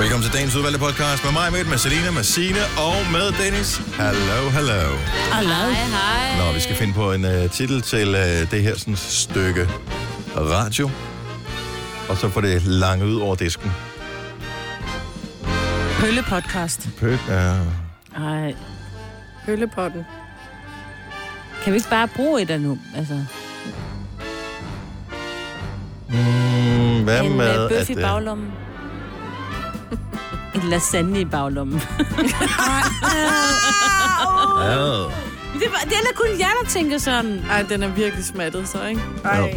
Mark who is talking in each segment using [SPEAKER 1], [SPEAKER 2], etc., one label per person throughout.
[SPEAKER 1] Velkommen til dagens udvalgte podcast med mig, med, med Selina, med Sine og med Dennis. Hallo, hallo.
[SPEAKER 2] Hej,
[SPEAKER 1] hej. Nå, vi skal finde på en uh, titel til uh, det her sådan, stykke radio. Og så får det lange ud over disken.
[SPEAKER 3] Pøllepodcast.
[SPEAKER 1] Pøk, ja. Mm,
[SPEAKER 3] Ej.
[SPEAKER 2] Pøllepotten.
[SPEAKER 3] Kan vi ikke bare bruge et af nu? Altså,
[SPEAKER 1] Mm, hvad
[SPEAKER 3] en
[SPEAKER 1] med,
[SPEAKER 3] øh, bøf i
[SPEAKER 1] øh,
[SPEAKER 3] baglommen. en lasagne i baglommen.
[SPEAKER 1] Ja.
[SPEAKER 3] det, var, det er da kun jer, der tænker sådan.
[SPEAKER 2] Ej, den er virkelig smattet så, ikke?
[SPEAKER 1] Jo.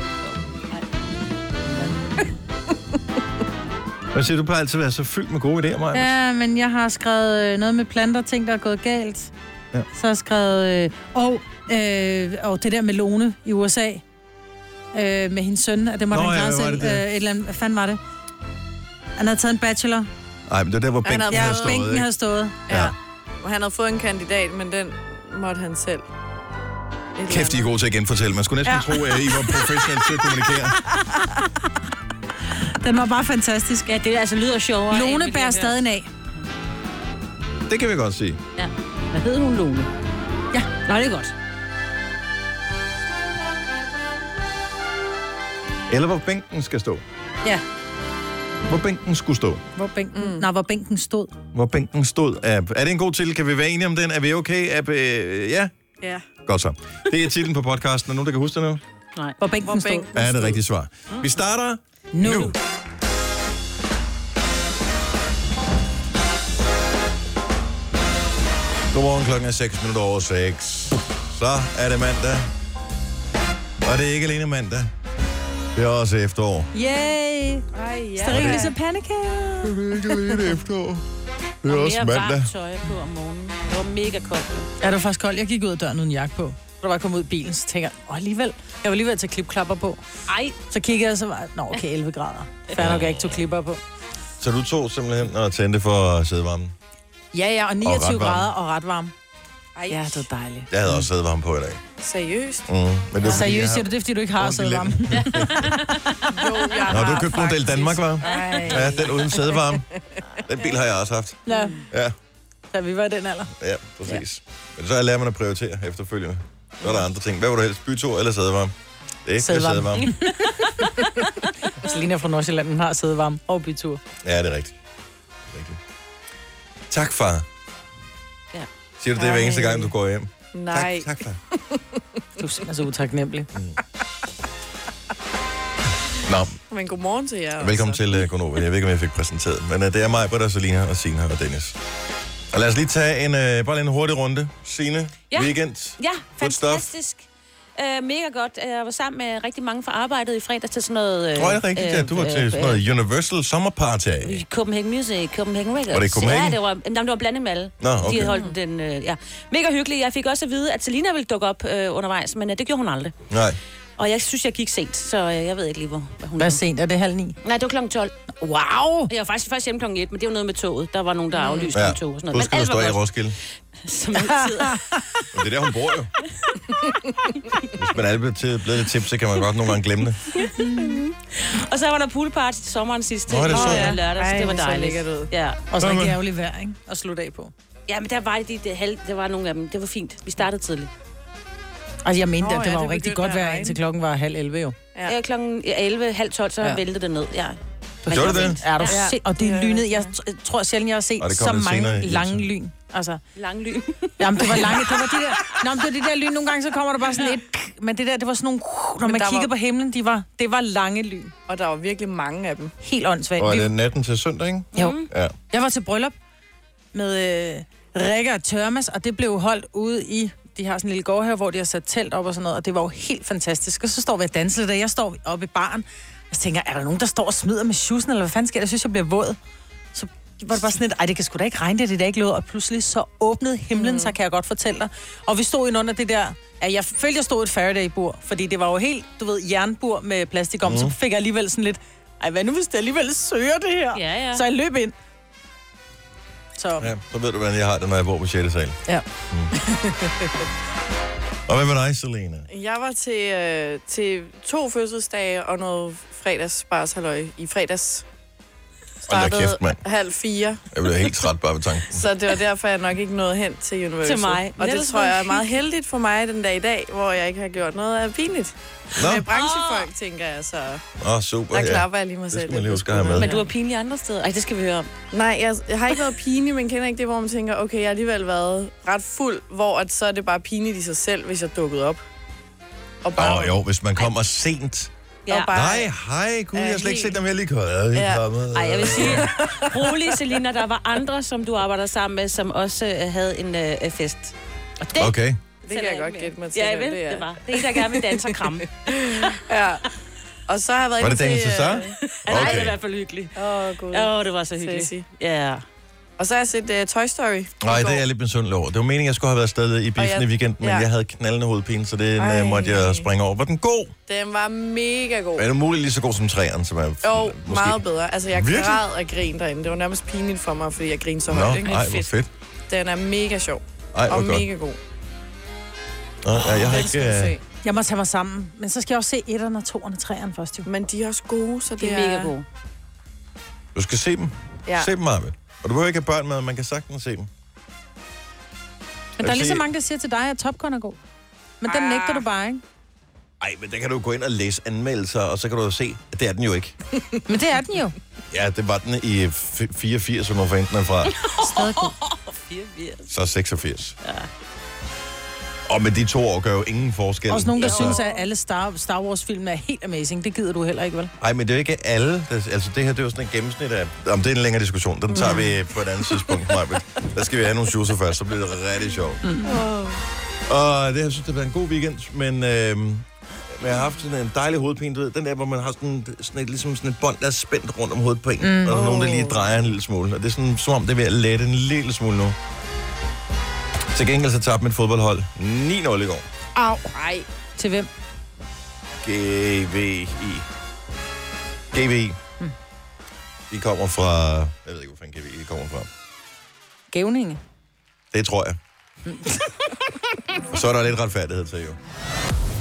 [SPEAKER 1] Hvad siger du? plejer altid at være så fyldt med gode idéer, Maja.
[SPEAKER 4] Ja, men jeg har skrevet øh, noget med planter, ting, der er gået galt.
[SPEAKER 1] Ja.
[SPEAKER 4] Ja. Så har jeg skrevet... Øh, og, øh, og det der med Lone i USA. Øh, med hendes søn, at det måtte
[SPEAKER 1] Nå,
[SPEAKER 4] Nå, han
[SPEAKER 1] ja,
[SPEAKER 4] klare
[SPEAKER 1] hvad
[SPEAKER 4] selv.
[SPEAKER 1] var det
[SPEAKER 4] Øh,
[SPEAKER 1] der?
[SPEAKER 4] et eller andet, hvad fanden var det? Han havde taget en bachelor.
[SPEAKER 1] Nej, men det var der, hvor
[SPEAKER 2] Han
[SPEAKER 1] bænken
[SPEAKER 2] har-
[SPEAKER 1] havde
[SPEAKER 2] Ja,
[SPEAKER 1] stået,
[SPEAKER 4] Bænken
[SPEAKER 1] ikke?
[SPEAKER 4] havde stået.
[SPEAKER 1] Ja.
[SPEAKER 2] Og han havde fået en kandidat, men den måtte han selv. Et
[SPEAKER 1] Kæft, I er
[SPEAKER 2] eller
[SPEAKER 1] gode til at genfortælle. Man skulle næsten ja. tro, at I var professionelle til at kommunikere.
[SPEAKER 4] Den var bare fantastisk.
[SPEAKER 3] Ja, det altså lyder sjovere. end
[SPEAKER 4] Lone
[SPEAKER 3] vi kan
[SPEAKER 4] bærer
[SPEAKER 3] høre.
[SPEAKER 4] stadig af.
[SPEAKER 1] Det kan vi godt sige.
[SPEAKER 3] Ja. Hvad hed hun, Lone? Ja. Nå, det er godt.
[SPEAKER 1] Eller hvor bænken skal stå.
[SPEAKER 4] Ja,
[SPEAKER 1] Hvor bænken skulle stå.
[SPEAKER 4] hvor bænken, mm. nej, hvor bænken stod.
[SPEAKER 1] Hvor bænken stod. Er, er det en god titel? Kan vi være enige om den? Er vi okay? Er, øh, ja,
[SPEAKER 2] andet. Ja.
[SPEAKER 1] godt så. Det er titlen på podcasten. Er nogen, der kan huske det nu?
[SPEAKER 3] Nej.
[SPEAKER 4] Hvor bænken
[SPEAKER 2] Hvor
[SPEAKER 4] stod.
[SPEAKER 2] bænken
[SPEAKER 1] Er
[SPEAKER 2] stod.
[SPEAKER 1] det rigtige svar? Vi starter
[SPEAKER 4] Nu.
[SPEAKER 1] nu. Godmorgen, klokken er 6 minutter over 6. Så er det mandag. Og det er ikke alene mandag. Det er også efterår.
[SPEAKER 4] Yay!
[SPEAKER 2] Ej, ja.
[SPEAKER 4] Sterile så pandekager.
[SPEAKER 1] Det er ikke alene efterår. Det
[SPEAKER 3] Og mere varmt tøj på om morgenen. Det var mega koldt.
[SPEAKER 4] Ja, det var faktisk koldt. Jeg gik ud af døren uden jakke på. Da jeg var kommet ud i bilen, så tænker jeg, åh, alligevel. Jeg var lige ved at tage klipklapper på.
[SPEAKER 3] Ej,
[SPEAKER 4] Så kiggede jeg, så var jeg, nå, okay, 11 grader. Færdig nok, jeg ikke tog klipper på.
[SPEAKER 1] Så du tog simpelthen og tændte for sædevarmen?
[SPEAKER 4] Ja, ja, og 29
[SPEAKER 1] varm.
[SPEAKER 4] og grader og ret varm.
[SPEAKER 2] Ej,
[SPEAKER 4] Ja, det var dejligt.
[SPEAKER 1] Jeg havde også sædevarme på i dag.
[SPEAKER 2] seriøst.
[SPEAKER 1] Mm. Men det er, fordi, jeg
[SPEAKER 4] Seriøst,
[SPEAKER 1] har-
[SPEAKER 4] siger du det, er, fordi du ikke har
[SPEAKER 1] Ondt i
[SPEAKER 4] siddet varme?
[SPEAKER 1] lænden.
[SPEAKER 2] Jo, jeg
[SPEAKER 1] Nå, du
[SPEAKER 2] har
[SPEAKER 1] købte model
[SPEAKER 2] faktisk-
[SPEAKER 1] Danmark, var?
[SPEAKER 2] Ej.
[SPEAKER 1] Ja, den uden sædevarme. Den bil har jeg også haft.
[SPEAKER 4] Ja,
[SPEAKER 1] Ja,
[SPEAKER 4] da vi var i den alder.
[SPEAKER 1] ja, præcis. Men så lærer man at prioritere efterfølgende. Så er der andre ting. Hvad vil du helst? Bytur eller sædevarme? Det er ikke
[SPEAKER 4] Sædevarme.
[SPEAKER 1] sædevarme.
[SPEAKER 4] Selina fra Nordsjælland, hun har siddet varme og bytur.
[SPEAKER 1] Ja, det er rigtigt. rigtigt. Tak, far.
[SPEAKER 3] Ja.
[SPEAKER 1] Siger du det hver eneste gang, du går hjem?
[SPEAKER 2] Nej.
[SPEAKER 1] Tak, tak far.
[SPEAKER 4] Du er simpelthen så utaknemmelig.
[SPEAKER 1] Nå,
[SPEAKER 2] Men godmorgen til
[SPEAKER 3] Altså.
[SPEAKER 2] jer.
[SPEAKER 1] Velkommen til uh, Gonova. Jeg ved ikke, om jeg fik præsenteret, men uh, det er mig, Britta, Selina og Sina og Dennis. Og lad os lige tage en, uh, bare lige en hurtig runde. Sine, ja.
[SPEAKER 3] Ja. Øh,
[SPEAKER 1] weekend.
[SPEAKER 3] Ja,
[SPEAKER 1] Good stuff.
[SPEAKER 3] fantastisk. Uh, mega godt. Jeg var sammen med rigtig mange fra arbejdet i fredags til sådan noget... øh,
[SPEAKER 1] Tror jeg, det er rigtigt, ja. Du var til sådan noget Universal Sommerparty.
[SPEAKER 3] i Copenhagen Music, Copenhagen Records.
[SPEAKER 1] Var det i Copenhagen?
[SPEAKER 3] Ja, det var, jamen, det var blandet med alle.
[SPEAKER 1] Nå, okay.
[SPEAKER 3] De holdt den, øh, ja. Mega hyggeligt. Jeg fik også at vide, at Selina ville dukke op øh, undervejs, men øh, det gjorde hun aldrig.
[SPEAKER 1] Nej.
[SPEAKER 3] Og jeg synes, jeg gik sent, så øh, jeg ved ikke lige, hvor hvad hun
[SPEAKER 4] Hvad sent? Er det halv ni?
[SPEAKER 3] Nej, det var klokken 12.
[SPEAKER 4] Wow! Mm.
[SPEAKER 3] Jeg var faktisk først hjemme klokken 1, men det var noget med toget. Der var nogen, der aflyste ja.
[SPEAKER 1] Ja.
[SPEAKER 3] om tog og sådan
[SPEAKER 1] Du
[SPEAKER 3] noget.
[SPEAKER 1] skal stå i Roskilde.
[SPEAKER 3] som altid.
[SPEAKER 1] Men det er der, hun bor jo. Hvis man er blevet til- blevet lidt tips, så kan man godt nogle gange glemme det.
[SPEAKER 3] og så var der poolparty til sommeren sidste.
[SPEAKER 1] Nå, er det
[SPEAKER 3] øh,
[SPEAKER 1] så?
[SPEAKER 3] lørdags.
[SPEAKER 2] Ej,
[SPEAKER 3] det var
[SPEAKER 2] hvor så
[SPEAKER 3] dejligt.
[SPEAKER 2] lækkert ud.
[SPEAKER 3] Ja.
[SPEAKER 4] Og så
[SPEAKER 1] Nå,
[SPEAKER 4] en
[SPEAKER 1] men-
[SPEAKER 4] jævlig vejr, ikke? Og slutte af på.
[SPEAKER 3] ja, men der var, de, det, halv, der var nogle af dem. Det var fint. Vi startede tidligt.
[SPEAKER 4] Altså, jeg mente,
[SPEAKER 2] Nå,
[SPEAKER 4] at det
[SPEAKER 2] ja,
[SPEAKER 4] var jo
[SPEAKER 2] det
[SPEAKER 4] rigtig
[SPEAKER 2] begyndte
[SPEAKER 4] godt
[SPEAKER 2] at
[SPEAKER 4] vejr,
[SPEAKER 2] regne.
[SPEAKER 4] indtil klokken var halv 11 jo.
[SPEAKER 2] Ja.
[SPEAKER 3] Ja. Ja, Øh, klokken 11, halv 12, så
[SPEAKER 4] Ja.
[SPEAKER 3] ja. væltede det ned. Ja.
[SPEAKER 1] Så gjorde det det.
[SPEAKER 4] Er du
[SPEAKER 3] Ja.
[SPEAKER 4] ja. Og det er lynet. Jeg t- tror sjældent, jeg har set
[SPEAKER 1] Og det kom
[SPEAKER 4] så
[SPEAKER 1] lidt senere
[SPEAKER 4] mange
[SPEAKER 1] i
[SPEAKER 4] lange
[SPEAKER 1] Ilsen.
[SPEAKER 4] lyn. Altså,
[SPEAKER 3] Lang lyn.
[SPEAKER 4] jamen, det var lange. Det var de der, nå, men det var de der lyn. Nogle gange, så kommer der bare sådan et... Men det der, det var sådan nogle... Når man
[SPEAKER 2] der
[SPEAKER 4] kiggede
[SPEAKER 2] var-
[SPEAKER 4] på himlen, de var, det var lange lyn.
[SPEAKER 2] Og der var virkelig mange af dem.
[SPEAKER 4] Helt åndssvagt.
[SPEAKER 1] Og er
[SPEAKER 4] Vi-
[SPEAKER 1] det natten til søndag, ikke?
[SPEAKER 4] Jo.
[SPEAKER 1] Ja.
[SPEAKER 4] Jeg var til bryllup med øh, Rikke og Tørmas, og det blev holdt ude i... De har sådan en lille gårdhave, hvor de har sat telt op og sådan noget, og det var jo helt fantastisk. Og så står vi og danser lidt, og jeg står oppe i baren, og så tænker jeg, er der nogen, der står og smider med sjussen, eller hvad fanden sker der? Jeg synes, jeg bliver våd. Så var det bare sådan et, ej, det kan sgu da ikke regne, det er det der ikke lød. Og pludselig så åbnede himlen, mm. så kan jeg godt fortælle dig. Og vi stod ind under det der, at jeg følte, jeg stod i et Faraday-bur, fordi det var jo helt, du ved, jernbur med plastik om, mm. så fik jeg alligevel sådan lidt, ej, hvad nu hvis det alligevel søger det her?
[SPEAKER 3] Ja, ja.
[SPEAKER 4] Så jeg løb ind. Så ja.
[SPEAKER 1] ja. Så ved du, hvordan jeg har det, når jeg bor på 6. sal.
[SPEAKER 4] Ja.
[SPEAKER 1] Mm. Og hvad med dig, Selena?
[SPEAKER 2] Jeg var til, øh, til to fødselsdage og noget fredagsbarshalløj i fredags.
[SPEAKER 1] Hold da
[SPEAKER 2] startede
[SPEAKER 1] kæft, mand.
[SPEAKER 2] halv fire,
[SPEAKER 1] Jeg bliver helt træt bare ved tanken.
[SPEAKER 2] så det var derfor, jeg nok ikke nåede hen til Universal.
[SPEAKER 3] Til mig.
[SPEAKER 2] Og det
[SPEAKER 3] Niels,
[SPEAKER 2] tror
[SPEAKER 3] hvor
[SPEAKER 2] jeg er meget heldigt for mig den dag i dag, hvor jeg ikke har gjort noget af pinligt.
[SPEAKER 1] Nå,
[SPEAKER 2] Med
[SPEAKER 3] Ah.
[SPEAKER 2] branchefolk, tænker jeg, så der
[SPEAKER 1] Nå super. ja.
[SPEAKER 2] klapper jeg lige mig
[SPEAKER 1] Det
[SPEAKER 2] selv.
[SPEAKER 1] skal man lige
[SPEAKER 2] lidt
[SPEAKER 1] huske
[SPEAKER 2] på
[SPEAKER 1] at have med.
[SPEAKER 3] Men du er pinlig andre steder. Ej, det skal vi høre om.
[SPEAKER 2] Nej, jeg, jeg har ikke været pinlig, men kender ikke det, hvor man tænker, okay, jeg har alligevel været ret fuld, hvor at så er det bare pinligt i sig selv, hvis jeg dukkede op. Og
[SPEAKER 1] Åh, oh, jo, hvis man kommer sent.
[SPEAKER 3] Ja.
[SPEAKER 2] Og bare-
[SPEAKER 1] Nej, hej, gud, jeg har slet ikke set dem, jeg er lige kommet. Jeg er lige
[SPEAKER 2] Ja.
[SPEAKER 1] kommet. øh.
[SPEAKER 3] Ej, jeg vil sige, rolig, Selina, der var andre, som du arbejder sammen med, som også øh, havde en øh, fest. Og det
[SPEAKER 1] Okay.
[SPEAKER 2] Det kan jeg godt gætte mig til,
[SPEAKER 3] Ja,
[SPEAKER 2] hvem
[SPEAKER 3] vel,
[SPEAKER 2] det er.
[SPEAKER 3] det var. Det er en, der gerne vil danse og kramme.
[SPEAKER 2] Ja. Og så har jeg været
[SPEAKER 1] Var det
[SPEAKER 2] inde
[SPEAKER 1] dagen
[SPEAKER 2] til...
[SPEAKER 1] til
[SPEAKER 2] øh,
[SPEAKER 1] så?
[SPEAKER 3] Okay. Nej, det er i
[SPEAKER 1] Okay.
[SPEAKER 3] hvert fald hyggeligt.
[SPEAKER 2] Åh, øh, oh,
[SPEAKER 3] Åh, oh, det var så hyggeligt.
[SPEAKER 2] Sassy.
[SPEAKER 3] Ja.
[SPEAKER 2] Og så har jeg set uh, Toy Story.
[SPEAKER 1] Nej, det er jeg lidt misundelig over. Det var meningen, jeg skulle have været afsted i biffen
[SPEAKER 2] Og jeg-
[SPEAKER 1] i weekenden, men
[SPEAKER 2] ja.
[SPEAKER 1] jeg havde knaldende hovedpine, så det
[SPEAKER 2] Ej.
[SPEAKER 1] øh, måtte jeg springe over. Var den god?
[SPEAKER 2] Den var mega god.
[SPEAKER 1] Er det muligt lige så god som træeren, som er
[SPEAKER 2] Jo,
[SPEAKER 1] måske-
[SPEAKER 2] meget bedre. Altså, jeg
[SPEAKER 1] Virkelig?
[SPEAKER 2] græd og grinede derinde. Det var nærmest pinligt for mig, fordi jeg grinede så højt.
[SPEAKER 1] Nå,
[SPEAKER 2] Ikke?
[SPEAKER 1] ej, hvor fedt.
[SPEAKER 2] Den er mega sjov
[SPEAKER 1] Ej, hvor
[SPEAKER 2] og
[SPEAKER 1] godt.
[SPEAKER 2] mega god.
[SPEAKER 1] Nå, ja, jeg har
[SPEAKER 2] Den
[SPEAKER 1] ikke...
[SPEAKER 2] skal du
[SPEAKER 1] øh,
[SPEAKER 2] se.
[SPEAKER 4] Jeg må tage mig sammen. Men så skal jeg også se 1'erne, 2'erne, 3'erne først jo.
[SPEAKER 2] Men de er også gode, så det,
[SPEAKER 3] Det er mega god.
[SPEAKER 1] Du skal se dem.
[SPEAKER 2] Ja.
[SPEAKER 1] Se dem, Marvind. Og du behøver ikke have børn med, man kan sagtens se dem.
[SPEAKER 4] Men der er
[SPEAKER 1] vil
[SPEAKER 4] lige så
[SPEAKER 1] sige-
[SPEAKER 4] mange, der siger til dig, at Top Gun er god. Men
[SPEAKER 2] Ah.
[SPEAKER 4] den nægter du bare, ikke?
[SPEAKER 1] Ej, men der kan du gå ind og læse anmeldelser, og så kan du jo se, at det er den jo ikke.
[SPEAKER 4] Men det er den jo.
[SPEAKER 1] Ja, det var den i f- 84, som var fanden den er fra.
[SPEAKER 4] Stadig god.
[SPEAKER 1] Så 86. Ja. Og med de to år gør jo ingen forskel.
[SPEAKER 4] Også nogen, der
[SPEAKER 1] Altså,
[SPEAKER 4] synes, at alle Star, Star Wars-filmene er helt amazing. Det gider du heller ikke, vel?
[SPEAKER 1] Ej, men det er jo ikke alle. Der, altså, det her, det er jo sådan et gennemsnit af... Om det er en længere diskussion, den tager vi på et andet tidspunkt, Maja. Der skal vi have nogle shoes først, så bliver det rigtig sjovt. Mm. Og det, jeg synes, det har været en god weekend, men... Øh, men jeg har haft sådan en dejlig hovedpine, du ved, den der, hvor man har sådan, sådan et, ligesom sådan et bånd, der er spændt rundt om hovedet på en, mm. og der er nogen, der lige drejer en lille smule. Og det er sådan, som om det er ved at lette en lille smule nu. Til gengæld så tabte mit fodboldhold 9-0 i går.
[SPEAKER 4] Au.
[SPEAKER 2] Nej,
[SPEAKER 4] Til hvem?
[SPEAKER 1] GVI. GVI. De kommer fra... Jeg ved ikke, hvor fanden GVI kommer fra.
[SPEAKER 4] Gævninge.
[SPEAKER 1] Det tror jeg. Så er der lidt retfærdighed til, jo.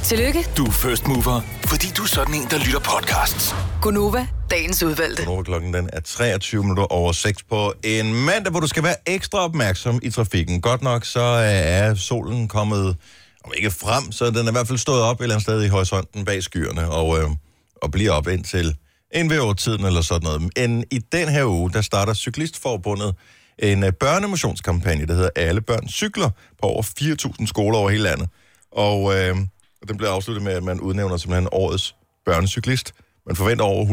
[SPEAKER 5] Tillykke,
[SPEAKER 6] Du er first mover, fordi du er sådan en, der lytter podcasts.
[SPEAKER 5] Gunova, dagens udvalgte.
[SPEAKER 1] Nu er klokken den er 23 minutter over 6 på en mandag, hvor du skal være ekstra opmærksom i trafikken. Godt nok, så øh, er solen kommet, om ikke frem, så den er i hvert fald stået op et eller andet sted i horisonten bag skyerne, og, øh, og bliver op indtil en ved tiden eller sådan noget. Men i den her uge, der starter Cyklistforbundet en øh, børnemotionskampagne, der hedder Alle børn cykler, på over 4.000 skoler over hele landet. Og øh, den bliver afsluttet med, at man udnævner simpelthen årets børnecyklist. Man forventer over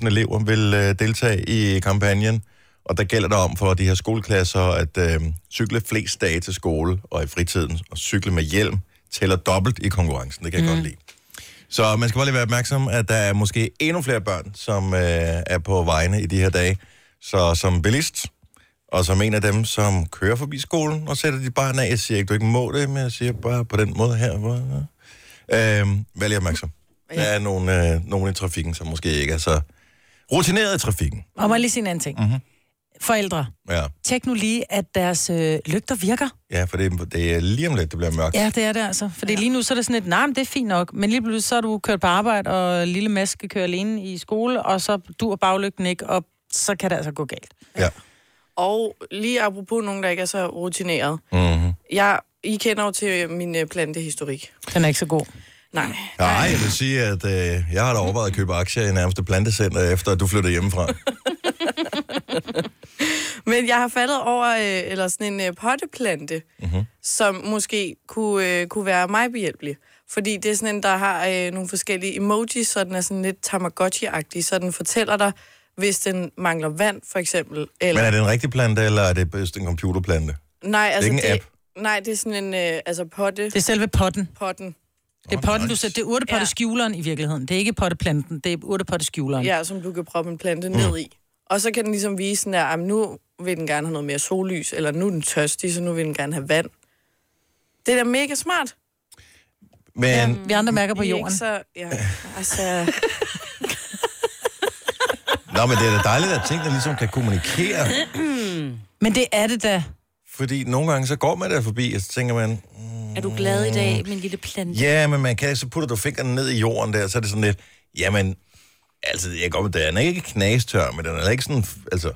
[SPEAKER 1] 100.000 elever vil øh, deltage i kampagnen, og der gælder det om for de her skoleklasser at øh, cykle flest dage til skole og i fritiden, og cykle med hjelm tæller dobbelt i konkurrencen. Det kan jeg mm. godt lide. Så man skal bare lige være opmærksom, at der er måske endnu flere børn, som øh, er på vejene i de her dage. Så som bilist, og som en af dem, som kører forbi skolen og sætter dit barn af, jeg siger ikke, du ikke må det, men jeg siger bare på den måde her. Hvor, øh, vær lige opmærksom. Der er nogle, øh, nogle i trafikken, som måske ikke er så rutineret i trafikken.
[SPEAKER 4] Og må jeg lige sige en anden ting. Mm-hmm. Forældre,
[SPEAKER 1] Ja,
[SPEAKER 4] tjek nu lige, at deres øh, lygter virker.
[SPEAKER 1] ja for det, det er lige om lidt, det bliver mørkt.
[SPEAKER 4] Ja, det er det altså. Fordi ja. lige nu, så er det sådan et, nej, men det er fint nok. Men lige pludselig, så er du kørt på arbejde, og lille Mads skal køre alene i skole, og så du og baglygten ikke, og så kan det altså gå galt.
[SPEAKER 1] Ja.
[SPEAKER 2] Og lige apropos nogen, der ikke er så rutineret. Mm-hmm.
[SPEAKER 1] Mhm.
[SPEAKER 2] Jeg, I kender jo til min øh, plantehistorik.
[SPEAKER 4] Den er ikke så god.
[SPEAKER 2] Nej.
[SPEAKER 1] Nej, jeg vil sige, at øh, jeg har da overvejet at købe aktier i nærmeste plantecenter, efter at du flyttede hjemmefra.
[SPEAKER 2] Men jeg har faldet over øh, eller sådan en øh, potteplante, mm-hmm.
[SPEAKER 1] Mhm.
[SPEAKER 2] som måske kunne, øh, kunne være mig behjælpelig. Fordi det er sådan en, der har øh, nogle forskellige emojis, så den er sådan lidt Tamagotchi-agtig, så den fortæller dig, hvis den mangler vand, for eksempel. Eller,
[SPEAKER 1] Men er det en rigtig plante, eller er det bedst en computerplante?
[SPEAKER 2] nej, altså,
[SPEAKER 1] ikke en app?
[SPEAKER 2] Nej, det er sådan en øh, altså potte,
[SPEAKER 4] Det er selve potten.
[SPEAKER 2] potten,
[SPEAKER 4] Det er
[SPEAKER 1] Åh,
[SPEAKER 4] potten, du
[SPEAKER 1] nice.
[SPEAKER 4] sætter. Det er urtepotteskjuleren i virkeligheden. Det er ikke potteplanten, det er urtepotteskjuleren.
[SPEAKER 2] ja, som du kan proppe en plante mm. ned i. Og så kan den ligesom vise sådan der, "Am, nu vil den gerne have noget mere sollys, eller nu er den tørstig, så nu vil den gerne have vand. Det er da mega smart.
[SPEAKER 1] Men
[SPEAKER 4] Vi andre mærker på
[SPEAKER 2] I er
[SPEAKER 4] jorden.
[SPEAKER 2] Ikke så, ja, altså...
[SPEAKER 1] Nå, men det er da dejligt, at tingene ligesom kan kommunikere.
[SPEAKER 3] Mm.
[SPEAKER 4] Men det er det da.
[SPEAKER 1] Fordi nogle gange, så går man der forbi, og så tænker man,
[SPEAKER 3] Er du glad i dag, min lille plante?
[SPEAKER 1] ja, men man kan, så putter du fingrene ned i jorden der, så er det sådan lidt, jamen, Altså, jeg går med, den er ikke knastør, men den er heller ikke sådan... f- Altså,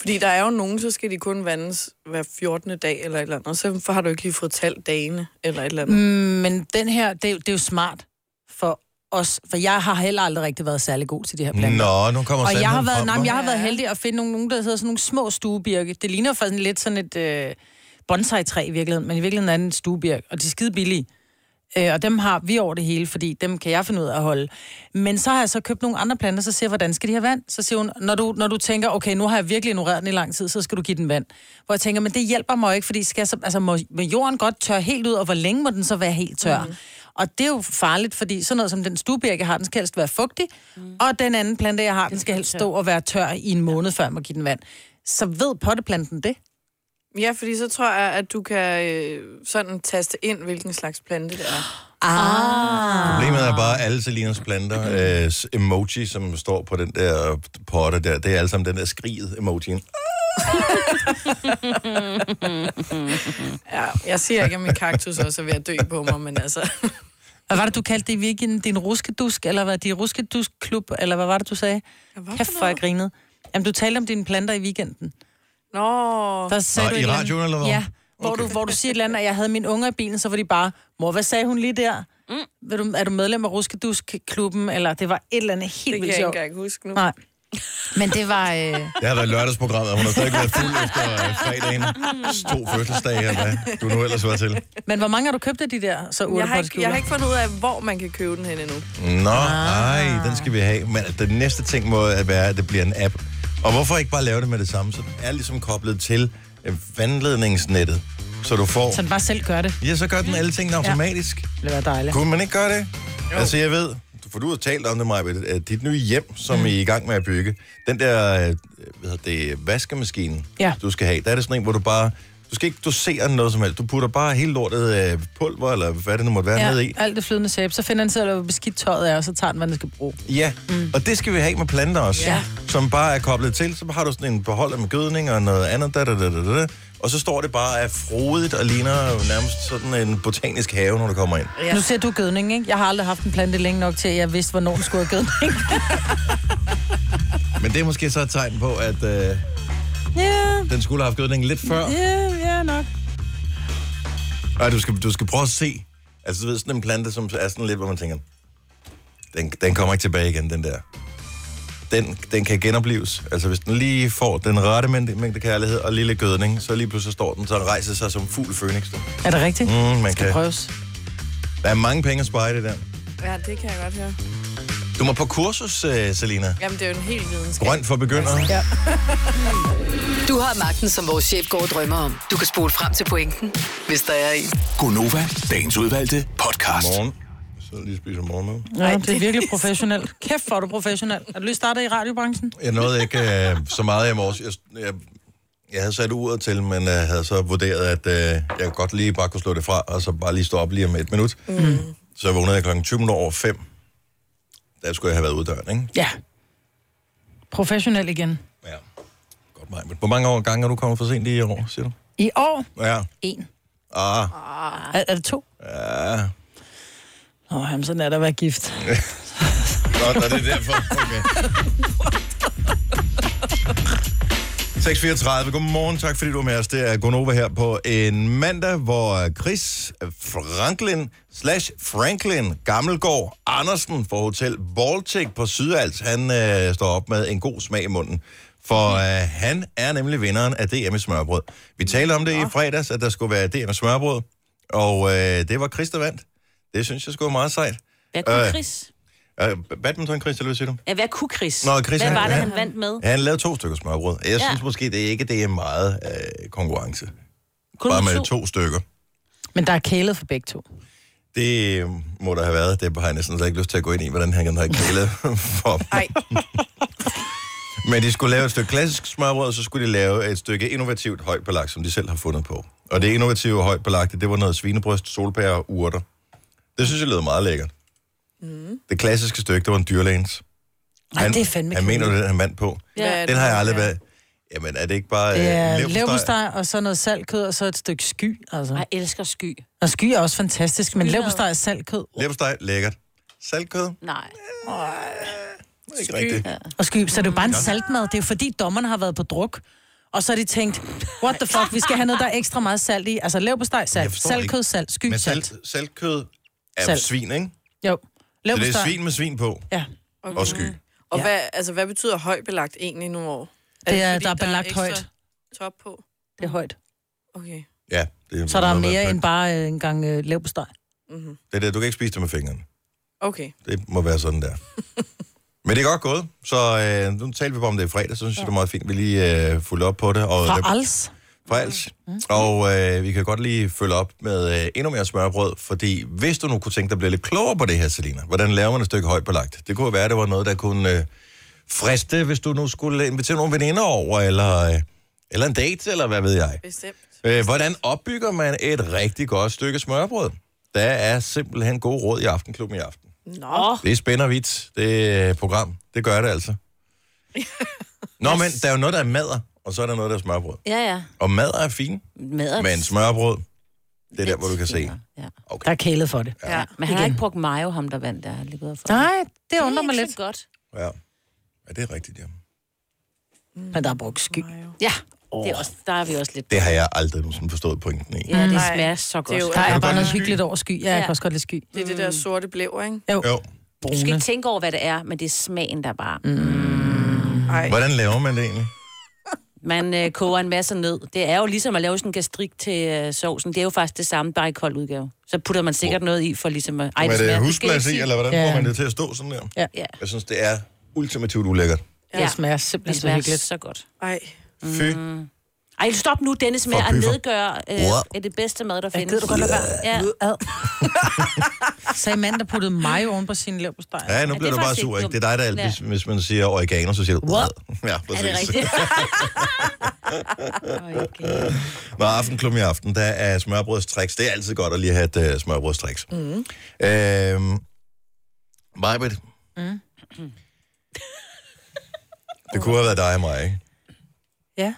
[SPEAKER 2] Fordi der er jo nogen, så skal de kun vandes hver 14. dag eller et eller andet. Og så har du ikke lige fået talt dagene eller et eller andet. Mm.
[SPEAKER 4] Men den her, det, er jo- det er jo smart for os, for jeg har heller aldrig rigtig været særlig god til de her planter.
[SPEAKER 1] nå, nu kommer
[SPEAKER 4] Og jeg har,
[SPEAKER 1] sandheden
[SPEAKER 4] været,
[SPEAKER 1] frem,
[SPEAKER 4] nej, men
[SPEAKER 1] hva'?
[SPEAKER 4] jeg har været heldig at finde nogle, nogle, der hedder sådan nogle små stuebirke. Det ligner faktisk lidt sådan et øh, bonsai-træ i virkeligheden, men i virkeligheden er det en stuebirk, og de er skide billige. Øh, og dem har vi over det hele, fordi dem kan jeg finde ud af at holde. Men så har jeg så købt nogle andre planter, så siger jeg, hvordan skal de have vand? Så siger hun, når du, når du tænker, okay, nu har jeg virkelig ignoreret den i lang tid, så skal du give den vand. Hvor jeg tænker, men det hjælper mig jo ikke, fordi skal jeg så, altså, må, må jorden godt tørre helt ud, og hvor længe må den så være helt tør? Mm. Og det er jo farligt, fordi sådan noget som den stuebjerg, jeg har, den skal helst være fugtig, mm. og den anden plante, jeg har, den skal helst stå og være tør i en måned, før jeg må give den vand. Så ved potteplanten det?
[SPEAKER 2] Ja, fordi så tror jeg, at du kan øh, sådan taste ind, hvilken slags plante det er.
[SPEAKER 4] Ah.
[SPEAKER 1] Problemet er bare, at alle Selinas planter, øh, s- emoji, som står på den der potte der, det er alle sammen den der skriget emojien.
[SPEAKER 2] Ja, jeg siger ikke, at min kaktus også er ved at dø på mig, men altså...
[SPEAKER 4] Hvad var det, du kaldte det i weekenden? Din ruskedusk, eller hvad? Din ruskedusk-klub, eller hvad var det, du sagde?
[SPEAKER 2] hvad for
[SPEAKER 4] Kæft, hvor jeg
[SPEAKER 2] noget?
[SPEAKER 4] grinede. Jamen, du talte om dine planter i weekenden.
[SPEAKER 2] Nå,
[SPEAKER 4] Der sagde
[SPEAKER 1] Nå,
[SPEAKER 4] du et
[SPEAKER 1] i
[SPEAKER 4] eller
[SPEAKER 1] radioen,
[SPEAKER 4] andet-
[SPEAKER 1] eller hvad?
[SPEAKER 4] Ja, hvor,
[SPEAKER 1] Okay.
[SPEAKER 4] okay. du, hvor du siger et eller andet, at jeg havde mine unger i bilen, så var de bare, mor, hvad sagde hun lige der? Mm. Er, du, er du medlem af ruskedusk-klubben? Eller det var et eller andet
[SPEAKER 2] det
[SPEAKER 4] helt
[SPEAKER 2] kan
[SPEAKER 4] vildt
[SPEAKER 2] jeg ikke
[SPEAKER 4] sjovt.
[SPEAKER 2] engang huske nu.
[SPEAKER 4] Nej. Men det var... Øh...
[SPEAKER 1] Det har været lørdagsprogrammet, og hun har stadig ikke været fuld efter øh, fredagen. To fødselsdage, eller hvad du nu ellers var til.
[SPEAKER 4] Men hvor mange har du købt af de der så
[SPEAKER 2] Jeg har, ikke, jeg har
[SPEAKER 4] urtepotskjuler?
[SPEAKER 2] ikke fundet ud af, hvor man kan købe den hen endnu.
[SPEAKER 1] Nå, ej, den skal vi have. Men den næste ting må være, at det bliver en app. Og hvorfor ikke bare lave det med det samme? Så den er ligesom koblet til øh, vandledningsnettet, så du får...
[SPEAKER 4] Så den bare selv gør det.
[SPEAKER 1] Ja, så gør den alle tingene automatisk. Ja.
[SPEAKER 4] Det ville være dejligt.
[SPEAKER 1] Kunne man ikke gøre det? Jo. Altså, jeg ved, for du har talt om det, Maja, at dit nye hjem, som mm. I er i gang med at bygge, den der, øh, hvad hedder det, vaskemaskine,
[SPEAKER 4] Ja.
[SPEAKER 1] du skal have, der er det sådan en, hvor du bare, du skal ikke dosere den noget som helst. Du putter bare hele lortet af pulver, eller hvad det nu måtte være, ja. ned i.
[SPEAKER 4] Ja, alt det flydende sæbe. Så finder han selv, hvor beskidt tøjet er, og så tager den, hvad den skal bruge.
[SPEAKER 1] Ja, mm. og det skal vi have med planter også, ja. som bare er koblet til. Så har du sådan en beholder med gødning og noget andet, da, da, da, da, da. og så står det bare af frodigt og ligner nærmest sådan en botanisk have, når du kommer ind.
[SPEAKER 4] Ja. Nu ser du gødning, ikke? Jeg har aldrig haft en plante længe nok til, at jeg vidste, hvornår den skulle have gødning.
[SPEAKER 1] Men det er måske så et tegn på, at øh,
[SPEAKER 4] ja,
[SPEAKER 1] den skulle have haft gødning lidt før.
[SPEAKER 4] ja, ja nok.
[SPEAKER 1] Nej, du skal, du skal prøve at se. Altså, du ved, sådan en plante, som er sådan lidt, hvor man tænker, den, den kommer ikke tilbage igen, den der. Den, den kan genopleves. Altså, hvis den lige får den rette mængde, mængde kærlighed og lille gødning, så lige pludselig står den, så den rejser sig som fugl fønix. du.
[SPEAKER 4] Er det rigtigt?
[SPEAKER 1] Mm,
[SPEAKER 4] Mm,
[SPEAKER 1] man
[SPEAKER 4] skal
[SPEAKER 1] kan.
[SPEAKER 4] prøves.
[SPEAKER 1] Der er mange penge at spare i det der.
[SPEAKER 2] Ja, det kan jeg godt høre.
[SPEAKER 1] Du må på kursus, uh, Selina.
[SPEAKER 2] Jamen, det er jo en helt videnskab.
[SPEAKER 1] Grønt for begyndere.
[SPEAKER 5] Du har magten, som vores chef går og drømmer om. Du kan spole frem til pointen, hvis der er en.
[SPEAKER 6] Gonova, dagens udvalgte podcast.
[SPEAKER 1] Morgen. Jeg sidder lige og spiser morgenmad.
[SPEAKER 4] Ja, det er virkelig professionelt. Kæft, hvor er du professionel. Er du lige startet i radiobranchen?
[SPEAKER 1] Jeg nåede ikke øh, så meget i morges. Jeg, jeg, jeg havde sat uret til, men øh, havde så vurderet, at øh, jeg godt lige bare kunne slå det fra, og så bare lige stå op lige om et minut. Mm. Så vågnede jeg klokken 20 minutter over 5. Der skulle jeg have været ude af døren, ikke?
[SPEAKER 4] Ja. Professionel igen.
[SPEAKER 1] Ja. Godt mig. Men hvor mange år gange er du kommet for sent i år, siger du?
[SPEAKER 4] I år?
[SPEAKER 1] Ja.
[SPEAKER 4] En.
[SPEAKER 1] Ah,
[SPEAKER 4] Er, er det to?
[SPEAKER 1] ja.
[SPEAKER 4] Åh, oh, jamen, sådan er der at være gift.
[SPEAKER 1] Ah. Nå, nå, det er derfor. Okay. 6.34. Godmorgen. Tak fordi du er med os. Det er Gonova her på en mandag, hvor Chris Franklin slash Franklin Gammelgaard Andersen fra Hotel Baltic på Sydals, han øh, står op med en god smag i munden.
[SPEAKER 3] Mm.
[SPEAKER 1] For øh, han er nemlig vinderen af DM i smørbrød. Vi talte om det i fredags, at der skulle være DM i smørbrød, og øh, det var Chris, der vandt. Det synes jeg skulle var meget sejt.
[SPEAKER 3] Hvad kunne
[SPEAKER 1] Øh.
[SPEAKER 3] Chris?
[SPEAKER 1] Øh, badminton, Chris, eller hvad siger du?
[SPEAKER 3] Ja, hvad kunne Chris?
[SPEAKER 1] Nå, Chris,
[SPEAKER 3] hvad
[SPEAKER 1] han-
[SPEAKER 3] var det,
[SPEAKER 1] han-
[SPEAKER 3] han vandt med?
[SPEAKER 1] Ja, han lavede to stykker smørbrød. Jeg ja.
[SPEAKER 3] Ja.
[SPEAKER 1] synes måske, det er ikke det er meget øh, konkurrence.
[SPEAKER 3] Kun
[SPEAKER 1] Bare med
[SPEAKER 3] to.
[SPEAKER 1] to. to stykker.
[SPEAKER 4] Men der er kælet for begge to.
[SPEAKER 1] Det øh, må der have været. Det har jeg næsten slet ikke lyst til at gå ind i, hvordan han kan have kælet for dem.
[SPEAKER 2] Nej,
[SPEAKER 1] Men de skulle lave et stykke klassisk smørbrød, og så skulle de lave et stykke innovativt højt belagt, som de selv har fundet på. Og det innovative højt belagte, det var noget svinebryst, solpærer og urter. Det synes jeg lød meget lækkert. Mm. Det klassiske stykke, det var en dyrlægens.
[SPEAKER 4] Ej, det er fandme
[SPEAKER 1] Han mener,
[SPEAKER 4] kedeligt.
[SPEAKER 1] det er, han vandt på.
[SPEAKER 2] Hvad er
[SPEAKER 3] Ja.
[SPEAKER 2] det
[SPEAKER 1] Den har jeg
[SPEAKER 2] for
[SPEAKER 1] aldrig
[SPEAKER 2] noget?
[SPEAKER 1] været. Jamen, er det ikke bare
[SPEAKER 4] Ja,
[SPEAKER 1] øh, leverpostej?
[SPEAKER 4] leverpostej, og så noget saltkød, og så et stykke sky. Altså.
[SPEAKER 3] Jeg elsker sky.
[SPEAKER 4] Og sky er også fantastisk, men leverpostej og saltkød.
[SPEAKER 1] Leverpostej, lækkert. Saltkød?
[SPEAKER 3] Nej.
[SPEAKER 1] Ikke rigtigt.
[SPEAKER 4] Og sky, så det er jo bare en saltmad. Det er jo fordi, dommerne har været på druk. Og så har de tænkt, what the fuck, vi skal have noget, der er ekstra meget salt i. Altså leverpostej,
[SPEAKER 1] Jeg
[SPEAKER 4] salt,
[SPEAKER 1] forstår
[SPEAKER 4] saltkød,
[SPEAKER 1] ikke.
[SPEAKER 4] salt, sky,
[SPEAKER 1] Men
[SPEAKER 4] salt.
[SPEAKER 1] salt, saltkød er
[SPEAKER 4] Salt.
[SPEAKER 1] svin, ikke?
[SPEAKER 4] Jo,
[SPEAKER 1] Så det er
[SPEAKER 4] leverpostej.
[SPEAKER 1] svin med svin på.
[SPEAKER 4] Ja,
[SPEAKER 1] Okay. Og sky.
[SPEAKER 2] Og
[SPEAKER 4] Ja.
[SPEAKER 2] ja. hvad, altså, hvad betyder højbelagt egentlig nu over?
[SPEAKER 4] Det er-
[SPEAKER 2] fordi,
[SPEAKER 4] der er belagt
[SPEAKER 2] ekstra
[SPEAKER 4] højt.
[SPEAKER 2] Top på?
[SPEAKER 4] det er højt.
[SPEAKER 2] Okay.
[SPEAKER 1] Ja, det
[SPEAKER 4] Så der er
[SPEAKER 1] noget med
[SPEAKER 4] mere
[SPEAKER 1] pynt.
[SPEAKER 4] end bare øh, en gang øh, leverpostej.
[SPEAKER 1] Det er det, du kan ikke spise det med fingrene.
[SPEAKER 2] Okay.
[SPEAKER 1] Det må være sådan der. Men det er godt gået, så øh, nu talte vi bare om det i fredag, så synes jeg, det er meget fint, vi lige øh, fulgte op på det. Og,
[SPEAKER 4] Fra Als. Mm.
[SPEAKER 1] for alt. Og øh, vi kan godt lige følge op med øh, endnu mere smørbrød, fordi hvis du nu kunne tænke dig at blive lidt klogere på det her, Selina, hvordan laver man et stykke højt belagt? Det kunne jo være, at det var noget, der kunne øh, friste, hvis du nu skulle invitere nogle veninder over, eller, øh, eller en date, eller hvad ved jeg.
[SPEAKER 2] Bestemt.
[SPEAKER 1] Øh, hvordan opbygger man et rigtig godt stykke smørbrød? Der er simpelthen gode råd i Aftenklubben i aften.
[SPEAKER 2] Nå.
[SPEAKER 1] Det spænder vidt, det øh, program. Det gør det altså. Nå, men der er jo noget, der er madder, og så er der noget, der er smørbrød.
[SPEAKER 3] Ja, ja.
[SPEAKER 1] Og madder er fint.
[SPEAKER 3] Med at...
[SPEAKER 1] Men smørbrød, det er der, hvor du kan se.
[SPEAKER 3] Ja.
[SPEAKER 4] Der er kælet for det.
[SPEAKER 2] Ja.
[SPEAKER 3] Men han har ikke brugt mayo, ham der vandt der. Han lige gået for.
[SPEAKER 4] Nej, det
[SPEAKER 3] det
[SPEAKER 4] undrer mig
[SPEAKER 3] ikke
[SPEAKER 4] lidt.
[SPEAKER 3] så godt.
[SPEAKER 1] Ja. ja, det er rigtigt, ja.
[SPEAKER 3] Mm.
[SPEAKER 4] Men der er brugt sky.
[SPEAKER 3] Ja, det er også, der er vi også lidt.
[SPEAKER 1] Det har jeg aldrig sådan forstået pointen i.
[SPEAKER 3] Ja, det
[SPEAKER 2] Nej.
[SPEAKER 3] smager så
[SPEAKER 2] Det er
[SPEAKER 3] godt.
[SPEAKER 2] jo-
[SPEAKER 4] Der
[SPEAKER 2] Kan
[SPEAKER 4] er bare
[SPEAKER 1] du godt
[SPEAKER 4] noget
[SPEAKER 1] lide
[SPEAKER 4] hyggeligt over sky. Ja, jeg kan også godt lide sky.
[SPEAKER 2] Det er det der sorte blæv, ikke?
[SPEAKER 1] Jo.
[SPEAKER 3] Du skal ikke tænke over, hvad det er, men det er smagen, der bare... Mm.
[SPEAKER 2] Nej.
[SPEAKER 1] Hvordan laver man det egentlig?
[SPEAKER 3] Man øh, koger en masse ned. Det er jo ligesom at lave sådan en gastrik til øh, sovsen. Det er jo faktisk det samme, bare i kold udgave. Så putter man sikkert noget i for ligesom... at- Ej,
[SPEAKER 1] Var
[SPEAKER 3] smager-
[SPEAKER 1] det
[SPEAKER 3] skal jeg
[SPEAKER 1] husglas
[SPEAKER 3] ikke
[SPEAKER 1] i,
[SPEAKER 3] sige.
[SPEAKER 1] eller hvordan
[SPEAKER 4] Ja.
[SPEAKER 1] får man det til at stå sådan der?
[SPEAKER 4] Ja.
[SPEAKER 3] Ja,
[SPEAKER 1] Jeg synes, det er ultimativt ulækkert.
[SPEAKER 4] Det smager simpelthen
[SPEAKER 3] det
[SPEAKER 4] så
[SPEAKER 3] smager
[SPEAKER 4] hyggeligt.
[SPEAKER 3] så godt. Mm.
[SPEAKER 2] Ej.
[SPEAKER 1] Fy.
[SPEAKER 3] Ej, stop nu, Dennis, med
[SPEAKER 1] For
[SPEAKER 3] at
[SPEAKER 1] pyfer.
[SPEAKER 3] nedgøre øh,
[SPEAKER 1] Uah.
[SPEAKER 3] er det bedste mad, der
[SPEAKER 4] Jeg
[SPEAKER 3] findes.
[SPEAKER 4] gider du godt lade være.
[SPEAKER 3] Ja.
[SPEAKER 4] Ad. Sagde manden, der puttede mig oven på sin leverpostej.
[SPEAKER 1] Ja, nu
[SPEAKER 3] Ja,
[SPEAKER 1] bliver
[SPEAKER 3] det er
[SPEAKER 1] du bare
[SPEAKER 3] faktisk
[SPEAKER 1] sur,
[SPEAKER 3] ikke
[SPEAKER 1] ikke? Det er dig, der alt,
[SPEAKER 3] dumt.
[SPEAKER 1] hvis, hvis man siger oregano, så siger du... What? Ja,
[SPEAKER 3] Er
[SPEAKER 1] præcis.
[SPEAKER 3] det rigtigt? okay.
[SPEAKER 1] Når aftenklum i aften, der er smørbrødstriks. Det er altid godt at lige have et uh, smørbrødstriks. Mm. Øhm, Majbrit. Mm. Det kunne have været dig og mig, ikke?
[SPEAKER 4] Ja,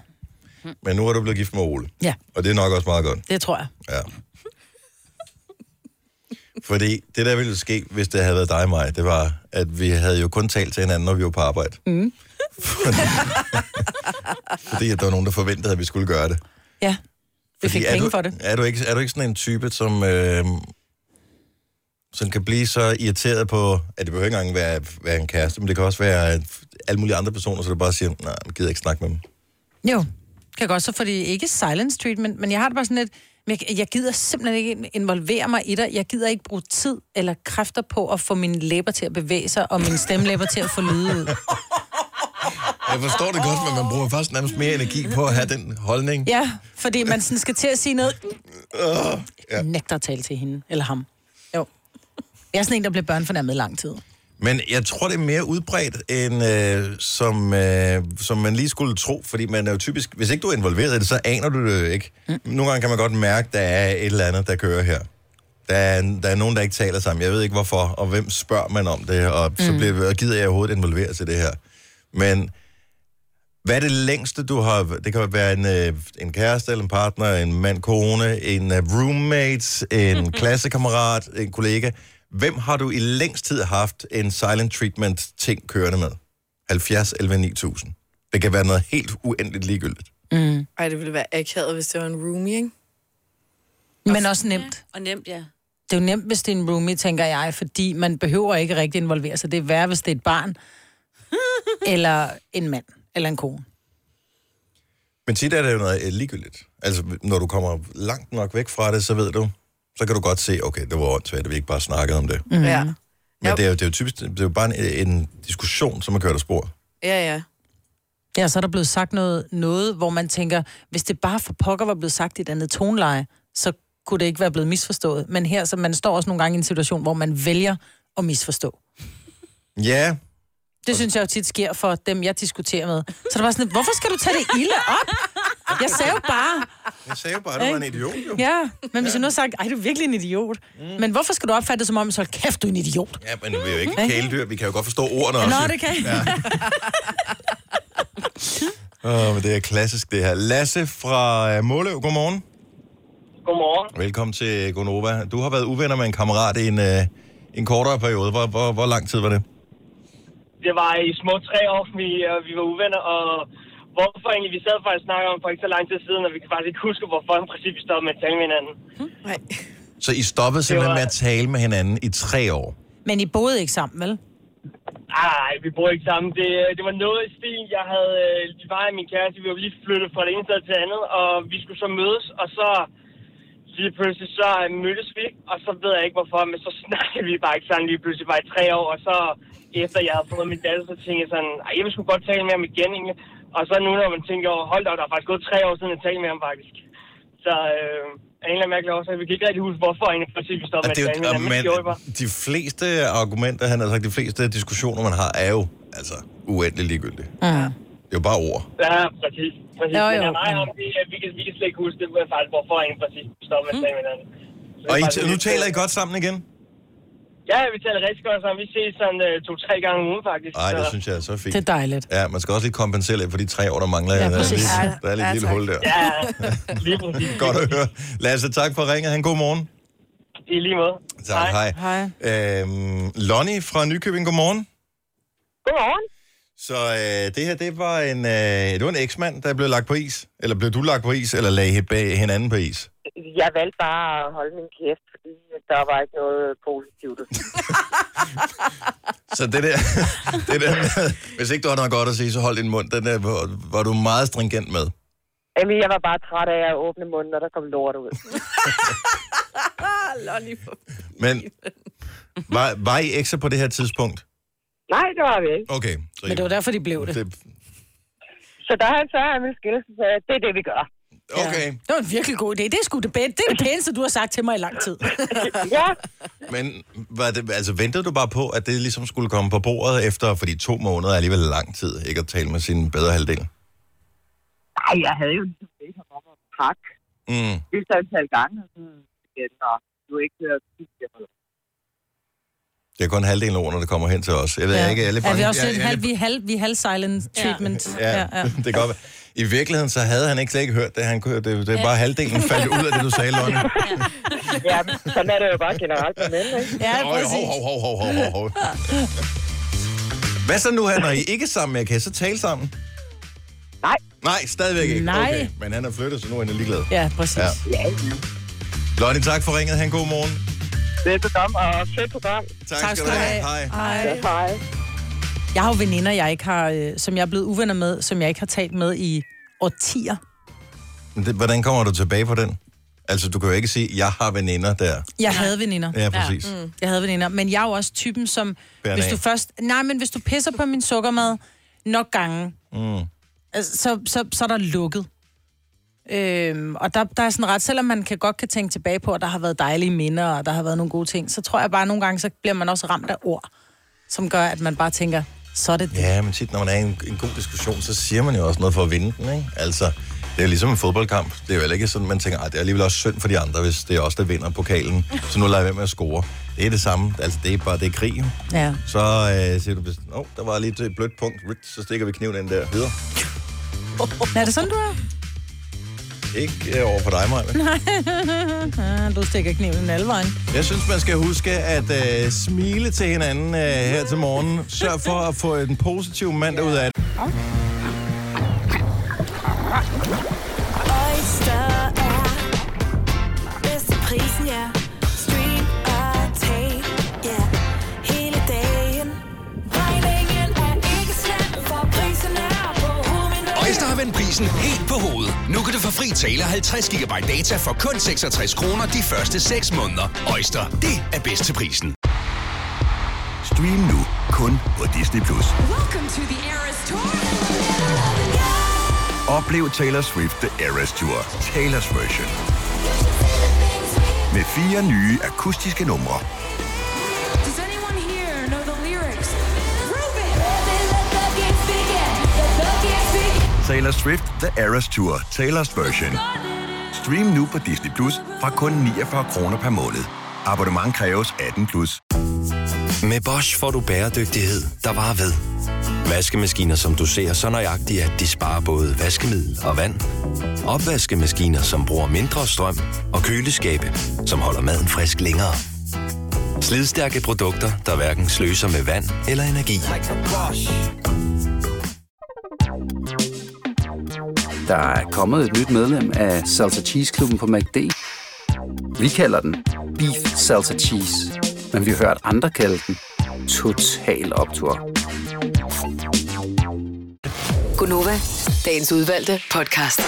[SPEAKER 1] Men nu er du blevet gift med Ole.
[SPEAKER 4] Ja.
[SPEAKER 1] Og det er nok også meget godt.
[SPEAKER 4] det tror jeg.
[SPEAKER 1] Ja. Fordi det, der ville ske, hvis det havde været dig og mig, det var, at vi havde jo kun talt til hinanden, når vi var på arbejde. Mm. Fordi, fordi at der var nogen, der forventede, at vi skulle gøre det.
[SPEAKER 4] Ja, vi fik
[SPEAKER 1] Fordi er
[SPEAKER 4] penge
[SPEAKER 1] du,
[SPEAKER 4] for det.
[SPEAKER 1] Er du, ikke, er du ikke sådan en type, som, øh, som kan blive så irriteret på, at det behøver ikke engang være, være en kæreste, men det kan også være øh, alle mulige andre personer, så du bare siger, nej, jeg gider ikke snakke med dem.
[SPEAKER 4] Jo, kan godt så, fordi ikke silence treatment, men jeg har det bare sådan lidt, men jeg, jeg gider simpelthen ikke involvere mig i dig. Jeg gider ikke bruge tid eller kræfter på at få mine læber til at bevæge sig, og mine stemmelæber til at få lyde ud.
[SPEAKER 1] Jeg forstår det godt, men man bruger faktisk nærmest mere energi på at have den holdning.
[SPEAKER 4] Ja, fordi man sådan skal til at sige noget. ja. Nægter at tale til hende eller ham. Jo. Jeg er sådan en, der bliver børnefornærmet i lang tid.
[SPEAKER 1] Men jeg tror, det er mere udbredt, end øh, som, øh, som man lige skulle tro, fordi man er jo typisk, hvis ikke du er involveret i det, så aner du det jo ikke. Mm. Nogle gange kan man godt mærke, der er et eller andet, der kører her. Der er, der er nogen, der ikke taler sammen. Jeg ved ikke hvorfor, og hvem spørger man om det, og mm. så bliver, og gider jeg overhovedet involveret til det her. Men hvad er det længste, du har... Det kan være en, øh, en kæreste, eller en partner, en mand, kone, en øh, roommate, en klassekammerat, en kollega. Hvem har du i længst tid haft en silent treatment-ting kørende med? 70, 11, 9000. Det kan være noget helt uendeligt ligegyldigt.
[SPEAKER 2] Ej, det ville være akavet, hvis det var en roomie, ikke?
[SPEAKER 4] Men også nemt.
[SPEAKER 3] Og nemt, ja.
[SPEAKER 4] Det er jo nemt, hvis det er en roomie, tænker jeg, fordi man behøver ikke rigtig involvere sig. Det er værre, hvis det er et barn, eller en mand, eller en kone.
[SPEAKER 1] Men tit er det jo noget øh, ligegyldigt. Altså, når du kommer langt nok væk fra det, så ved du, så kan du godt se, okay, det var åndssvagt, at vi ikke bare snakkede om det. Mm.
[SPEAKER 2] Ja.
[SPEAKER 4] Mhm.
[SPEAKER 1] Men
[SPEAKER 2] Jo.
[SPEAKER 1] det er, jo, det er jo typisk, det er jo bare en, en diskussion, som har kørt af spor.
[SPEAKER 2] Ja, ja.
[SPEAKER 4] Ja, så er der blevet sagt noget, noget, hvor man tænker, hvis det bare for pokker var blevet sagt i et andet toneleje, så kunne det ikke være blevet misforstået. Men her, så man står også nogle gange i en situation, hvor man vælger at misforstå.
[SPEAKER 1] Ja,
[SPEAKER 4] Det synes jeg jo tit sker for dem, jeg diskuterer med. Så det var sådan, lidt, hvorfor skal du tage det ilde op? Jeg sagde jo bare,
[SPEAKER 1] Jeg sagde jo bare, at du var en idiot, jo. Mm.
[SPEAKER 4] ja. Men hvis jeg nu har sagt, ej, du er virkelig en idiot. Men hvorfor skal du opfatte det som om, så hold kæft, du er en idiot?
[SPEAKER 1] Ja, men vi er jo ikke kæledyr. Vi kan jo godt forstå ordene også.
[SPEAKER 4] Nå, det kan jeg. Ja.
[SPEAKER 1] Åh, men det er klassisk, det her. Lasse fra øh, Måløv, godmorgen.
[SPEAKER 7] Godmorgen.
[SPEAKER 1] Velkommen til Gonova. Du har været uvenner med en kammerat i en, øh, en kortere periode. Hvor, hvor, hvor lang tid var det?
[SPEAKER 8] det var i små tre år, vi, øh, vi var uvenner, og hvorfor egentlig, vi sad faktisk og snakkede om for ikke så lang tid siden, og vi kan faktisk ikke huske, hvorfor i princippet vi stoppede med at tale med hinanden.
[SPEAKER 9] Nej.
[SPEAKER 1] Så I stoppede simpelthen
[SPEAKER 8] var-
[SPEAKER 1] med at tale med hinanden i tre år.
[SPEAKER 4] Men I boede ikke sammen, vel?
[SPEAKER 8] Ej, vi bor ikke sammen. Det, øh, det var noget i stil. Jeg havde øh, lige var min kæreste. Vi var lige flyttet fra det ene sted til det andet, og vi skulle så mødes, og så lige pludselig så øh, mødtes vi, og så ved jeg ikke hvorfor, men så snakkede vi bare ikke sammen lige pludselig bare i tre år, og så efter jeg havde fået min datter, så tænkte jeg sådan, ej, jeg vil sgu godt tale med ham igen, egentlig. Og så nu, når man tænker over, hold da, op, der er faktisk gået tre år siden, jeg talte med ham faktisk. Så øh, af en eller anden mærkelig årsag, vi kan ikke rigtig huske, hvorfor egentlig, præcis, vi stoppede
[SPEAKER 1] Og
[SPEAKER 8] med
[SPEAKER 1] det
[SPEAKER 8] at
[SPEAKER 1] er
[SPEAKER 8] tale med
[SPEAKER 1] jo, og
[SPEAKER 8] hinanden, men det gjorde vi bare.
[SPEAKER 1] man, de fleste argumenter, han har sagt, de fleste diskussioner, man har, er jo altså uendelig ligegyldige. Det
[SPEAKER 4] Ja.
[SPEAKER 1] er jo bare ord.
[SPEAKER 8] Ja, præcis. præcis.
[SPEAKER 4] Jo,
[SPEAKER 8] Jo,
[SPEAKER 4] jo.
[SPEAKER 8] jo. Men nej, om det, øh, vi, kan, vi kan slet ikke huske det, men faktisk, hvorfor en præcis stopper med at tale med hinanden. Så det er
[SPEAKER 1] Og I,
[SPEAKER 8] faktisk
[SPEAKER 1] nu
[SPEAKER 8] lidt-
[SPEAKER 1] taler I godt sammen igen?
[SPEAKER 8] Ja, vi taler rigtig godt sammen. Vi ses sådan øh, to-tre gange om ugen, faktisk.
[SPEAKER 1] Nej, det
[SPEAKER 8] Så-
[SPEAKER 1] synes jeg er så fint.
[SPEAKER 4] Det er dejligt.
[SPEAKER 1] Ja, man skal også lige kompensere lidt for de tre år, der mangler. Ja, der, er
[SPEAKER 4] præcis.
[SPEAKER 1] lige,
[SPEAKER 9] Ja,
[SPEAKER 1] der er lige et
[SPEAKER 9] ja,
[SPEAKER 1] lille
[SPEAKER 9] tak.
[SPEAKER 1] hul der.
[SPEAKER 8] Ja, lige præcis.
[SPEAKER 1] Godt at høre. Lasse, tak for ringet. Han god morgen.
[SPEAKER 8] I lige måde.
[SPEAKER 1] Tak, hej.
[SPEAKER 4] Hej.
[SPEAKER 1] Øhm, Lonnie fra Nykøbing, godmorgen.
[SPEAKER 8] Godmorgen.
[SPEAKER 1] Så øh, det her, det var en, øh, det var en eksmand, der blev lagt på is. Eller blev du lagt på is, eller lagde he- bag hinanden på is?
[SPEAKER 10] Jeg valgte bare at holde min kæft, fordi der var ikke noget positivt. at sige.
[SPEAKER 1] Så det der, det der med, hvis ikke du har noget godt at sige, så hold din mund. Den der var, var du meget stringent med.
[SPEAKER 10] Jamen, jeg var bare træt af at åbne munden, når der kom lort ud.
[SPEAKER 9] Ah, Lonnie.
[SPEAKER 1] Men var, var I ekstra på det her tidspunkt?
[SPEAKER 10] Nej, det var vi ikke.
[SPEAKER 1] Okay. Så
[SPEAKER 4] Men det var derfor, de blev det.
[SPEAKER 1] det,
[SPEAKER 10] Så da han så han ville skille, så sagde jeg, det er det, vi gør.
[SPEAKER 1] okay.
[SPEAKER 4] Det var en virkelig god idé. Det er sgu det, bedste. det, er det pæneste, du har sagt til mig i lang tid.
[SPEAKER 10] Ja,
[SPEAKER 1] Men var det, altså, ventede du bare på, at det ligesom skulle komme på bordet efter, fordi to måneder er alligevel lang tid, ikke at tale med sin bedre halvdel?
[SPEAKER 10] nej, jeg havde jo ligesom det her om at pakke.
[SPEAKER 1] Mm.
[SPEAKER 10] Det er så en halv gang, og så igen, og du er ikke hørt
[SPEAKER 1] Det er kun halvdelen af ordene, der kommer hen til os. Jeg ved ja. ikke, jeg er lidt
[SPEAKER 4] er vi
[SPEAKER 1] bange-
[SPEAKER 4] også
[SPEAKER 1] jeg-
[SPEAKER 4] lidt
[SPEAKER 1] jeg er
[SPEAKER 4] halv,
[SPEAKER 1] lidt-
[SPEAKER 4] vi er halv, vi er halv silent treatment.
[SPEAKER 1] Ja, ja, ja. det kan godt være. I virkeligheden, så havde han ikke slet ikke hørt det. Han, kunne- det, det er bare halvdelen faldt ud af det, du sagde, Lonnie.
[SPEAKER 10] Ja, men sådan er det jo bare generelt med mænd, ikke?
[SPEAKER 4] Ja,
[SPEAKER 1] Øj,
[SPEAKER 4] præcis.
[SPEAKER 1] hov, hov, hov, hov, hov, hov. Hvad så nu her, når I ikke er sammen? Jeg kan I så tale sammen?
[SPEAKER 10] Nej.
[SPEAKER 1] Nej, stadigvæk ikke.
[SPEAKER 4] Nej.
[SPEAKER 1] Okay. Men han er flyttet, så nu er han ligeglad.
[SPEAKER 4] Ja, præcis.
[SPEAKER 1] Ja. Lonnie, tak for ringet. Han god morgen.
[SPEAKER 10] Det er program, og fedt program.
[SPEAKER 1] Tak, tak skal du have. Hej.
[SPEAKER 4] Hej.
[SPEAKER 10] Hej.
[SPEAKER 4] Jeg har jo veninder, jeg ikke har, øh, som jeg er blevet uvenner med, som jeg ikke har talt med i årtier.
[SPEAKER 1] Men Det, hvordan kommer du tilbage på den? Altså, du kan jo ikke sige, jeg har veninder der.
[SPEAKER 4] Jeg havde veninder. Mm.
[SPEAKER 1] Ja, præcis. Ja,
[SPEAKER 4] Jeg havde veninder, men jeg er jo også typen, som...
[SPEAKER 1] Bærer
[SPEAKER 4] hvis
[SPEAKER 1] den
[SPEAKER 4] du
[SPEAKER 1] af.
[SPEAKER 4] først... Nej, men hvis du pisser på min sukkermad nok gange, mm. altså, så, så, så er der lukket. Øhm, og der, der er sådan ret, selvom man kan godt kan tænke tilbage på, at der har været dejlige minder, og der har været nogle gode ting, så tror jeg bare, at nogle gange, så bliver man også ramt af ord, som gør, at man bare tænker, så er det det.
[SPEAKER 1] mm. ja men tit, når man er i en, en god diskussion, så siger man jo også noget for at vinde den, ikke? Altså, det er jo ligesom en fodboldkamp. Det er jo heller ikke sådan, man tænker, at det er alligevel også synd for de andre, hvis det er os, der vinder pokalen. Så nu lader jeg være med at score. Det er det samme. Altså, det er bare, det er krig. jo.
[SPEAKER 4] Ja.
[SPEAKER 1] Så øh, siger du, åh, oh, der var lige et blødt punkt. Rigt, Så stikker vi kniven ind der. Videre.
[SPEAKER 4] Er det sådan, du er?
[SPEAKER 1] Ikke øh, over for dig, Maja.
[SPEAKER 4] Ah, Du stikker kniven alle vejen.
[SPEAKER 1] Jeg synes, man skal huske at øh, smile til hinanden øh, her til morgen. Sørg for at få en positiv mandag ud af det.
[SPEAKER 5] Oyster er bedst til prisen, ja. Stream og tag, ja. Hele dagen. Regningen er ikke slem, for prisen er på hovedet.
[SPEAKER 6] Øjster har vendt prisen helt på hovedet. Nu kan du få fri tale 50 GB data for kun 66 kroner de første 6 måneder. Øjster, det er bedst til prisen.
[SPEAKER 11] Stream nu kun på Disney+. Plus.
[SPEAKER 5] Welcome to the Eras Tour.
[SPEAKER 11] Oplev Taylor Swift The Eras Tour, Taylor's version. Med fire nye akustiske numre.
[SPEAKER 5] Does anyone here know the lyrics?
[SPEAKER 11] Taylor Swift The Eras Tour, Taylor's version. Stream nu på Disney Plus fra kun 49 kroner per måned. Abonnement kræves 18 plus.
[SPEAKER 12] Med Bosch får du bæredygtighed, der varer ved. Vaskemaskiner, som du ser så nøjagtigt, at de sparer både vaskemiddel og vand. Opvaskemaskiner, som bruger mindre strøm. Og køleskabe, som holder maden frisk længere. Slidstærke produkter, der hverken sløser med vand eller energi.
[SPEAKER 13] Der er kommet et nyt medlem af Salsa Cheese Klubben på MACD. Vi kalder den Beef Salsa Cheese, men vi har hørt andre kalde den Total Optor.
[SPEAKER 5] Gunova, dagens udvalgte podcast.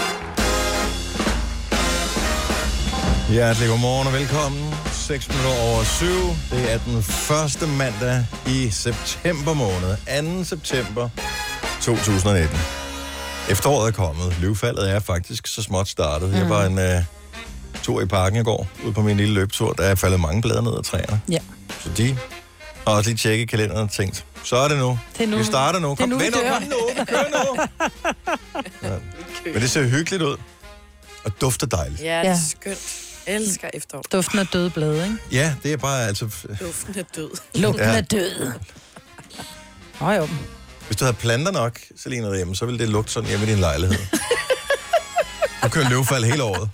[SPEAKER 1] Hjertelig godmorgen og velkommen. 6 minutter over 7. Det er den første mandag i september måned. 2. september 2019. Efteråret er kommet. Løvfaldet er faktisk så småt startet. Jeg var
[SPEAKER 4] Mhm.
[SPEAKER 1] en øh, tur i parken i går, ude på min lille løbetur. Der er faldet mange blade ned af træerne.
[SPEAKER 4] Ja.
[SPEAKER 1] Så de har også lige tjekket kalenderen og tænkt, så er det nu.
[SPEAKER 4] Det er nu.
[SPEAKER 1] Vi starter nu.
[SPEAKER 4] Det er
[SPEAKER 1] Kom,
[SPEAKER 4] nu, vi
[SPEAKER 1] vend op,
[SPEAKER 4] dør.
[SPEAKER 1] kom nu, vi kører nu. Men det ser hyggeligt ud. Og dufter dejligt.
[SPEAKER 2] Ja, det er skønt. Jeg elsker efterår.
[SPEAKER 4] Duften af døde blade, ikke?
[SPEAKER 1] Ja, det er bare altså...
[SPEAKER 2] Duften er død.
[SPEAKER 1] Lugten Ja. af
[SPEAKER 4] død. Nå jo.
[SPEAKER 1] Hvis du havde planter nok, Selina, derhjemme, så ville det lugte sådan hjemme i din lejlighed. Du kører løvfald hele året.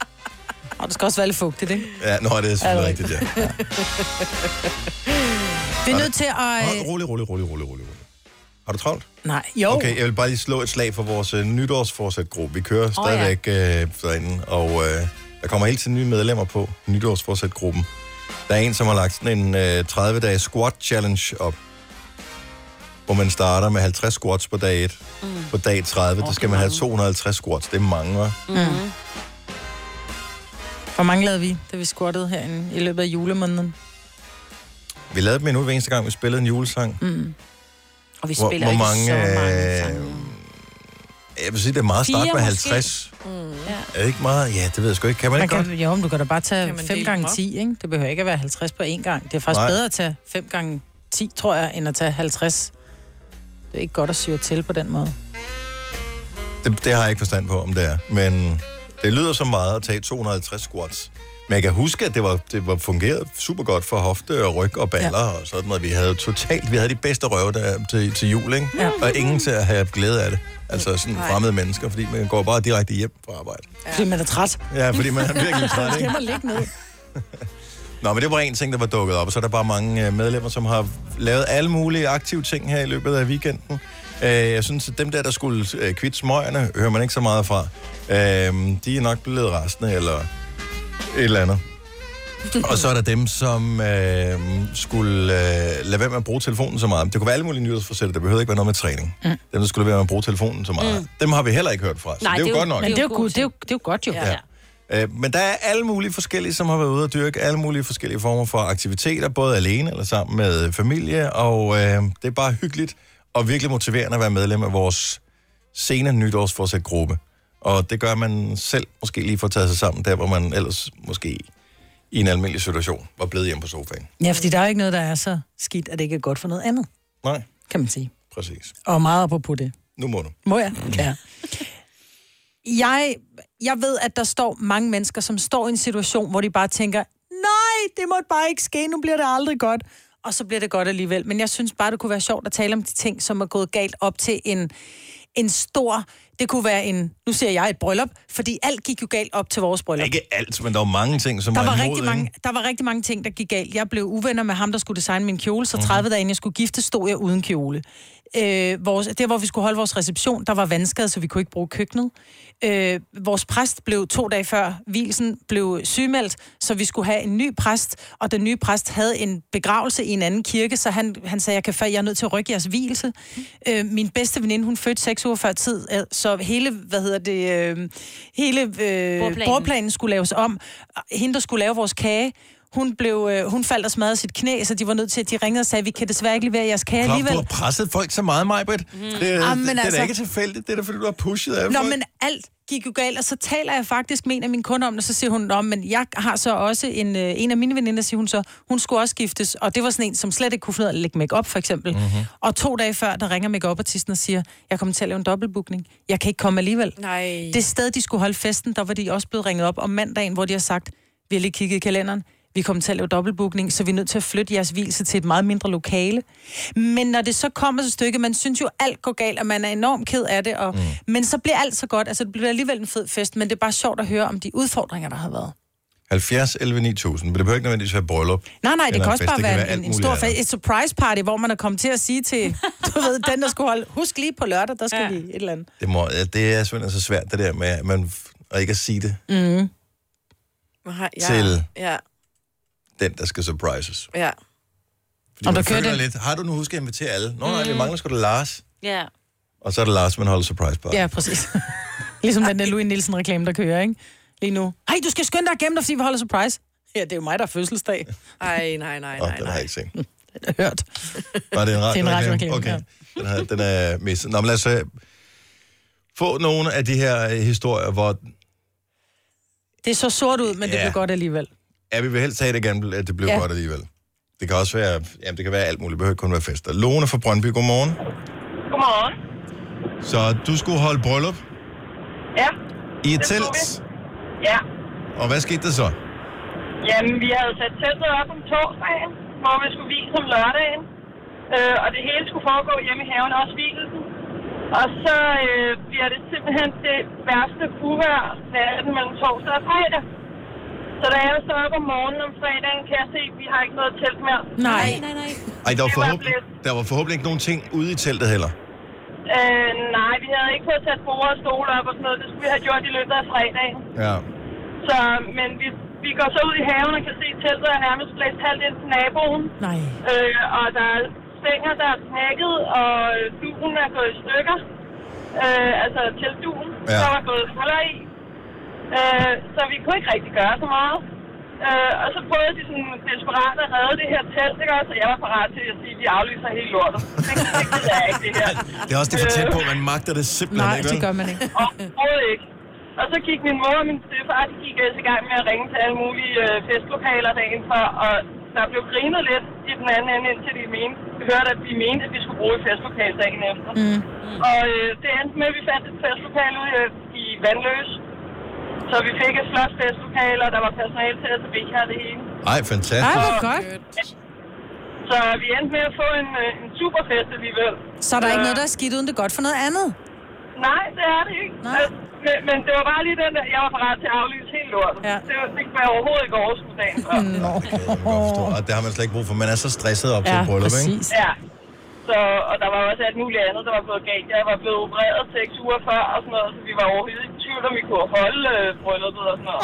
[SPEAKER 4] Og det skal også være lidt fugtigt, ikke?
[SPEAKER 1] Ja, nå, det er selvfølgelig rigtigt, ja.
[SPEAKER 4] Vi er nødt til at...
[SPEAKER 1] Hold, rolig, rolig, rolig, rolig, rolig. Har du travlt?
[SPEAKER 4] Nej, jo.
[SPEAKER 1] Okay, jeg vil bare lige slå et slag for vores uh, nytårsforsæt-gruppe. Vi kører
[SPEAKER 4] Åh,
[SPEAKER 1] stadigvæk oh, ja. øh, derinde, og øh, der kommer hele tiden nye medlemmer på nytårsforsæt-gruppen. Der er en, som har lagt sådan en øh, 30-dages squat-challenge op, hvor man starter med 50 squats på dag 1. Mm. På dag 30, oh, der skal man have 250 squats. Det er mange, hva'?
[SPEAKER 4] Mm. Hvor mange lavede vi, da vi squattede herinde i løbet af julemåneden?
[SPEAKER 1] Vi lavede dem endnu hver eneste gang, vi spillede en julesang.
[SPEAKER 4] Mm.
[SPEAKER 3] Og
[SPEAKER 1] Hvor- hvor mange, øh, Jeg vil sige, det er meget start
[SPEAKER 4] Fire
[SPEAKER 1] med
[SPEAKER 4] måske?
[SPEAKER 1] 50.
[SPEAKER 4] Mm.
[SPEAKER 1] Er det ikke meget? Ja, det ved jeg sgu ikke. Kan man,
[SPEAKER 4] Man
[SPEAKER 1] ikke
[SPEAKER 4] kan,
[SPEAKER 1] godt?
[SPEAKER 4] jo, men du kan da bare tage
[SPEAKER 2] Kan man
[SPEAKER 4] 5
[SPEAKER 2] dele
[SPEAKER 4] gange
[SPEAKER 2] dem op?
[SPEAKER 4] 10, ikke? Det behøver ikke at være 50 på én gang. Det er faktisk
[SPEAKER 1] Nej.
[SPEAKER 4] Nej. bedre at tage 5 gange 10, tror jeg, end at tage 50. Det er ikke godt at syre til på den måde.
[SPEAKER 1] Det, det har jeg ikke forstand på, om det er. Men det lyder som meget at tage 250 squats. Men jeg kan huske, at det var, det var fungeret super godt for hofte og ryg og baller ja. og sådan noget. Vi havde totalt, vi havde de bedste røve der til, til jul, ikke? Ja. Og ingen til at have glæde af det. Altså sådan
[SPEAKER 4] Nej.
[SPEAKER 1] fremmede mennesker, fordi man går bare direkte hjem fra arbejde.
[SPEAKER 4] Ja. Fordi man er træt.
[SPEAKER 1] Ja, fordi man er virkelig træt,
[SPEAKER 4] Skal
[SPEAKER 1] ikke?
[SPEAKER 4] man ligge ned?
[SPEAKER 1] Nå, men det var en ting, der var dukket op, og så er der bare mange øh, medlemmer, som har lavet alle mulige aktive ting her i løbet af weekenden. Øh, Jeg synes, at dem der, der skulle øh, kvitte smøgerne, hører man ikke så meget fra. Øh, De er nok blevet restende, eller et eller andet. og så er der dem, som øh, skulle øh, lade være med at bruge telefonen så meget. Det kunne være alle mulige nyhedsforsætter, der behøver ikke være noget med træning. Mm. Dem, der skulle lade være med at bruge telefonen så meget. Mm.
[SPEAKER 4] Mm.
[SPEAKER 1] Dem har vi heller ikke hørt fra, så Nej, Altså, det er jo godt nok.
[SPEAKER 4] Men det er jo, god, det er jo, det er jo godt jo.
[SPEAKER 1] Ja. Øh, Men der er alle mulige forskellige, som har været ude at dyrke alle mulige forskellige former for aktiviteter, både alene eller sammen med familie, og øh, det er bare hyggeligt og virkelig motiverende at være medlem af vores senere nytårsforsæt-gruppe. Og det gør man selv måske lige for at tage sig sammen der, hvor man ellers måske i en almindelig situation var blevet hjemme på sofaen.
[SPEAKER 4] Ja, fordi der er jo ikke noget, der er så skidt, at det ikke er godt for noget andet,
[SPEAKER 1] Nej,
[SPEAKER 4] kan man sige.
[SPEAKER 1] præcis.
[SPEAKER 4] Og meget op på det.
[SPEAKER 1] Nu må du.
[SPEAKER 4] Må jeg? Ja. Jeg, jeg ved, at der står mange mennesker, som står i en situation, hvor de bare tænker, nej, det måtte bare ikke ske, nu bliver det aldrig godt. Og så bliver det godt alligevel. Men jeg synes bare, det kunne være sjovt at tale om de ting, som er gået galt op til en, en stor... Det kunne være en... Nu ser jeg et bryllup, fordi alt gik jo galt op til vores bryllup.
[SPEAKER 1] Ikke alt, men der var mange ting, som
[SPEAKER 4] Der
[SPEAKER 1] var
[SPEAKER 4] var,
[SPEAKER 1] imod,
[SPEAKER 4] rigtig
[SPEAKER 1] ikke?
[SPEAKER 4] mange, der var rigtig mange ting, der gik galt. Jeg blev uvenner med ham, der skulle designe min kjole,
[SPEAKER 1] Mhm.
[SPEAKER 4] så 30 dage inden jeg skulle gifte, stod jeg uden kjole. Øh, vores, der, hvor vi skulle holde vores reception, der var vandskade, så vi kunne ikke bruge køkkenet. Øh, vores præst blev to dage før hvilsen blev sygemeldt, så vi skulle have en ny præst, og den nye præst havde en begravelse i en anden kirke, så han, han sagde, jeg, kan, fa- jeg er nødt til at rykke jeres hvilelse. Øh, min bedste veninde, hun fødte seks uger før tid, øh, så hele, hvad hedder det, øh, hele øh,
[SPEAKER 3] Bordplanen.
[SPEAKER 4] bordplanen planen skulle laves om. Hende, der skulle lave vores kage, hun, blev, øh, hun faldt og smadrede sit knæ, så de var nødt til, at de ringede og sagde, vi kan desværre ikke levere jeres kage
[SPEAKER 1] Klap, du har
[SPEAKER 4] alligevel.
[SPEAKER 1] presset folk så meget, Majbrit. Mm. Det, det,
[SPEAKER 4] Jamen,
[SPEAKER 1] det, er da
[SPEAKER 4] altså-
[SPEAKER 1] ikke tilfældigt. Det er da, fordi du har pushet af
[SPEAKER 4] Nå,
[SPEAKER 1] folk.
[SPEAKER 4] men alt gik jo galt, og så taler jeg faktisk med en af mine kunder om det, så siger hun, Nå, men jeg har så også en, øh, en af mine veninder, siger hun så, hun skulle også giftes, og det var sådan en, som slet ikke kunne finde ud af at lægge make for eksempel. Mm-hmm. Og to dage før, der ringer make artisten og siger, jeg kommer til at lave en dobbeltbookning, jeg kan ikke komme alligevel.
[SPEAKER 2] Nej.
[SPEAKER 4] Det sted, de skulle holde festen, der var de også blevet ringet op om mandagen, hvor de har sagt, vi har lige kigget i kalenderen, vi kommer til at lave dobbeltbookning, så vi er nødt til at flytte jeres hvilse til et meget mindre lokale. Men når det så kommer så stykke, man synes jo, alt går galt, og man er enormt ked af det, og, mm. men så bliver alt så godt. Altså, det bliver alligevel en fed fest, men det er bare sjovt at høre om de udfordringer, der har været.
[SPEAKER 1] 70 11 9000. Men det behøver ikke nødvendigvis være bryllup.
[SPEAKER 4] Nej, nej, det
[SPEAKER 1] eller
[SPEAKER 4] kan
[SPEAKER 1] en
[SPEAKER 4] også
[SPEAKER 1] fest.
[SPEAKER 4] bare
[SPEAKER 1] Det kan
[SPEAKER 4] være
[SPEAKER 1] alt
[SPEAKER 4] en, en
[SPEAKER 1] muligt
[SPEAKER 4] stor
[SPEAKER 1] andet.
[SPEAKER 4] fest. Et surprise party, hvor man er kommet til at sige til, du ved, den der skulle holde, husk lige på lørdag, der skal ja. vi et eller andet.
[SPEAKER 1] Det, må, ja, det er simpelthen så svært, det der med, at man f- og ikke at sige det
[SPEAKER 4] Mm.
[SPEAKER 2] Ja,
[SPEAKER 1] Til-
[SPEAKER 2] Ja,
[SPEAKER 1] den, der skal surprises.
[SPEAKER 2] ja.
[SPEAKER 1] Fordi man føler lidt, har du nu husket at invitere alle? Nå
[SPEAKER 4] Mm.
[SPEAKER 1] nej, vi mangler sgu da Lars.
[SPEAKER 14] Ja.
[SPEAKER 1] Og så er det Lars, man holder surprise på.
[SPEAKER 4] Ja, præcis. ligesom den der Louis Nielsen-reklame, der kører, ikke? Lige nu. Ej, du skal skynde dig igennem dig, fordi vi holder surprise. Ja, det er jo mig, der er fødselsdag.
[SPEAKER 2] Ej, nej, nej,
[SPEAKER 1] Åh,
[SPEAKER 2] nej.
[SPEAKER 1] den har jeg ikke set.
[SPEAKER 4] Hørt.
[SPEAKER 1] Var det en
[SPEAKER 4] Det er en
[SPEAKER 1] radioreklame?
[SPEAKER 4] radioreklame,
[SPEAKER 1] Okay.
[SPEAKER 4] ja.
[SPEAKER 1] Den, har, den er misset. Nå, men lad os øh, få nogle af de her øh, historier, hvor
[SPEAKER 4] Det så sort ud, men ja. det
[SPEAKER 1] Ja.
[SPEAKER 4] blev godt alligevel.
[SPEAKER 1] ja, vi vil helst have det gerne, at det blev
[SPEAKER 4] Ja.
[SPEAKER 1] ja. godt alligevel. Det kan også være, jamen, det kan være alt muligt. Det behøver ikke kun være fester. Lone fra Brøndby, godmorgen.
[SPEAKER 10] Godmorgen.
[SPEAKER 1] Så du skulle holde bryllup
[SPEAKER 10] Ja,
[SPEAKER 1] i et
[SPEAKER 10] det skulle
[SPEAKER 1] telt,
[SPEAKER 10] vi. Ja.
[SPEAKER 1] og hvad skete der så?
[SPEAKER 10] Jamen, vi havde sat teltet op om torsdagen, hvor vi skulle vise om lørdagen. Øh, og det hele skulle foregå hjemme i haven, også hvilelsen. Og så øh, bliver det simpelthen det værste uvejr natten mellem torsdag og fredag. Så da jeg står op om morgenen om fredagen, kan jeg se, at vi har ikke noget telt mere.
[SPEAKER 4] Nej.
[SPEAKER 10] nej, nej.
[SPEAKER 1] Ej, der
[SPEAKER 10] Det
[SPEAKER 1] var,
[SPEAKER 10] var
[SPEAKER 1] forhåbentlig, der var forhåbentlig ikke nogen ting ude i teltet heller.
[SPEAKER 10] Øh, nej, vi havde ikke fået sat bord og stole op og sådan noget. Det skulle vi have gjort i løbet af fredagen.
[SPEAKER 1] Ja.
[SPEAKER 10] Så, men vi, vi går så ud i haven og kan se teltet er nærmest blæst halvt ind til naboen.
[SPEAKER 4] Nej.
[SPEAKER 10] Øh, og der er stænger, der er knækket, og øh, duen er gået i stykker. Øh, altså teltduen.
[SPEAKER 1] Ja.
[SPEAKER 10] Ja. Der var gået huller i. Øh, så vi kunne ikke rigtig gøre så meget. Øh, og så prøvede de sådan desperat at redde det her telt, ikke også? Og jeg var parat til at sige, at vi aflyser hele lortet. Det kan jeg ikke, det her. Øh.
[SPEAKER 1] Det er også det for tæt på, man magter det simpelthen
[SPEAKER 10] Nej,
[SPEAKER 1] ikke.
[SPEAKER 10] det gør
[SPEAKER 4] man ikke.
[SPEAKER 10] Overhovedet ikke. Og så gik min mor og min stefar, de gik ellers i gang med at ringe til alle mulige øh, festlokaler dagen før, og der blev grinet lidt i den anden ende, indtil de mente, hørte, at vi mente, at vi skulle bruge et festlokale dagen efter.
[SPEAKER 15] Mm.
[SPEAKER 10] Og øh, det endte med, at vi fandt et festlokale ude øh, i Vandløs, så vi fik et flot festlokale, og der var personale til at servere og det hele.
[SPEAKER 1] Ej, fantastisk.
[SPEAKER 4] godt.
[SPEAKER 10] Så vi endte med at få en, øh, en superfest alligevel.
[SPEAKER 4] Så er der er ikke
[SPEAKER 10] Øh,
[SPEAKER 4] noget, der er skidt, uden det er godt for noget andet.
[SPEAKER 10] Nej, det er det ikke. Nej. Men, men det var bare lige den der, jeg var parat til at aflyse helt lort. Ja. Det var det kunne jeg overhovedet ikke overskue dagen før.
[SPEAKER 1] Nå. Og det har man slet ikke brug for. Man er så stresset op ja, til
[SPEAKER 10] Ja,
[SPEAKER 1] et bryllup, ikke?
[SPEAKER 10] Ja. Så, og der var også alt muligt andet, der var gået galt. Jeg var blevet opereret seks uger før og sådan noget, så vi var overhovedet ikke i tvivl, om vi kunne holde øh, brylluppet og sådan noget.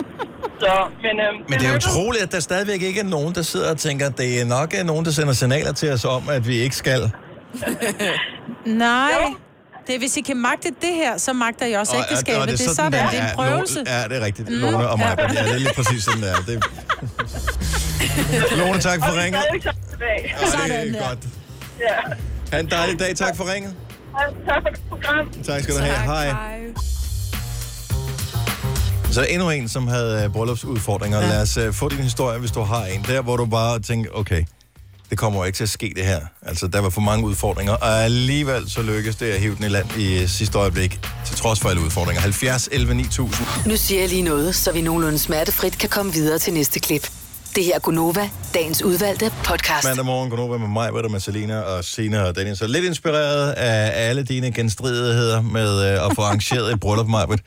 [SPEAKER 10] Så, men, øh,
[SPEAKER 1] Men det er utroligt, at der stadigvæk ikke er nogen, der sidder og tænker, at det er nok er nogen, der sender signaler til os om, at vi ikke skal.
[SPEAKER 4] Nej. Det er, hvis I kan magte det her, så magter I også
[SPEAKER 1] Og- og-
[SPEAKER 4] ægteskabet.
[SPEAKER 1] og
[SPEAKER 4] Det, er sådan, det er en prøvelse. Mm.
[SPEAKER 1] Ja, det er rigtigt. Lone og mig. Ja, det er lige præcis sådan, der. Det... Lone, tak for ringet.
[SPEAKER 10] stadig sammen tilbage.
[SPEAKER 1] Ja, det er godt.
[SPEAKER 10] Ja.
[SPEAKER 1] Ha' en dejlig dag. Tak for ringet.
[SPEAKER 10] Og Tak for det program.
[SPEAKER 1] Tak skal du have. Hej. Så endnu en, som havde øh, bryllupsudfordringer. Ja. Lad os uh, få din historie, hvis du har en. Der, hvor du bare tænker, okay, det kommer jo ikke til at ske det her. Altså, der var for mange udfordringer, og alligevel så lykkedes det at hive den i land i øh, sidste øjeblik, til trods for alle udfordringer. 70 11 9000.
[SPEAKER 5] Nu siger jeg lige noget, så vi nogenlunde smertefrit kan komme videre til næste klip. Det her er Gunova, dagens udvalgte podcast.
[SPEAKER 1] Mandag morgen, Gunova med mig, Britta, med Selina og Sina og Daniel. Så lidt inspireret af alle dine genstridigheder med øh, at få arrangeret et bryllup, Majbet.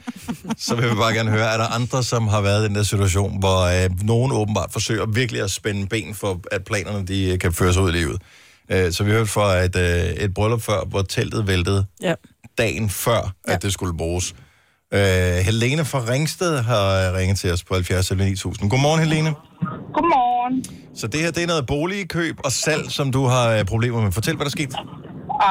[SPEAKER 1] Så vil vi bare gerne høre, er der andre, som har været i den der situation, hvor øh, nogen åbenbart forsøger virkelig at spænde ben for, at planerne de øh, kan føres ud i livet. Øh, så vi hørte fra et, øh, et bryllup før, hvor teltet væltede
[SPEAKER 4] Ja.
[SPEAKER 1] dagen før, ja. at det skulle bruges. Øh, Helene fra Ringsted har øh, ringet til os på 70 eller 9000. Godmorgen, Helene.
[SPEAKER 16] Godmorgen.
[SPEAKER 1] Så det her, det er noget boligkøb og salg, som du har øh, problemer med. Fortæl, hvad der skete.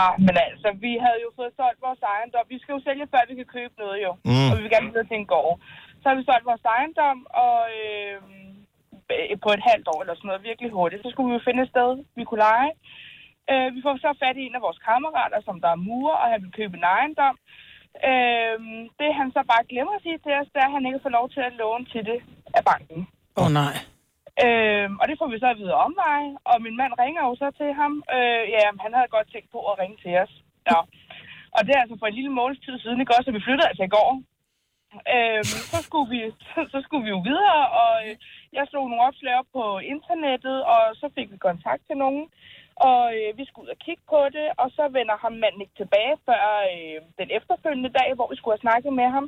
[SPEAKER 16] Ah, men altså, vi havde jo fået solgt vores ejendom. Vi skal jo sælge, før vi kan købe noget jo.
[SPEAKER 1] Mm.
[SPEAKER 16] Og vi vil gerne videre til en gård. Så har vi solgt vores ejendom, og øh, på et halvt år eller sådan noget, virkelig hurtigt. Så skulle vi jo finde et sted, vi kunne lege. Øh, vi får så fat i en af vores kammerater, som der er murer, og han vil købe en ejendom. Øh, det han så bare glemmer at sige til os, det er, at han ikke får lov til at låne til det af banken.
[SPEAKER 4] Åh oh, nej.
[SPEAKER 16] Øhm, og det får vi så at vide om mig, og min mand ringer jo så til ham. Øh, ja, han havde godt tænkt på at ringe til os. Nå. Og det er altså for en lille måneds tid siden, ikke også, så vi flyttede altså i går. Øhm, så, skulle vi, så skulle vi jo videre, og øh, jeg slog nogle opslag op på internettet, og så fik vi kontakt til nogen. Og øh, vi skulle ud og kigge på det, og så vender ham manden ikke tilbage før øh, den efterfølgende dag, hvor vi skulle have snakket med ham.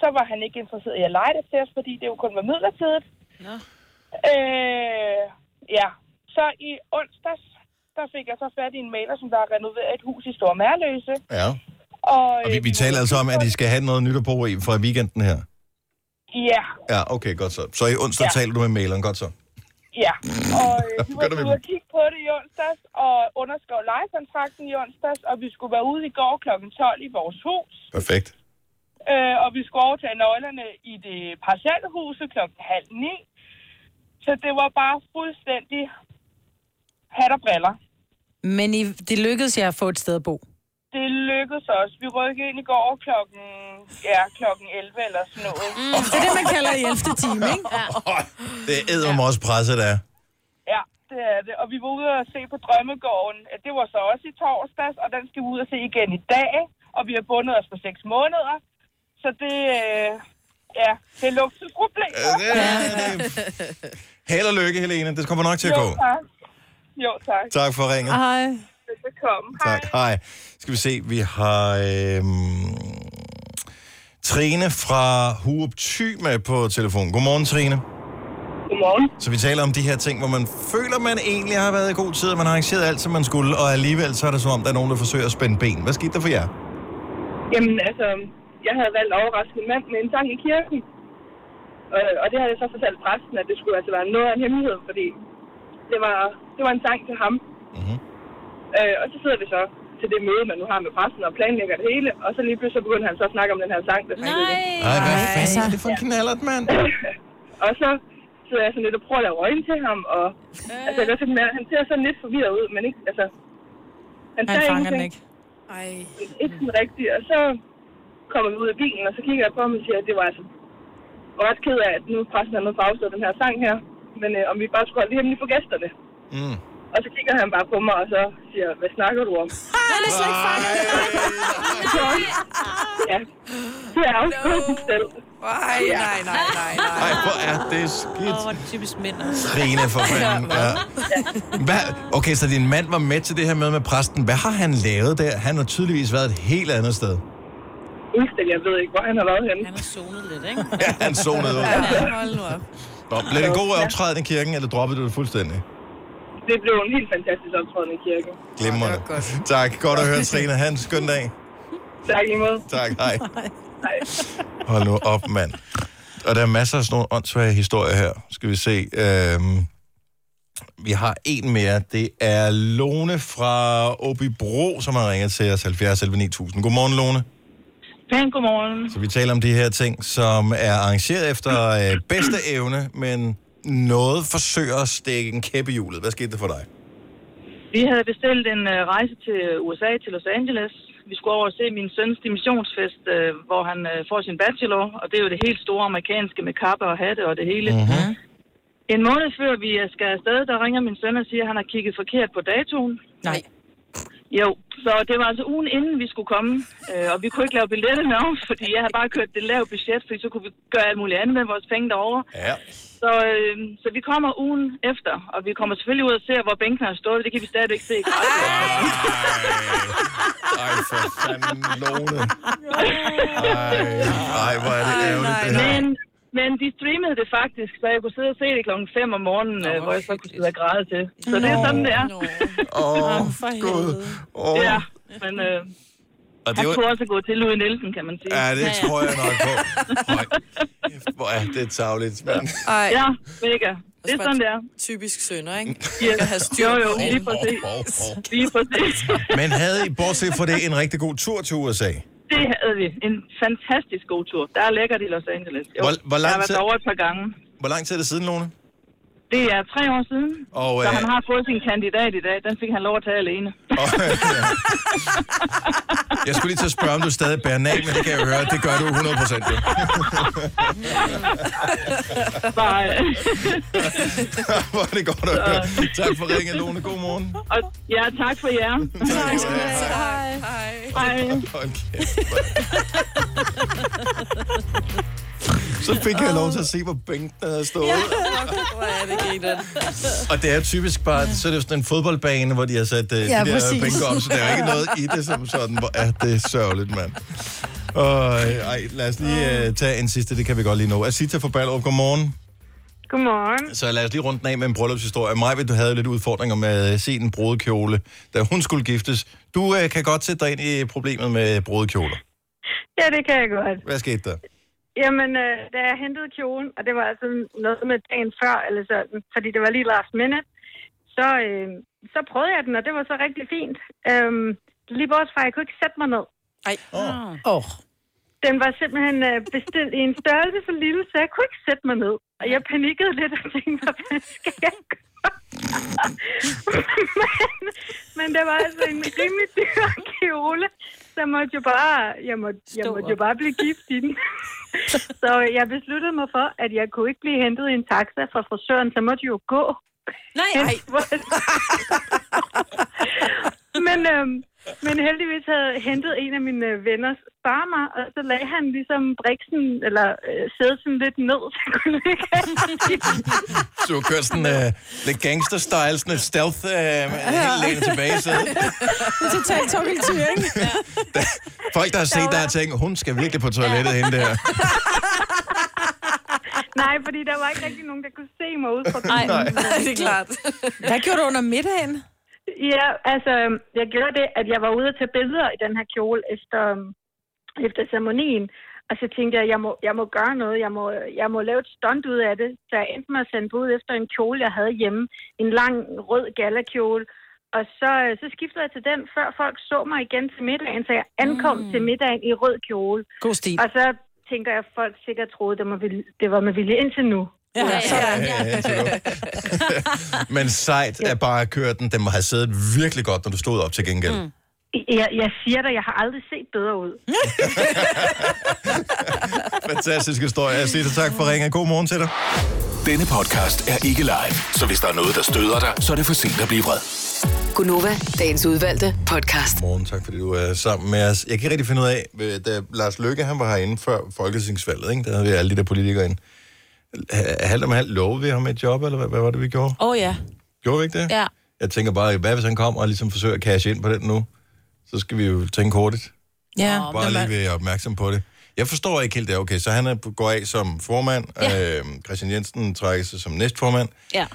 [SPEAKER 16] Så var han ikke interesseret i at lege det til os, fordi det jo kun var midlertidigt.
[SPEAKER 4] Nå.
[SPEAKER 16] Øh, ja. Så i onsdags, der fik jeg så fat i en maler, som der har renoveret et hus i Store Mærløse.
[SPEAKER 1] Ja.
[SPEAKER 16] Og, øh,
[SPEAKER 1] Og vi, vi taler altså om, at I skal have noget nyt at bo i fra weekenden her.
[SPEAKER 16] Ja,
[SPEAKER 1] Ja, okay, godt så. Så i onsdag
[SPEAKER 16] Ja.
[SPEAKER 1] ja. taler du med maleren, godt så.
[SPEAKER 16] ja. Og øh, vi
[SPEAKER 1] Gør det
[SPEAKER 16] var
[SPEAKER 1] vel.
[SPEAKER 16] ude og kigge på det i onsdags, og underskrev lejekontrakten i onsdags, og vi skulle være ude i går kl. 12 i vores hus.
[SPEAKER 1] Perfekt.
[SPEAKER 16] Øh, og vi skulle overtage nøglerne i det parcelhuse klokken halv ni. Så det var bare fuldstændig hat og briller.
[SPEAKER 4] Men I, det lykkedes jer at få et sted at bo.
[SPEAKER 16] Det lykkedes os. Vi rykkede ind i går klokken, ja, klokken 11 eller sådan noget. Mm,
[SPEAKER 4] det er det, man kalder i 11. time, ikke?
[SPEAKER 16] Ja.
[SPEAKER 1] Det er mig også presset, der.
[SPEAKER 16] ja, det er det. Og vi var ude og se på Drømmegården. Ja, Det var så også i torsdags, og den skal vi ud og se igen i dag. Og vi har bundet os for seks måneder. Så det, øh, ja, det er luksusproblemer.
[SPEAKER 1] Ja, det er det. Held og lykke, Helene. Det kommer nok til at
[SPEAKER 16] jo,
[SPEAKER 1] gå.
[SPEAKER 16] tak. Jo, tak.
[SPEAKER 1] Tak for ringet.
[SPEAKER 4] Hej.
[SPEAKER 16] Velbekomme.
[SPEAKER 1] Tak. Hej. Skal vi se, vi har øhm, Trine fra Hurup Thy med på telefon. Godmorgen, Trine.
[SPEAKER 10] Godmorgen.
[SPEAKER 1] Så vi taler om de her ting, hvor man føler, man egentlig har været i god tid, og man har arrangeret alt, som man skulle, og alligevel så er det som om, der er nogen, der forsøger at spænde ben. Hvad skete der for jer?
[SPEAKER 10] Jamen, altså, jeg havde valgt at overraske min mand med en sang i kirken. Og, og det havde jeg så fortalt præsten, at det skulle altså være noget af en hemmelighed, fordi det var, det var en sang til ham. Mm-hmm. Øh, og så sidder vi så til det møde, man nu har med præsten og planlægger det hele, og så lige pludselig så begyndte han så at snakke om den her sang, der Nej!
[SPEAKER 1] Ej, hvad fanden er det for en knallert, mand?
[SPEAKER 10] og så sidder jeg sådan lidt og prøver at lave øjne til ham, og
[SPEAKER 4] Øh.
[SPEAKER 10] altså, jeg kan se, at han ser sådan lidt forvirret ud, men ikke, altså...
[SPEAKER 4] Han fanger den ikke.
[SPEAKER 10] Ej. Ikke sådan rigtigt, og så kommer vi ud af bilen, og så kigger jeg på ham og siger, at det var altså jeg var ret ked af, at nu pressen er noget for afstået den her sang her, men øh, om vi bare skulle holde det hemmeligt for gæsterne.
[SPEAKER 1] Mm.
[SPEAKER 10] Og så kigger han bare på mig, og så siger, hvad snakker du om?
[SPEAKER 17] Den er slet ikke fanget.
[SPEAKER 10] Ja, det er afstået no. selv.
[SPEAKER 2] Ej, nej, nej, nej, nej.
[SPEAKER 1] Ej, hvor er det skidt.
[SPEAKER 3] Åh, hvor er det typisk mænd.
[SPEAKER 1] Trine for fanden. Ja. Hvad? Okay, så din mand var med til det her møde med præsten. Hvad har han lavet der? Han har tydeligvis været et helt andet sted.
[SPEAKER 10] Fuldstændig, jeg ved ikke, hvor han har været henne.
[SPEAKER 3] Han har zonet lidt, ikke?
[SPEAKER 1] Ja, han zonede ud.
[SPEAKER 10] Ja.
[SPEAKER 2] Hold nu op.
[SPEAKER 1] Nå, blev det en god optræden i kirken, eller droppede du det fuldstændig?
[SPEAKER 10] Det blev en helt fantastisk optræden i kirken.
[SPEAKER 1] Glimrende. Tak. Godt at høre, Trine. Ha' en skøn dag.
[SPEAKER 10] Tak i måde.
[SPEAKER 1] Tak. Hej. Hold nu op, mand. Og der er masser af sådan nogle åndssvage historier her. Skal vi se. Øhm, vi har en mere. Det er Lone fra Åby Bro, som har ringet til os 70 11 9000. Godmorgen, Lone.
[SPEAKER 18] Pæn godmorgen.
[SPEAKER 1] Så vi taler om de her ting, som er arrangeret efter øh, bedste evne, men noget forsøger at stikke en kæppe i hjulet. Hvad skete der for dig?
[SPEAKER 18] Vi havde bestilt en øh, rejse til USA, til Los Angeles. Vi skulle over og se min søns dimissionsfest, øh, hvor han øh, får sin bachelor, og det er jo det helt store amerikanske med kappe og hatte og det hele. Mm-hmm. En måned før vi øh, skal afsted, der ringer min søn og siger, at han har kigget forkert på datoen.
[SPEAKER 4] Nej.
[SPEAKER 18] Jo, så det var altså ugen inden vi skulle komme, øh, og vi kunne ikke lave billetterne om, fordi jeg havde bare kørt det lavt budget, fordi så kunne vi gøre alt muligt andet med vores penge derovre.
[SPEAKER 1] Ja.
[SPEAKER 18] Så, øh, så vi kommer ugen efter, og vi kommer selvfølgelig ud og ser, hvor bænkene har stået. Det kan vi stadigvæk se. i græsset.
[SPEAKER 1] Ej, for fanden, Lone. Ej, ej hvor er det ærgerligt, det her.
[SPEAKER 18] Men, men de streamede det faktisk, så jeg kunne sidde og se det klokken 5 om morgenen, øh, hvor jeg så kunne sidde og græde til. Så det er
[SPEAKER 1] Nå.
[SPEAKER 18] sådan, det er.
[SPEAKER 1] Åh, Gud. Åh.
[SPEAKER 18] Ja, men øh,
[SPEAKER 1] Og
[SPEAKER 18] og
[SPEAKER 1] det
[SPEAKER 18] det han
[SPEAKER 1] var-
[SPEAKER 18] kunne også gå til Louis Nielsen, kan man sige.
[SPEAKER 1] Ja, det tror jeg nok på. Høj. Hvor er det tavligt, mand.
[SPEAKER 2] Ej.
[SPEAKER 18] Ja, mega. Det er sådan, det er.
[SPEAKER 2] Typisk sønder, ikke?
[SPEAKER 18] Yes.
[SPEAKER 2] Skal have styr
[SPEAKER 18] Jo, jo,
[SPEAKER 2] på.
[SPEAKER 18] lige præcis. Lige præcis.
[SPEAKER 1] Men havde I, bortset fra det, en rigtig god tur til USA?
[SPEAKER 18] Det havde vi. En fantastisk god tur. Der er lækkert i Los Angeles. Jo.
[SPEAKER 1] Hvor- hvor lang
[SPEAKER 18] jeg har været
[SPEAKER 1] tid-
[SPEAKER 18] over et par gange.
[SPEAKER 1] Hvor lang tid er det siden, Lone?
[SPEAKER 18] Det er tre år siden,
[SPEAKER 1] Og,
[SPEAKER 18] så
[SPEAKER 1] øh,
[SPEAKER 18] han har fået sin kandidat i dag. Den fik han lov at tage alene.
[SPEAKER 1] Jeg skulle lige til at spørge, om du stadig bærer nag, men det kan jeg høre, det gør du 100 procent.
[SPEAKER 18] Bare,
[SPEAKER 1] Hvor er det godt at høre. Tak for ringen, Lone. God morgen.
[SPEAKER 18] og, ja, tak for jer. Tak skal du have. Hej. Hej.
[SPEAKER 1] Hold kæft, mand. Så fik jeg lov til at se, hvor bænken havde stået.
[SPEAKER 2] Hvor er det grineren?
[SPEAKER 1] Og det er typisk bare, så er det jo sådan en fodboldbane, hvor de har sat uh, ja, de
[SPEAKER 2] Ja,
[SPEAKER 1] der
[SPEAKER 2] præcis.
[SPEAKER 1] bænker om, så der er jo ikke noget i det som sådan. Hvor er det sørgeligt, mand. øh, Og, ej, lad os lige uh, tage en sidste, det kan vi godt lige nå. Asita fra Ballerup, godmorgen.
[SPEAKER 19] Godmorgen.
[SPEAKER 1] Så lad os lige runde den af med en bryllupshistorie. Majved, du havde lidt udfordringer med øh, sin brodekjole, da hun skulle giftes. Du øh, kan godt sætte dig ind i problemet med brodekjoler.
[SPEAKER 19] Ja, det kan jeg godt.
[SPEAKER 1] Hvad skete der?
[SPEAKER 19] Jamen, øh, da jeg hentede kjolen, og det var altså noget med dagen før, eller sådan, fordi det var lige last minute, så, øh, så prøvede jeg den, og det var så rigtig fint. Øhm, lige bortset fra, at jeg kunne ikke sætte mig ned.
[SPEAKER 2] Ej. Ah.
[SPEAKER 19] Oh.
[SPEAKER 4] Oh.
[SPEAKER 19] Den var simpelthen øh, bestilt i en størrelse for lille, så jeg kunne ikke sætte mig ned. Og jeg panikkede lidt og tænkte, hvad fanden skal jeg gøre? men, men det var altså en rimelig dyr kjole, så jeg måtte jo bare, jeg måtte, jeg måtte jo bare blive gift i den. så jeg besluttede mig for, at jeg kunne ikke blive hentet i en taxa fra frisøren, så måtte jeg jo gå.
[SPEAKER 2] Nej, nej.
[SPEAKER 19] men, øhm, men heldigvis havde hentet en af mine øh, venners far mig, og så lagde han ligesom briksen, eller øh, sædelsen lidt ned, så jeg kunne ligge
[SPEAKER 1] Du har kørt sådan øh, lidt gangster-style, sådan et stealth, øh, helt lænet tilbage. Så
[SPEAKER 4] Total tokkeltyr, ikke?
[SPEAKER 1] folk, der har set dig, har tænkt, hun skal virkelig på toilettet hende der.
[SPEAKER 19] Nej, fordi der var ikke rigtig nogen, der kunne se mig ud fra
[SPEAKER 4] Nej.
[SPEAKER 19] bilen.
[SPEAKER 4] Nej, det er klart. Hvad gjorde du under middagen?
[SPEAKER 19] Ja, altså, øhm, jeg gjorde det, at jeg var ude at tage billeder i den her kjole efter, øhm, efter ceremonien. Og så tænkte jeg, jeg må, jeg må gøre noget. Jeg må, jeg må lave et stunt ud af det. Så jeg endte med at sende bud efter en kjole, jeg havde hjemme. En lang rød galakjole. Og så, øh, så skiftede jeg til den, før folk så mig igen til middagen. Så jeg ankom mm. til middagen i rød kjole.
[SPEAKER 4] God stil.
[SPEAKER 19] Og så tænker jeg, at folk sikkert troede, det var, med vilje- det var med vilje indtil nu.
[SPEAKER 4] Ja,
[SPEAKER 1] sådan. Ja, indtil nu. Men sejt er bare at køre den. Den må have siddet virkelig godt, når du stod op til gengæld. Mm.
[SPEAKER 19] Jeg, jeg siger dig, jeg har aldrig set bedre ud.
[SPEAKER 1] Fantastisk historie. Jeg siger så tak for ringen. God morgen til dig.
[SPEAKER 6] Denne podcast er ikke live, så hvis der er noget, der støder dig, så er det for sent at blive vred.
[SPEAKER 5] Gunova, dagens udvalgte podcast.
[SPEAKER 1] Morgen, tak fordi du er sammen med os. Jeg kan ikke rigtig finde ud af, øh, da Lars Løkke han var herinde før Folketingsvalget, ikke? der havde vi alle de der politikere ind. Halvt om halvt lovede vi ham et job, eller hvad, hvad var det, vi gjorde?
[SPEAKER 3] Åh oh, ja.
[SPEAKER 1] Gjorde vi ikke det?
[SPEAKER 3] ja.
[SPEAKER 1] Jeg tænker bare, hvad hvis han kommer og ligesom forsøger at cashe ind på den nu? Så skal vi jo tænke hurtigt.
[SPEAKER 4] Ja.
[SPEAKER 1] Bare lige være opmærksom på det. Jeg forstår ikke helt det. Okay, så han er, går af som formand. Ja. Øh, Christian Jensen trækker sig som næstformand.
[SPEAKER 3] Ja.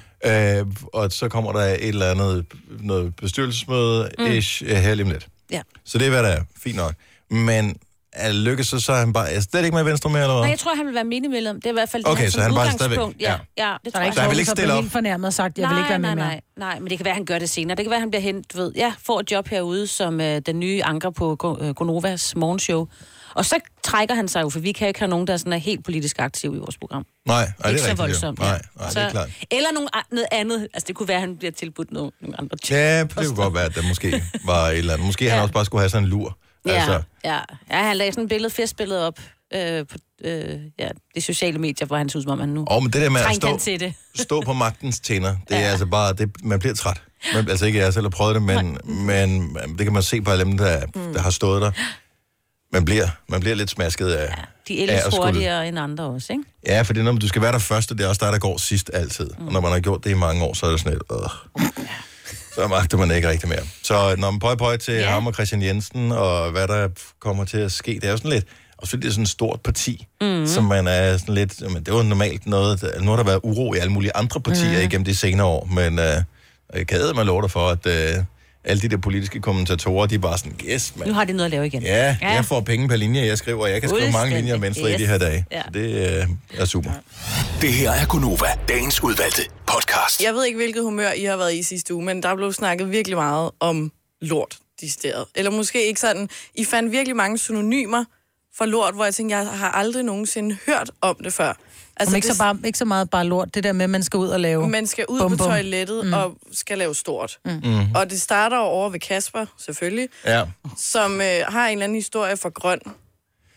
[SPEAKER 1] Øh, og så kommer der et eller andet noget bestyrelsesmøde mm. ish, øh, her lige om lidt.
[SPEAKER 3] ja.
[SPEAKER 1] Så det er, hvad der er. Fint nok. Men er lykkes så, så er han bare... Er slet ikke med i Venstre mere, eller
[SPEAKER 3] Nej,
[SPEAKER 1] hvad?
[SPEAKER 3] jeg tror, han vil være menigmedlem. Det er i hvert fald
[SPEAKER 1] Okay,
[SPEAKER 3] det,
[SPEAKER 1] så han er bare
[SPEAKER 3] udgangspunkt.
[SPEAKER 1] stadigvæk-
[SPEAKER 3] Ja, ja. det tror
[SPEAKER 4] Så der er
[SPEAKER 3] jeg.
[SPEAKER 4] ikke
[SPEAKER 1] Så han
[SPEAKER 4] nogen,
[SPEAKER 1] vil ikke
[SPEAKER 4] der
[SPEAKER 1] stille
[SPEAKER 4] bliver
[SPEAKER 1] op?
[SPEAKER 4] helt fornærmet og sagt, jeg vil ikke være
[SPEAKER 3] nej,
[SPEAKER 4] med mere.
[SPEAKER 3] nej, nej, men det kan være, han gør det senere. Det kan være, han bliver hen, du ved, ja, får et job herude som øh, den nye anker på Go- øh, Gonovas morgenshow. Og så trækker han sig jo, for vi kan ikke have nogen, der sådan er helt politisk aktiv i vores program.
[SPEAKER 1] Nej, nej, det er
[SPEAKER 3] ikke så
[SPEAKER 1] rigtigt, jo.
[SPEAKER 3] voldsomt.
[SPEAKER 1] Nej, nej, det er klart.
[SPEAKER 3] Eller nogen, a- noget andet. Altså, det kunne være, han bliver tilbudt nogle, nogle andre ting.
[SPEAKER 1] Ja, det kunne godt være, at der måske var et eller andet. Måske ja. han også bare skulle have sådan en lur.
[SPEAKER 3] Ja,
[SPEAKER 1] Altså,
[SPEAKER 3] altså. ja. ja, han lagde sådan et billede, festbillede op øh, på øh, ja, de sociale medier, hvor han så ud, som om han nu
[SPEAKER 1] og men det der med at
[SPEAKER 3] trængt
[SPEAKER 1] stå,
[SPEAKER 3] han til det.
[SPEAKER 1] stå på magtens tænder, det er altså bare, det, man bliver træt. Man, altså ikke jeg selv har prøvet det, men, men øh, det kan man se på alle dem, der, mm. der har stået der. Man bliver, man bliver lidt smasket af,
[SPEAKER 3] De
[SPEAKER 1] af
[SPEAKER 3] ældes
[SPEAKER 1] at skulle-
[SPEAKER 3] hurtigere end andre også, ikke?
[SPEAKER 1] Ja, for det er noget, med, du skal være der først, og det er også dig, der går sidst altid. Mm. Og når man har gjort det i mange år, så er det sådan lidt, øh, så magter man ikke rigtig mere. Så når man pøj pøj til ja. ham og Christian Jensen, og hvad der kommer til at ske, det er jo sådan lidt, og fordi det er sådan et stort parti, mm. som man er sådan lidt, men det var normalt noget, der- nu har der været uro i alle mulige andre partier mm. igennem de senere år, men øh, jeg kan man lov dig for, at øh, alle de der politiske kommentatorer, de er bare sådan, yes, man,
[SPEAKER 3] Nu har de noget at lave igen.
[SPEAKER 1] Ja, ja, jeg får penge per linje, jeg skriver, og jeg kan skrive mange
[SPEAKER 3] Fuldstændig.
[SPEAKER 1] linjer om Venstre i de
[SPEAKER 3] Yes.
[SPEAKER 1] her dage.
[SPEAKER 3] Ja.
[SPEAKER 1] Ja. Det øh, er super.
[SPEAKER 6] Det her er Gunova, dagens udvalgte podcast.
[SPEAKER 2] Jeg ved ikke, hvilket humør I har været i sidste uge, men der blev snakket virkelig meget om lort, de steder. Eller måske ikke sådan. I fandt virkelig mange synonymer for lort, hvor jeg tænkte, jeg har aldrig nogensinde hørt om det før.
[SPEAKER 4] Altså, ikke, så bare, ikke så meget bare lort, det der med, at man skal ud og lave...
[SPEAKER 2] Man skal ud
[SPEAKER 4] bum,
[SPEAKER 2] på
[SPEAKER 4] bum.
[SPEAKER 2] toilettet mm. og skal lave stort. Mm.
[SPEAKER 4] Mhm.
[SPEAKER 2] Og det starter jo over ved Kasper, selvfølgelig,
[SPEAKER 1] Ja.
[SPEAKER 2] som øh, har en eller anden historie fra Grøn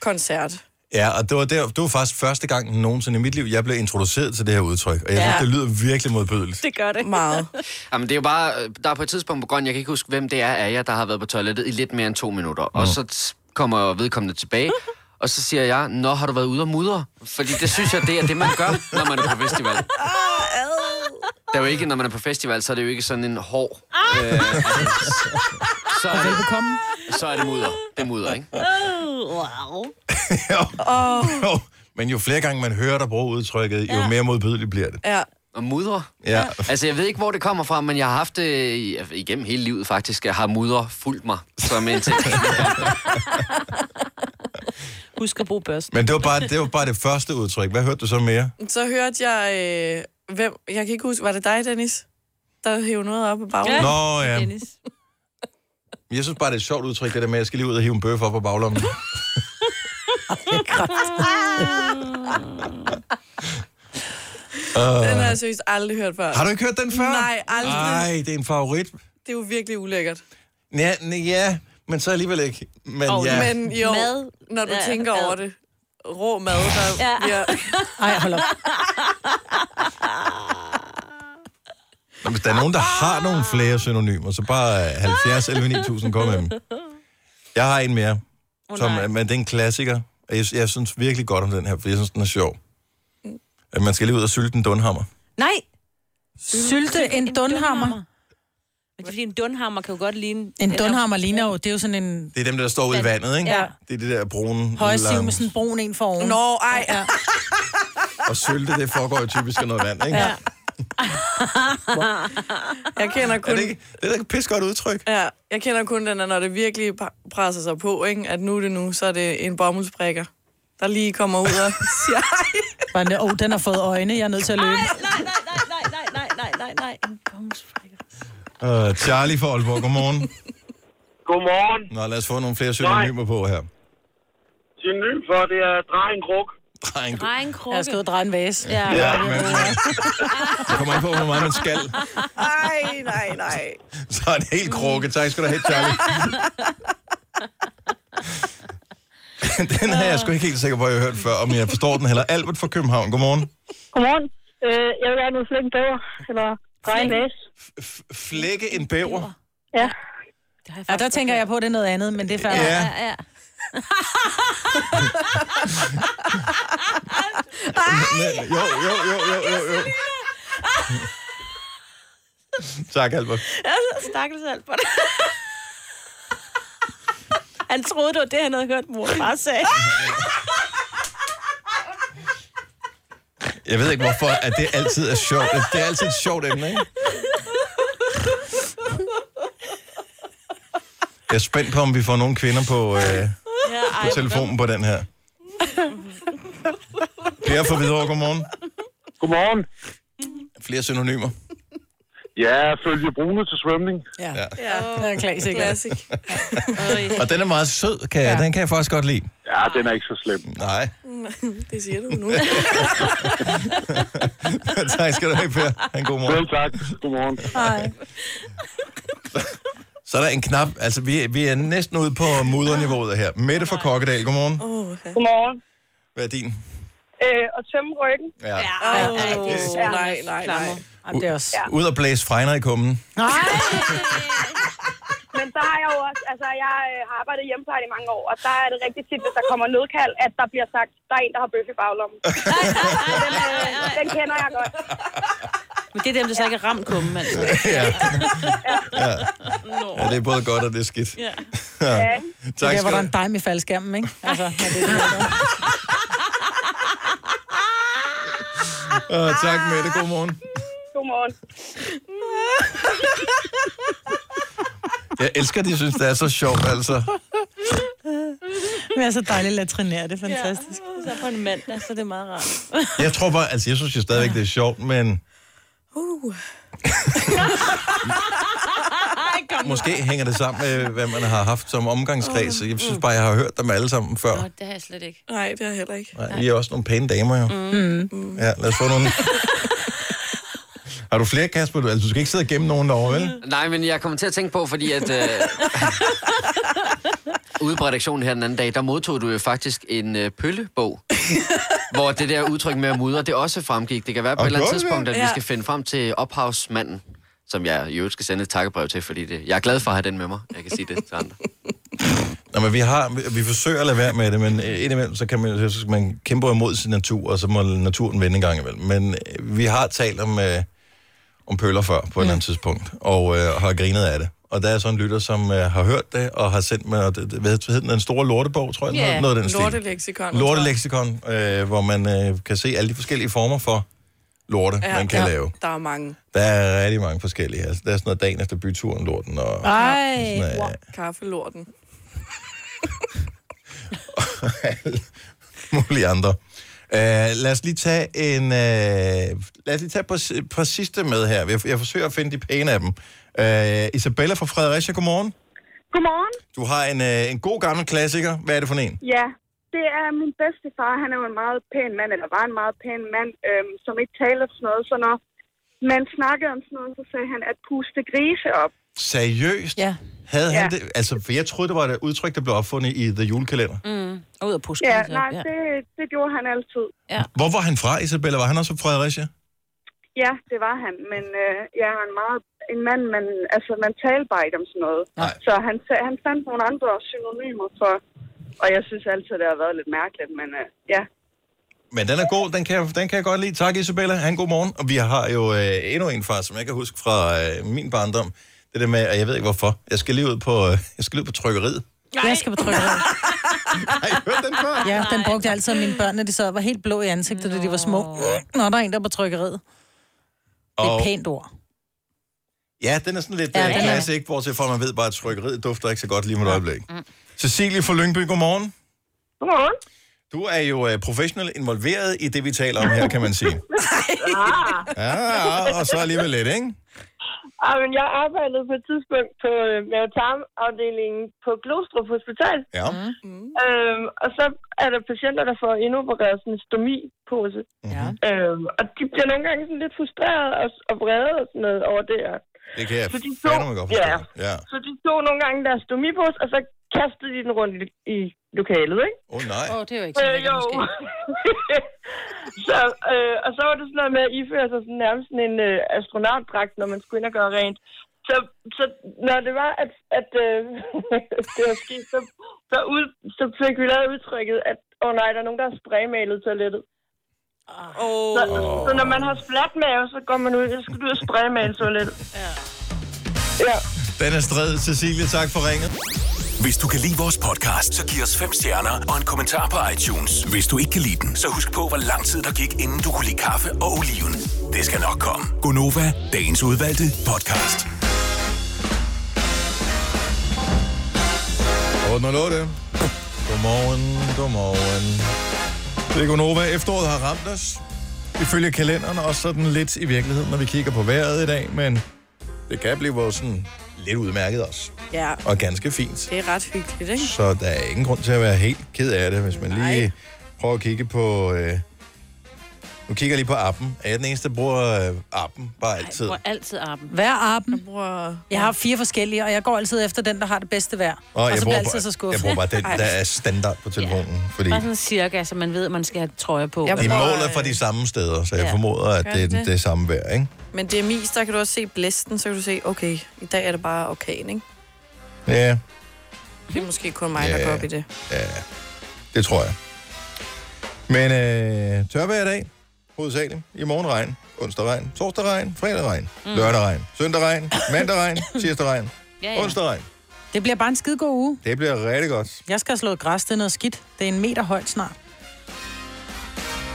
[SPEAKER 2] Koncert.
[SPEAKER 1] ja, og det var, der, det var faktisk første gang nogensinde i mit liv, jeg blev introduceret til det her udtryk. Og jeg ja.
[SPEAKER 20] Ja.
[SPEAKER 1] synes, det lyder virkelig modbydeligt.
[SPEAKER 2] Det gør det. Meget.
[SPEAKER 20] Jamen, det er jo bare, øh, der er på et tidspunkt på grøn, jeg kan ikke huske, hvem det er af jer, der har været på toilettet i lidt mere end to minutter. Og så t- kommer vedkommende tilbage, og så siger jeg, nå, har du været ude og mudre? Fordi det synes jeg, det er det, man gør, når man er på festival. Det er jo ikke, når man er på festival, så er det jo ikke sådan en hård...
[SPEAKER 2] Ah!
[SPEAKER 20] Øh, så, er det, så er det mudder. Det er mudder, ikke?
[SPEAKER 3] Wow.
[SPEAKER 1] Jo.
[SPEAKER 2] Oh.
[SPEAKER 1] Jo. Men jo flere gange man hører dig bruge udtrykket, jo mere modbydeligt bliver det.
[SPEAKER 2] Ja.
[SPEAKER 20] Og mudre.
[SPEAKER 1] Ja.
[SPEAKER 20] Altså, jeg ved ikke, hvor det kommer fra, men jeg har haft det i- altså, igennem hele livet faktisk. Jeg har mudre fulgt mig som en ting.
[SPEAKER 3] Husk at bruge børsten.
[SPEAKER 1] Men det var, bare, det var bare det første udtryk. Hvad hørte du så mere?
[SPEAKER 2] Så hørte jeg, øh, hvem, jeg kan ikke huske, var det dig, Dennis? Der hævde noget op i bagen.
[SPEAKER 1] Ja. Nå, ja. Dennis. Jeg synes bare, det er et sjovt udtryk, det der med, at jeg skal lige ud og hive en bøf op på baglommen.
[SPEAKER 2] Den har
[SPEAKER 1] uh,
[SPEAKER 2] jeg seriøst aldrig hørt før.
[SPEAKER 1] har du ikke hørt den før?
[SPEAKER 2] Nej, aldrig.
[SPEAKER 1] Nej, det er en favorit.
[SPEAKER 2] Det er jo virkelig ulækkert.
[SPEAKER 1] Ja, n- ja men så alligevel ikke. Men,
[SPEAKER 2] Og-
[SPEAKER 1] ja.
[SPEAKER 2] Men jo,
[SPEAKER 3] Mad.
[SPEAKER 2] mad. når du
[SPEAKER 3] Ja,
[SPEAKER 2] ja, tænker
[SPEAKER 3] mad.
[SPEAKER 2] over det. Rå mad, der
[SPEAKER 3] Ja.
[SPEAKER 2] ja. bliver...
[SPEAKER 4] Ej, hold op.
[SPEAKER 1] Nå, Hvis der er nogen, der har nogle flere synonymer, så bare øh, 70 11 9000, kom med dem. Jeg har en mere,
[SPEAKER 11] Åh,
[SPEAKER 1] oh, som,
[SPEAKER 11] nej.
[SPEAKER 1] er- men det er en klassiker, og jeg, jeg synes virkelig godt om den her, for jeg synes, den er sjov. At man skal lige ud og sylte en dunhammer.
[SPEAKER 4] Nej. Sylte en dunhammer.
[SPEAKER 3] Men det er fordi, en dunhammer kan jo godt ligne...
[SPEAKER 4] En dunhammer ligner jo, det er jo sådan en
[SPEAKER 1] Det er dem, der står ude i vandet, ikke?
[SPEAKER 4] Ja.
[SPEAKER 1] Det er det der brune...
[SPEAKER 4] højsiv
[SPEAKER 1] lange-
[SPEAKER 4] med sådan en brun en for oven.
[SPEAKER 2] Nå, ej.
[SPEAKER 4] Ja.
[SPEAKER 1] Og sylte, det foregår jo typisk af noget vand, ikke?
[SPEAKER 4] Ja.
[SPEAKER 2] Jeg kender kun...
[SPEAKER 1] Er det ikke? Det er da et pis godt udtryk.
[SPEAKER 2] Ja, jeg kender kun den, at når det virkelig pa- presser sig på, ikke? at nu er det nu, så er det en bomuldsprikker, der lige kommer ud og siger,
[SPEAKER 4] Bare den der, oh, den har fået øjne, jeg er nødt til at løbe.
[SPEAKER 3] Nej, nej, nej, nej, nej, nej, nej, nej, nej. En bomsfri.
[SPEAKER 1] Uh, Charlie fra Aalborg, godmorgen.
[SPEAKER 21] Godmorgen.
[SPEAKER 1] Nå, lad os få nogle flere synonymer på her.
[SPEAKER 21] Synonym for, det er drej en kruk.
[SPEAKER 1] Drej en
[SPEAKER 3] Drej en krukke.
[SPEAKER 4] Jeg har skrevet drej en vase.
[SPEAKER 3] Ja.
[SPEAKER 1] Ja, men det kommer an på, hvor meget man skal.
[SPEAKER 2] Ej, nej, nej.
[SPEAKER 1] Så er det helt krukke. Tak skal du have, Charlie. den her er jeg sgu ikke helt sikker på, at jeg har hørt før, om jeg forstår den heller. Albert fra København, godmorgen.
[SPEAKER 10] Godmorgen. Øh, jeg vil gerne ud og flække en bæver, eller dreje en vase.
[SPEAKER 1] Flække en bæver.
[SPEAKER 10] Ja.
[SPEAKER 4] Ja, der tænker jeg på, at det er noget andet, men det er færdigt.
[SPEAKER 1] Ja.
[SPEAKER 4] ja.
[SPEAKER 1] Ej! Jo, jo, jo, jo, jo, jo. Tak, Albert.
[SPEAKER 3] Jeg stakkels alt på det. Han troede, det var det, han havde hørt mor og far sagde.
[SPEAKER 1] Jeg ved ikke, hvorfor at det altid er sjovt. Det er altid et sjovt emne, ikke? Jeg er spændt på, om vi får nogle kvinder på, øh,
[SPEAKER 3] Ja,
[SPEAKER 1] på telefonen på den her. Per fra Hvidovre, godmorgen.
[SPEAKER 21] Godmorgen.
[SPEAKER 1] Flere synonymer.
[SPEAKER 21] Ja, følge brune til svømning.
[SPEAKER 4] Ja.
[SPEAKER 1] ja.
[SPEAKER 4] Ja, det er en klassiker.
[SPEAKER 2] Klassik.
[SPEAKER 1] Og den er meget sød, kan jeg. Den kan jeg faktisk godt lide.
[SPEAKER 21] Ja, den er ikke så slem.
[SPEAKER 1] Nej.
[SPEAKER 2] Mm, det siger du nu.
[SPEAKER 1] tak skal du have, Per. Ha' En god morgen.
[SPEAKER 21] Selv tak. Godmorgen.
[SPEAKER 2] Hej.
[SPEAKER 1] Så er der en knap. Altså, vi, vi er næsten ude på mudderniveauet her. Mette fra Kokkedal, godmorgen.
[SPEAKER 2] Oh,
[SPEAKER 16] Godmorgen.
[SPEAKER 1] Hvad er din?
[SPEAKER 16] Øh, og tømme ryggen.
[SPEAKER 1] Ja. Ja,
[SPEAKER 2] ej, det er så- nej, nej, nej.
[SPEAKER 4] Jamen, det er også...
[SPEAKER 1] Ud og blæse fregner i kummen.
[SPEAKER 4] Nej!
[SPEAKER 10] Men så har jeg jo også, altså jeg øh, har arbejdet i hjemmeplejen i mange år, og der er det rigtig tit, hvis der kommer nødkald, at der bliver sagt, der er en, der har bøf i baglommen. den, øh, den kender jeg godt.
[SPEAKER 3] Men det er dem, der så ikke er ramt kummen, altså.
[SPEAKER 1] ja. ja. ja, det er både godt og det er skidt.
[SPEAKER 3] Ja.
[SPEAKER 4] Det
[SPEAKER 1] Ja.
[SPEAKER 4] er der,
[SPEAKER 1] Tak
[SPEAKER 4] hvor der
[SPEAKER 1] skal du
[SPEAKER 4] er en dejm i faldskærmen, ikke? Altså, ja, det er det.
[SPEAKER 1] Åh, Tak, Mette. Godmorgen.
[SPEAKER 10] Godmorgen.
[SPEAKER 1] Jeg elsker, at de synes, det er så sjovt, altså.
[SPEAKER 4] Men jeg er så dejligt latrinær, det er fantastisk.
[SPEAKER 3] Så på en mandag, så det er meget rart.
[SPEAKER 1] Jeg tror bare, altså, jeg synes jo stadigvæk, det er sjovt, men
[SPEAKER 3] Uh.
[SPEAKER 1] måske hænger det sammen med, hvad man har haft som omgangskreds. Så Jeg synes bare, jeg har hørt dem alle sammen før.
[SPEAKER 3] Nå, det har jeg slet ikke.
[SPEAKER 2] Nej, det har jeg heller ikke.
[SPEAKER 1] Nej, vi er også nogle pæne damer, jo.
[SPEAKER 2] Mm.
[SPEAKER 1] Ja, lad os få nogle... Har du flere, Kasper? Du, altså, du skal ikke sidde og gemme nogen derovre, vel?
[SPEAKER 20] Nej, men jeg kommer til at tænke på, fordi at... Øh, ude på redaktionen her den anden dag, der modtog du jo faktisk en øh, pøllebog, hvor det der udtryk med at mudre, det også fremgik. Det kan være på
[SPEAKER 22] Og
[SPEAKER 20] et eller andet
[SPEAKER 22] gjorde det?
[SPEAKER 20] tidspunkt, at vi
[SPEAKER 22] Ja.
[SPEAKER 20] skal finde frem til ophavsmanden, som jeg i øvrigt skal sende et takkebrev til, fordi det, jeg er glad for at have den med mig. Jeg kan sige det til andre.
[SPEAKER 1] Nå, men vi, har, vi, vi forsøger at lade være med det, men øh, indimellem, så kan man, så skal man kæmpe imod sin natur, og så må naturen vende en gang imellem. Men øh, vi har talt om, øh, om pøller før, på et eller andet tidspunkt, og øh, har grinet af det. Og der er så en lytter, som øh, har hørt det, og har sendt mig, det, det- hvad hedder den, den store lortebog, tror jeg, yeah. noget, noget af den stil.
[SPEAKER 2] lorteleksikon.
[SPEAKER 1] Lorteleksikon, øh, hvor man øh, kan se alle de forskellige former for lorte, ja, man kan ja. lave.
[SPEAKER 2] Der er mange.
[SPEAKER 1] Der er rigtig mange forskellige. Altså, der er sådan noget dagen efter byturen, lorten, og
[SPEAKER 2] Ej,
[SPEAKER 1] sådan, øh,
[SPEAKER 2] wow. Kaffelorten.
[SPEAKER 1] mulige andre. Uh, lad os lige tage en... Uh, lad os lige tage på, på sidste med her. Jeg, jeg forsøger at finde de pæne af dem. Uh, Isabella fra Fredericia, godmorgen.
[SPEAKER 10] Godmorgen.
[SPEAKER 1] Du har en, uh, en god gammel klassiker. Hvad er det for en?
[SPEAKER 10] Ja, det er min bedstefar. Han er jo en meget pæn mand, eller var en meget pæn mand, øhm, som ikke taler om sådan noget. Så når man snakkede om sådan noget, så sagde han, at puste grise op.
[SPEAKER 1] Seriøst? Ja. Havde han
[SPEAKER 10] Ja.
[SPEAKER 1] det? Altså, for jeg troede, det var et udtryk, der blev opfundet i The Julekalender.
[SPEAKER 10] Mm.
[SPEAKER 3] Og ud af puste
[SPEAKER 10] Ja,
[SPEAKER 3] grise op,
[SPEAKER 10] nej,
[SPEAKER 3] ja.
[SPEAKER 10] det, det gjorde han altid.
[SPEAKER 3] Ja.
[SPEAKER 1] Hvor var han fra, Isabella? Var han også fra Fredericia?
[SPEAKER 10] Ja, det var han, men øh, jeg er en meget en mand, man, altså, man talte bare ikke om sådan noget.
[SPEAKER 1] Nej.
[SPEAKER 10] Så han, sa- han fandt nogle andre synonymer for, og jeg synes altid, det har været lidt mærkeligt, men øh, ja.
[SPEAKER 1] Men den er god, den kan, jeg- den kan jeg godt lide. Tak, Isabella. Han god morgen. Og vi har jo øh, endnu en far, som jeg kan huske fra øh, min barndom. Det der med, og jeg ved ikke hvorfor, jeg skal lige ud på, øh, jeg skal lige ud på trykkeriet.
[SPEAKER 4] Nej. Jeg skal på trykkeriet.
[SPEAKER 1] den før?
[SPEAKER 4] Ja, den brugte jeg altid af mine børn, når de sad og var helt blå i ansigtet, da de var små. Nå, der er en, der er på trykkeriet. Det er
[SPEAKER 1] Og-
[SPEAKER 4] et pænt ord.
[SPEAKER 1] Ja, den er sådan lidt
[SPEAKER 4] Ja,
[SPEAKER 1] ja,
[SPEAKER 4] den er-
[SPEAKER 1] klassisk, ikke? Bortset fra, at man ved bare, at trykkeriet dufter ikke så godt lige med et øjeblik.
[SPEAKER 4] Mm.
[SPEAKER 1] Cecilie fra Lyngby, godmorgen.
[SPEAKER 10] Godmorgen.
[SPEAKER 1] Du er jo øh, professionel involveret i det, vi taler om her, kan man sige.
[SPEAKER 10] Ah.
[SPEAKER 1] Ja, ja, og så alligevel lidt, ikke?
[SPEAKER 10] Ah, men jeg arbejdede på et tidspunkt på øh, mavetarmafdelingen på Glostrup Hospital.
[SPEAKER 1] Ja.
[SPEAKER 10] Mm. Øhm, og så er der patienter, der får indopereret sådan en stomipose.
[SPEAKER 1] Ja.
[SPEAKER 10] Øhm, og de bliver nogle gange sådan lidt frustreret og, og vrede og sådan noget over det her.
[SPEAKER 1] Det kan jeg
[SPEAKER 10] Så de to,
[SPEAKER 1] fandme godt forstå.
[SPEAKER 10] ja,
[SPEAKER 1] Ja.
[SPEAKER 10] så de tog nogle gange deres stomipose, og så kastede de den rundt i, i lokalet, ikke? Øh,
[SPEAKER 1] Åh oh, nej.
[SPEAKER 3] Åh, det er jo ikke så lækkert, måske.
[SPEAKER 10] så, øh, og så var det sådan noget med at iføre sig sådan nærmest sådan en øh, astronautdragt, når man skulle ind og gøre rent. Så, så når det var, at, at øh, det var sket, så, så, ud, så fik vi lavet udtrykket, at åh oh, nej, der er nogen, der har spraymalet toilettet. Oh. Så, så når man har splat mave, så går man ud, så skal du ud og spraymale toilettet. Ja. ja.
[SPEAKER 1] Den er stred, Cecilie. Tak for ringet.
[SPEAKER 6] Hvis du kan lide vores podcast, så giv os fem stjerner og en kommentar på iTunes. Hvis du ikke kan lide den, så husk på, hvor lang tid der gik, inden du kunne lide kaffe og oliven. Det skal nok komme.
[SPEAKER 12] Gonova, dagens udvalgte podcast.
[SPEAKER 1] 808. Godmorgen, godmorgen. Det er Gunova. Efteråret har ramt os. Ifølge kalenderen også sådan lidt i virkeligheden, når vi kigger på vejret i dag, men det kan blive vores sådan lidt udmærket også.
[SPEAKER 2] Ja,
[SPEAKER 1] Og ganske fint.
[SPEAKER 2] det er ret hyggeligt, ikke?
[SPEAKER 1] Så der er ingen grund til at være helt ked af det, hvis man lige prøver at kigge på... Øh... Nu kigger jeg lige på appen. Er jeg den eneste, der bruger øh, appen bare altid?
[SPEAKER 3] Bruger altid appen.
[SPEAKER 4] Hver appen. Jeg,
[SPEAKER 2] bruger...
[SPEAKER 4] jeg har fire forskellige, og jeg går altid efter den, der har Altså, det bedste vejr.
[SPEAKER 1] Åh,
[SPEAKER 4] og
[SPEAKER 1] jeg
[SPEAKER 4] så bliver
[SPEAKER 1] bruger
[SPEAKER 4] jeg altid
[SPEAKER 1] bare-
[SPEAKER 4] så skuffet.
[SPEAKER 1] Jeg bruger bare den,
[SPEAKER 4] Ej.
[SPEAKER 1] der er standard på telefonen. Fordi...
[SPEAKER 3] Bare sådan cirka, så man ved, at man skal have trøje på.
[SPEAKER 1] De måler fra de samme steder, så jeg
[SPEAKER 2] Ja.
[SPEAKER 1] formoder, at
[SPEAKER 2] Gør
[SPEAKER 1] det er
[SPEAKER 2] de det?
[SPEAKER 1] det, det samme vejr, ikke?
[SPEAKER 2] Men det er mest, der kan du også se blæsten, så kan du se, okay, i dag er det bare orkan, ikke?
[SPEAKER 1] Ja,
[SPEAKER 2] Det er måske kun mig,
[SPEAKER 1] Ja.
[SPEAKER 2] der går op i det.
[SPEAKER 1] ja, det tror jeg. Men øh, tørvejr i dag, hovedsageligt. I morgen regn, onsdag regn, torsdag regn, fredag regn,
[SPEAKER 4] Mm.
[SPEAKER 1] mm. lørdag regn, søndag regn, mandag regn, tirsdag regn,
[SPEAKER 4] Ja,
[SPEAKER 1] ja,
[SPEAKER 4] ja.
[SPEAKER 1] ja. onsdag regn.
[SPEAKER 4] Det bliver bare en skide god uge.
[SPEAKER 1] Det bliver rigtig godt.
[SPEAKER 4] Jeg skal have slået græs, det er noget skidt. Det er en meter højt snart.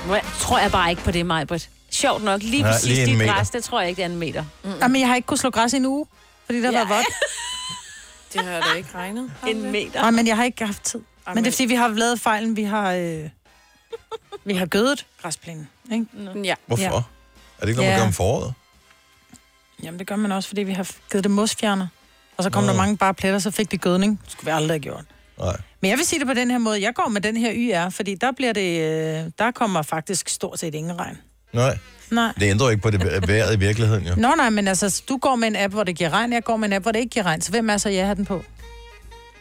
[SPEAKER 3] Hvor jeg- tror jeg bare ikke på det, Majbert. Sjovt nok, lige
[SPEAKER 4] Nej,
[SPEAKER 3] præcis
[SPEAKER 4] lige en
[SPEAKER 3] dit
[SPEAKER 4] meter.
[SPEAKER 3] græs, det tror jeg ikke, det er en meter. Mm.
[SPEAKER 4] Mm. Jamen, jeg har ikke kunnet slå græs i en uge, fordi der har været vådt.
[SPEAKER 2] Det har da ikke regnet.
[SPEAKER 3] En meter.
[SPEAKER 4] Nej, men jeg har ikke haft tid. Men det er, fordi vi har lavet fejlen, vi har... Øh, vi har gødet græsplænen, ikke?
[SPEAKER 2] Ja.
[SPEAKER 1] Hvorfor? Ja. Er det ikke noget,
[SPEAKER 4] Ja.
[SPEAKER 1] man gør om foråret?
[SPEAKER 4] Jamen, det gør man også, fordi vi har givet det mosfjerner. Og så kom Nå. der mange bare pletter, så fik det gødning. Det skulle vi aldrig have gjort.
[SPEAKER 1] Nej.
[SPEAKER 4] Men jeg vil sige det på den her måde. Jeg går med den her YR, fordi der bliver det... Øh, der kommer faktisk stort set ingen regn.
[SPEAKER 1] Nej.
[SPEAKER 4] Nej.
[SPEAKER 1] Det ændrer jo ikke på det vej- vejret i virkeligheden, jo.
[SPEAKER 4] Nå nej, men altså, du går med en app, hvor det giver regn, jeg går med en app, hvor det ikke giver regn. Så hvem er så, jeg har den på?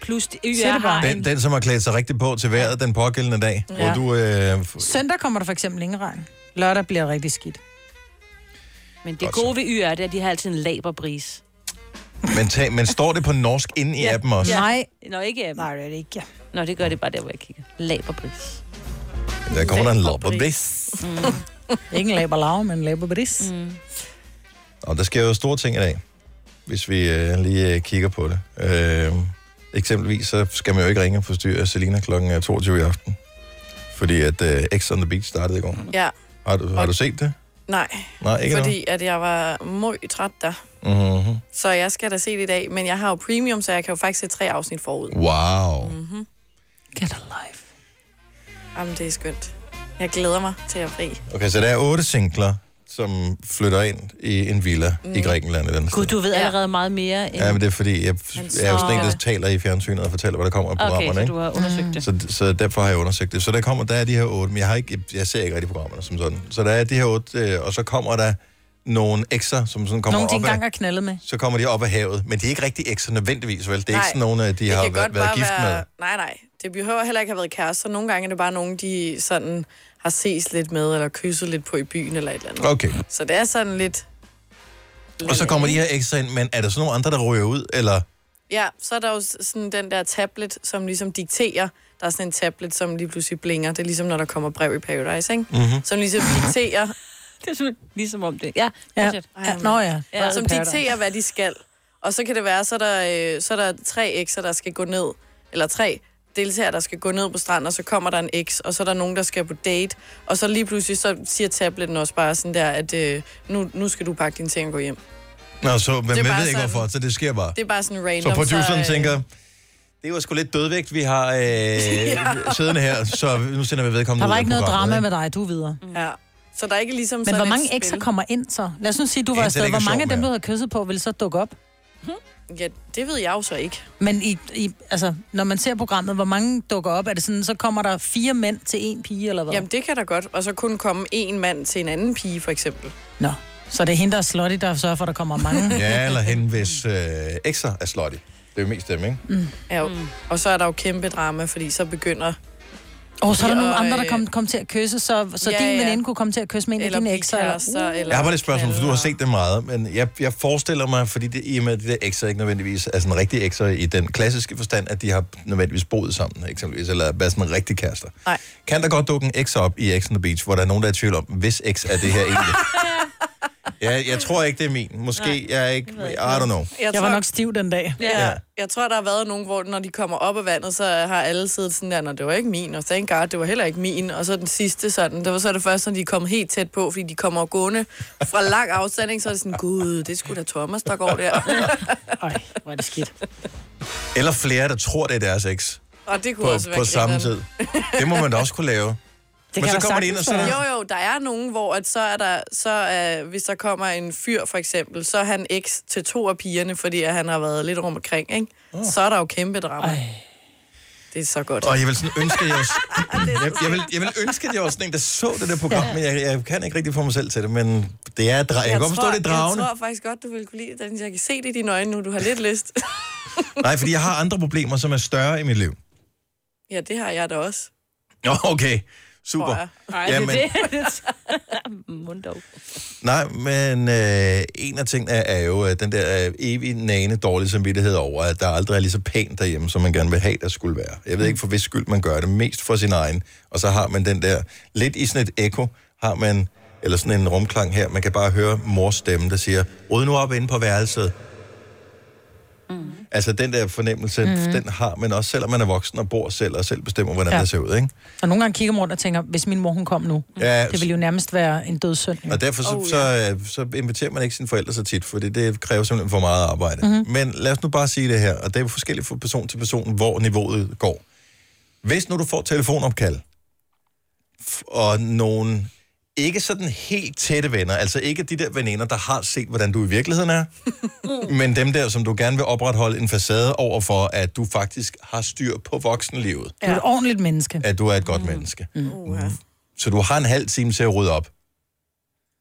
[SPEAKER 3] Plus,
[SPEAKER 4] Så er det bare.
[SPEAKER 1] Den, den, som har klædt sig rigtigt på til vejret den pågældende dag,
[SPEAKER 4] Ja.
[SPEAKER 1] ja. hvor du... Øh, f-
[SPEAKER 4] Søndag kommer der for eksempel ingen regn. Lørdag bliver det rigtig skidt.
[SPEAKER 3] Men det gode ved YR, det er, at de har altid en laberbris.
[SPEAKER 1] men, tag, men står det på norsk inde i ja. appen også?
[SPEAKER 4] Nej.
[SPEAKER 3] Nå, ikke appen.
[SPEAKER 4] Nej, det er det ikke, ja.
[SPEAKER 3] Nå, det gør det bare der, hvor jeg kigger. Laberbris.
[SPEAKER 1] Der kommer der en lopperbris.
[SPEAKER 4] ikke en laberlav, men en laberbris. Mm.
[SPEAKER 1] Og der sker jo store ting i dag. hvis vi øh, lige øh, kigger på det. Øh, eksempelvis så skal man jo ikke ringe og forstyrre Selina kl. 22 i aften. Fordi at øh, X on the Beach startede i går.
[SPEAKER 2] Ja,
[SPEAKER 1] Har du, har du set det?
[SPEAKER 2] nej.
[SPEAKER 1] Nej, ikke
[SPEAKER 2] Fordi at jeg var møg træt der.
[SPEAKER 1] Mm-hmm.
[SPEAKER 2] Så jeg skal da se det i dag, men jeg har jo premium, så jeg kan jo faktisk se tre afsnit forud.
[SPEAKER 1] Wow.
[SPEAKER 2] Mm-hmm. Get a life. Jamen, det er skønt. Jeg glæder mig til at fri.
[SPEAKER 1] Okay, så der er otte singler, som flytter ind i en villa mm. i Grækenland. Eller andet
[SPEAKER 3] Gud,
[SPEAKER 1] sted.
[SPEAKER 3] du ved allerede meget mere end...
[SPEAKER 1] Ja, men det er fordi, jeg, jeg er jo sådan en, der
[SPEAKER 3] Nå.
[SPEAKER 1] taler i fjernsynet og fortæller, hvad der kommer af
[SPEAKER 3] Okay,
[SPEAKER 1] programmerne.
[SPEAKER 3] så
[SPEAKER 1] ikke?
[SPEAKER 3] du har undersøgt det.
[SPEAKER 1] Så, så derfor har jeg undersøgt det. Så der kommer, der er de her otte, men jeg, har ikke, jeg, jeg ser ikke rigtig programmerne som sådan. Så der er de her otte, øh, og så kommer der nogle ekser, som sådan kommer
[SPEAKER 4] Nogle, de
[SPEAKER 1] op af,
[SPEAKER 4] engang har knaldet med.
[SPEAKER 1] så kommer de op af havet. Men det er ikke rigtig ekser nødvendigvis, vel? Det er
[SPEAKER 2] Nej,
[SPEAKER 1] ikke sådan nogle, øh, de
[SPEAKER 2] det
[SPEAKER 1] har
[SPEAKER 2] kan
[SPEAKER 1] været,
[SPEAKER 2] godt
[SPEAKER 1] været
[SPEAKER 2] bare
[SPEAKER 1] gift med.
[SPEAKER 2] Nej, nej. Det behøver heller ikke have været kærester. Nogle gange er det bare nogen, de sådan har ses lidt med, eller kysset lidt på i byen, eller et eller andet.
[SPEAKER 1] Okay.
[SPEAKER 2] Så det er sådan lidt...
[SPEAKER 1] Og så kommer de her ekser ind, men er der så nogle andre, der ryger ud, eller...
[SPEAKER 2] Ja, så er der jo s- sådan den der tablet, som ligesom dikterer. Der er sådan en tablet, som lige pludselig blinker. Det er ligesom, når der kommer brev i Paradise, ikke?
[SPEAKER 3] Mhm.
[SPEAKER 2] Som ligesom dikterer...
[SPEAKER 3] det er sådan, ligesom om det... Ja,
[SPEAKER 4] Ja.
[SPEAKER 3] fortsæt.
[SPEAKER 4] Ja, nå ja.
[SPEAKER 2] ja som
[SPEAKER 4] Paradise.
[SPEAKER 2] dikterer, hvad de skal. Og så kan det være, så er der, øh, så er der tre ekser, der skal gå ned. Eller tre deltagere, der skal gå ned på stranden, og så kommer der en eks, og så er der nogen, der skal på date. Og så lige pludselig, så siger tabletten også bare sådan der, at øh, nu, nu skal du pakke dine ting og gå hjem.
[SPEAKER 1] Nå, så
[SPEAKER 2] Det
[SPEAKER 1] man,
[SPEAKER 2] er
[SPEAKER 1] man
[SPEAKER 2] bare
[SPEAKER 1] ved ikke,
[SPEAKER 2] sådan-
[SPEAKER 1] hvorfor, så det sker bare.
[SPEAKER 2] Det er bare sådan
[SPEAKER 1] Så
[SPEAKER 2] random.
[SPEAKER 1] produceren
[SPEAKER 2] øh,
[SPEAKER 1] tænker, det var sgu lidt dødvægt, vi har øh,
[SPEAKER 2] Ja.
[SPEAKER 1] siddende her, så nu sender vi vedkommende
[SPEAKER 4] Der var
[SPEAKER 1] ud af
[SPEAKER 4] ikke noget
[SPEAKER 1] programmet,
[SPEAKER 4] drama
[SPEAKER 1] ikke?
[SPEAKER 4] med dig, du er videre.
[SPEAKER 2] Mm. Ja. Så der er ikke ligesom
[SPEAKER 4] Men
[SPEAKER 2] sådan
[SPEAKER 4] hvor
[SPEAKER 2] et
[SPEAKER 4] mange
[SPEAKER 2] spil.
[SPEAKER 4] ekser kommer ind så? Lad os nu sige, du var
[SPEAKER 2] Ja,
[SPEAKER 4] afsted.
[SPEAKER 2] det er
[SPEAKER 4] Hvor
[SPEAKER 2] ikke
[SPEAKER 4] mange af
[SPEAKER 2] sjovt
[SPEAKER 4] dem, du
[SPEAKER 2] mere.
[SPEAKER 4] havde kysset på, vil så dukke op? Mm.
[SPEAKER 2] Ja, det ved jeg jo så ikke.
[SPEAKER 4] Men i, i, altså, når man ser programmet, hvor mange dukker op? Er det sådan, så kommer der fire mænd til en pige, eller hvad?
[SPEAKER 2] Jamen, det kan da godt. Og så kun komme en mand til en anden pige, for eksempel.
[SPEAKER 4] Nå, så det er hende, der er slutty, der sørger for, at der kommer mange.
[SPEAKER 1] Ja, eller hen, hvis øh, ekser er slottig. Det er jo mest dem, ikke?
[SPEAKER 4] Mm.
[SPEAKER 2] Ja, jo. Mm. Og så er der jo kæmpe drama, fordi så begynder...
[SPEAKER 4] Og så er der nogle
[SPEAKER 2] Og,
[SPEAKER 4] andre, der
[SPEAKER 2] øh,
[SPEAKER 4] kom, kom til at kysse, så, så
[SPEAKER 2] Ja,
[SPEAKER 4] ja, din
[SPEAKER 2] ja.
[SPEAKER 4] veninde kunne komme til at kysse med en af
[SPEAKER 2] Eller
[SPEAKER 4] dine ekser.
[SPEAKER 2] pigekærester,
[SPEAKER 4] uh.
[SPEAKER 1] Jeg har bare lidt spørgsmål, for du har set det meget, men jeg, jeg forestiller mig, fordi det, i og med, at de der ekser ikke nødvendigvis er sådan rigtige ekser i den klassiske forstand, at de har nødvendigvis boet sammen, eksempelvis, eller været sådan rigtig kærester.
[SPEAKER 2] Nej.
[SPEAKER 1] Kan der godt dukke en eks op i X on the Beach, hvor der er nogen, der er i tvivl om, hvis eks er det her egentlig? jeg, jeg tror ikke, det er min. Måske Nej, jeg er ikke... I don't know.
[SPEAKER 4] Jeg, jeg var nok stiv den dag.
[SPEAKER 2] Ja,
[SPEAKER 1] Ja.
[SPEAKER 2] ja. Jeg tror, der har været nogen, hvor når de kommer op af vandet, så har alle siddet sådan der, når det var ikke min, og thank God, det var heller ikke min, og så den sidste sådan. Det var så det første, når de kom helt tæt på, fordi de kommer gående fra lang afstand, ikke? så er det sådan, gud, det skulle da Thomas, der går der.
[SPEAKER 4] Hvor er det skidt.
[SPEAKER 1] Eller flere, der tror, det er deres eks.
[SPEAKER 2] Og det kunne
[SPEAKER 1] På,
[SPEAKER 2] også være
[SPEAKER 1] på samme tid.
[SPEAKER 2] grineren.
[SPEAKER 1] Det må man da også kunne lave. Det Men så kommer de ind, og så...
[SPEAKER 2] Jo, jo, der er nogen, hvor at så er der, så, øh, hvis der kommer en fyr for eksempel, så er han eks til to af pigerne, fordi at han har været lidt rundt omkring, ikke? Oh. Så er der jo kæmpe drama. Ej. Det er så godt.
[SPEAKER 1] Og jeg vil sådan ønske, at jeg, også, jeg, jeg, vil, jeg vil ønske, at jeg var sådan en, der så det der program, men jeg, jeg kan ikke rigtig få mig selv til det, men det er, dra- jeg, jeg kan godt forstå, det er dragende.
[SPEAKER 2] Jeg tror faktisk godt, du ville kunne lide den. Jeg kan se det i dine øjne nu, du har lidt lyst.
[SPEAKER 1] Nej, fordi jeg har andre problemer, som er større i mit liv.
[SPEAKER 2] ja, det har jeg da også.
[SPEAKER 1] Nå, okay.
[SPEAKER 2] tror
[SPEAKER 1] Super.
[SPEAKER 2] jeg. Ej,
[SPEAKER 1] Jamen,
[SPEAKER 2] det. Mund dog.
[SPEAKER 1] Nej, men øh, en af tingene er jo øh, den der øh, evig nane dårlige samvittighed over, at der aldrig er lige så pænt derhjemme, som man gerne vil have, der skulle være. Jeg ved ikke, for hvis skyld man gør det, mest for sin egen. Og så har man den der, lidt i sådan et ekko, har man, eller sådan en rumklang her, man kan bare høre mors stemme, der siger, ryd nu op inde på værelset. Mm. Altså den der fornemmelse, mm.
[SPEAKER 4] Mhm.
[SPEAKER 1] den har man også, selvom man er voksen og bor selv, og selv bestemmer, hvordan
[SPEAKER 4] Ja.
[SPEAKER 1] ja. det ser ud, ikke?
[SPEAKER 4] Og nogle gange kigger man rundt og tænker, hvis min mor hun kom nu,
[SPEAKER 1] Ja,
[SPEAKER 4] det ville jo nærmest være en død søn.
[SPEAKER 1] Og derfor så, oh, ja. så, øh, så inviterer man ikke sine forældre så tit, for det kræver simpelthen for meget arbejde.
[SPEAKER 4] Mhm.
[SPEAKER 1] Mm-hmm. Men lad os nu bare sige det her, og det er jo forskelligt fra person til person, hvor niveauet går. Hvis nu du får telefonopkald, f- og nogen ikke sådan helt tætte venner, altså ikke de der veninder, der har set, hvordan du i virkeligheden er, men dem der, som du gerne vil opretholde en facade over for, at du faktisk har styr på voksenlivet,
[SPEAKER 4] Du er et ordentligt menneske.
[SPEAKER 1] at du er et godt mm. menneske.
[SPEAKER 4] Mm.
[SPEAKER 1] Så du har en halv time til at rydde op.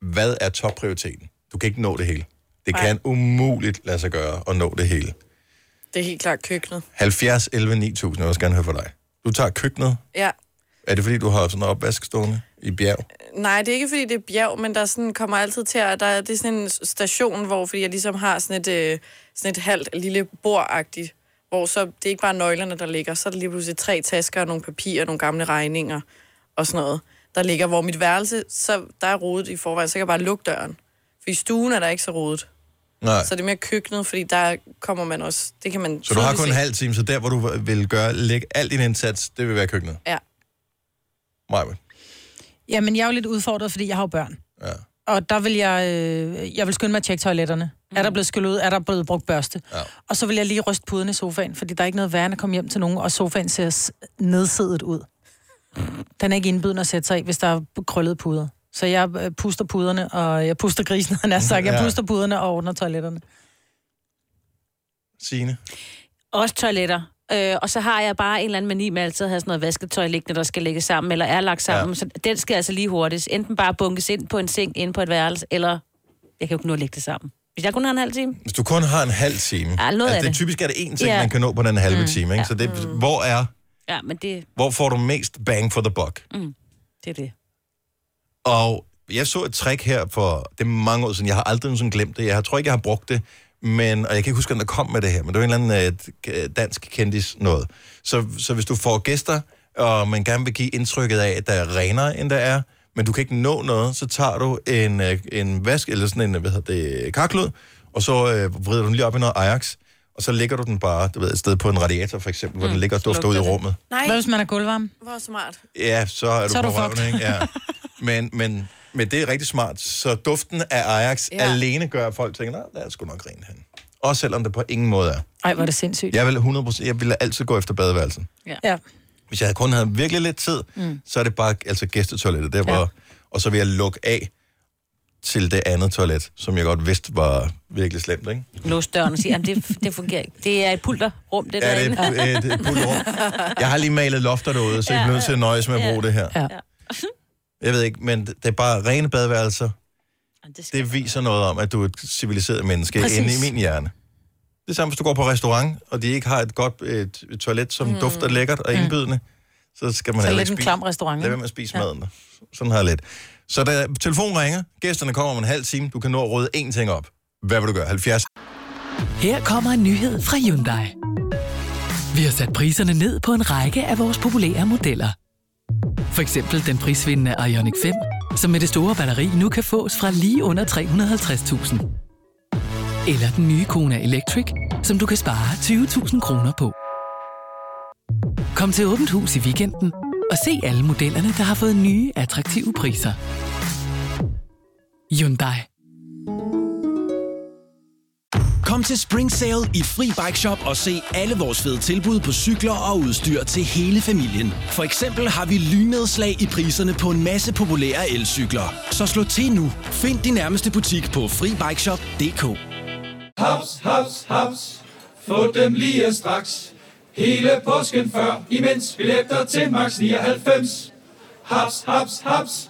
[SPEAKER 1] Hvad er topprioriteten? Du kan ikke nå det hele. Det kan umuligt lade sig gøre at nå det hele.
[SPEAKER 2] Det er helt klart køkkenet.
[SPEAKER 1] 70, 11, 9000, jeg vil også gerne høre fra dig. Du tager køkkenet.
[SPEAKER 2] Ja.
[SPEAKER 1] Er det fordi, du har sådan en opvask stående i bjerg?
[SPEAKER 2] Nej, det er ikke, fordi det er bjerg, men der sådan kommer altid til at... Der, er- det er sådan en station, hvor fordi jeg ligesom har sådan et, øh, sådan et halvt lille bordagtigt, hvor så, det er ikke bare nøglerne, der ligger. Så er der lige pludselig tre tasker og nogle papirer, nogle gamle regninger og sådan noget, der ligger. Hvor mit værelse, så der er rodet i forvejen, så kan jeg bare lukke døren. For i stuen er der ikke så rodet.
[SPEAKER 1] Nej.
[SPEAKER 2] Så det er mere køkkenet, fordi der kommer man også... Det kan man
[SPEAKER 1] Så du har
[SPEAKER 2] tydeligt
[SPEAKER 1] kun en
[SPEAKER 2] se.
[SPEAKER 1] halv time, så der, hvor du vil gøre, lægge al din indsats, det vil være køkkenet.
[SPEAKER 2] Ja.
[SPEAKER 1] Maja.
[SPEAKER 4] Jamen, jeg er jo lidt udfordret, fordi jeg har jo børn.
[SPEAKER 1] Ja.
[SPEAKER 4] Og der vil jeg, øh, jeg vil skynde mig at tjekke toiletterne. Mm. Er der blevet skyllet ud? Er der blevet brugt børste? Ja. Og så vil jeg lige ryste puden i sofaen, fordi der er ikke noget værre end at komme hjem til nogen, og sofaen ser s- nedsiddet ud. Den er ikke indbydende at sætte sig i, hvis der er krøllede puder. Så jeg øh, puster puderne, og jeg puster grisen, han er sagt. Jeg
[SPEAKER 1] Ja.
[SPEAKER 4] puster puderne og ordner toiletterne.
[SPEAKER 1] Signe.
[SPEAKER 3] Også toiletter. Øh, og så har jeg bare en eller anden mani med altid at have sådan noget vasketøj liggende, der skal ligge sammen, eller er lagt sammen.
[SPEAKER 1] Ja.
[SPEAKER 3] Ja. Så den skal altså lige hurtigt. Enten bare bunkes ind på en seng inde på et værelse, eller jeg kan jo ikke nå at lægge det sammen. Hvis jeg kun har en halv time.
[SPEAKER 1] Hvis du kun har en halv time, altså,
[SPEAKER 3] Ja, noget af
[SPEAKER 1] det.
[SPEAKER 3] det.
[SPEAKER 1] typisk er det én ting,
[SPEAKER 3] Ja.
[SPEAKER 1] man kan nå på den halve
[SPEAKER 3] Mm,
[SPEAKER 1] time. Ikke?
[SPEAKER 3] ja.
[SPEAKER 1] Så det, hvor, er,
[SPEAKER 3] Ja, men det,
[SPEAKER 1] hvor får du mest bang for the buck?
[SPEAKER 3] mm, det er det.
[SPEAKER 1] Og jeg så et trick her for det er mange år siden. Jeg har aldrig nogensinde glemt det. Jeg har- tror ikke, jeg har brugt det. Men, og jeg kan ikke huske, hvem der kom med det her, men det var en eller anden øh, dansk kendis noget. Så, så hvis du får gæster, og man gerne vil give indtrykket af, at der er renere, end der er, men du kan ikke nå noget, så tager du en, øh, en vask, eller sådan en, øh, hvad hedder det, karklud, og så øh, vrider du den lige op i noget Ajax, og så lægger du den bare, du ved, et sted på en radiator, for eksempel, hvor den ligger og dufter ud i rummet.
[SPEAKER 2] Nej.
[SPEAKER 4] Hvad hvis man er gulvvarm?
[SPEAKER 2] Hvor smart.
[SPEAKER 1] Ja, så er du,
[SPEAKER 4] Så er
[SPEAKER 1] på
[SPEAKER 4] du fucked.
[SPEAKER 1] røven, ikke? Ja. Men, men, men det er rigtig smart. Så duften af Ajax ja.
[SPEAKER 4] Ja.
[SPEAKER 1] alene gør, at folk tænker, nej, der er sgu nok rent hen. Også selvom det på ingen måde er.
[SPEAKER 4] Ej, hvor er det sindssygt.
[SPEAKER 1] Jeg vil 100%, jeg ville altid gå efter badeværelsen.
[SPEAKER 4] Ja. ja.
[SPEAKER 1] Hvis jeg kun havde virkelig lidt tid, mm. så er det bare altså gæstetoilettet, der hvor, ja. og så vil jeg lukke af til det andet toilet, som jeg godt vidste var virkelig slemt, ikke?
[SPEAKER 3] Lås døren og sige, at det, det fungerer ikke. Det er et pulterrum, det
[SPEAKER 1] Ja, det
[SPEAKER 3] derinde.
[SPEAKER 1] er et- et- et pulterrum. Jeg har lige malet lofter derude, så jeg bliver nødt til at nøjes med at bruge det her.
[SPEAKER 4] Ja.
[SPEAKER 1] Jeg ved ikke, men det er bare rene badeværelser.
[SPEAKER 3] Det,
[SPEAKER 1] det viser noget om, at du er et civiliseret menneske Præcis.
[SPEAKER 4] Præcis.
[SPEAKER 1] inde i min hjerne. Det er samme, hvis du går på restaurant, og de ikke har et godt et, et toilet, som mm. dufter lækkert og indbydende, så skal man
[SPEAKER 4] Så
[SPEAKER 1] heller
[SPEAKER 4] lidt
[SPEAKER 1] ikke
[SPEAKER 4] en
[SPEAKER 1] spise.
[SPEAKER 4] klam restaurant.
[SPEAKER 1] Lad være med at spise ja. maden. Sådan har jeg lidt. Så da telefonen ringer, gæsterne kommer om en halv time, du kan nå at rydde én ting op. Hvad vil du gøre? 70?
[SPEAKER 22] Her kommer en nyhed fra Hyundai. Vi har sat priserne ned på en række af vores populære modeller. For eksempel den prisvindende Ioniq 5, som med det store batteri nu kan fås fra lige under 350.000. Eller den nye Kona Electric, som du kan spare 20.000 kroner på. Kom til Åbent Hus i weekenden og se alle modellerne, der har fået nye, attraktive priser. Hyundai.
[SPEAKER 23] Kom til Spring Sale i Fri Bike Shop og se alle vores fede tilbud på cykler og udstyr til hele familien. For eksempel har vi lynedslag i priserne på en masse populære elcykler. Så slå til nu. Find din nærmeste butik på FriBikeShop.dk
[SPEAKER 24] Haps, haps, haps. Få dem lige straks. Hele påsken før, imens billetter til max 99. Haps, haps, haps.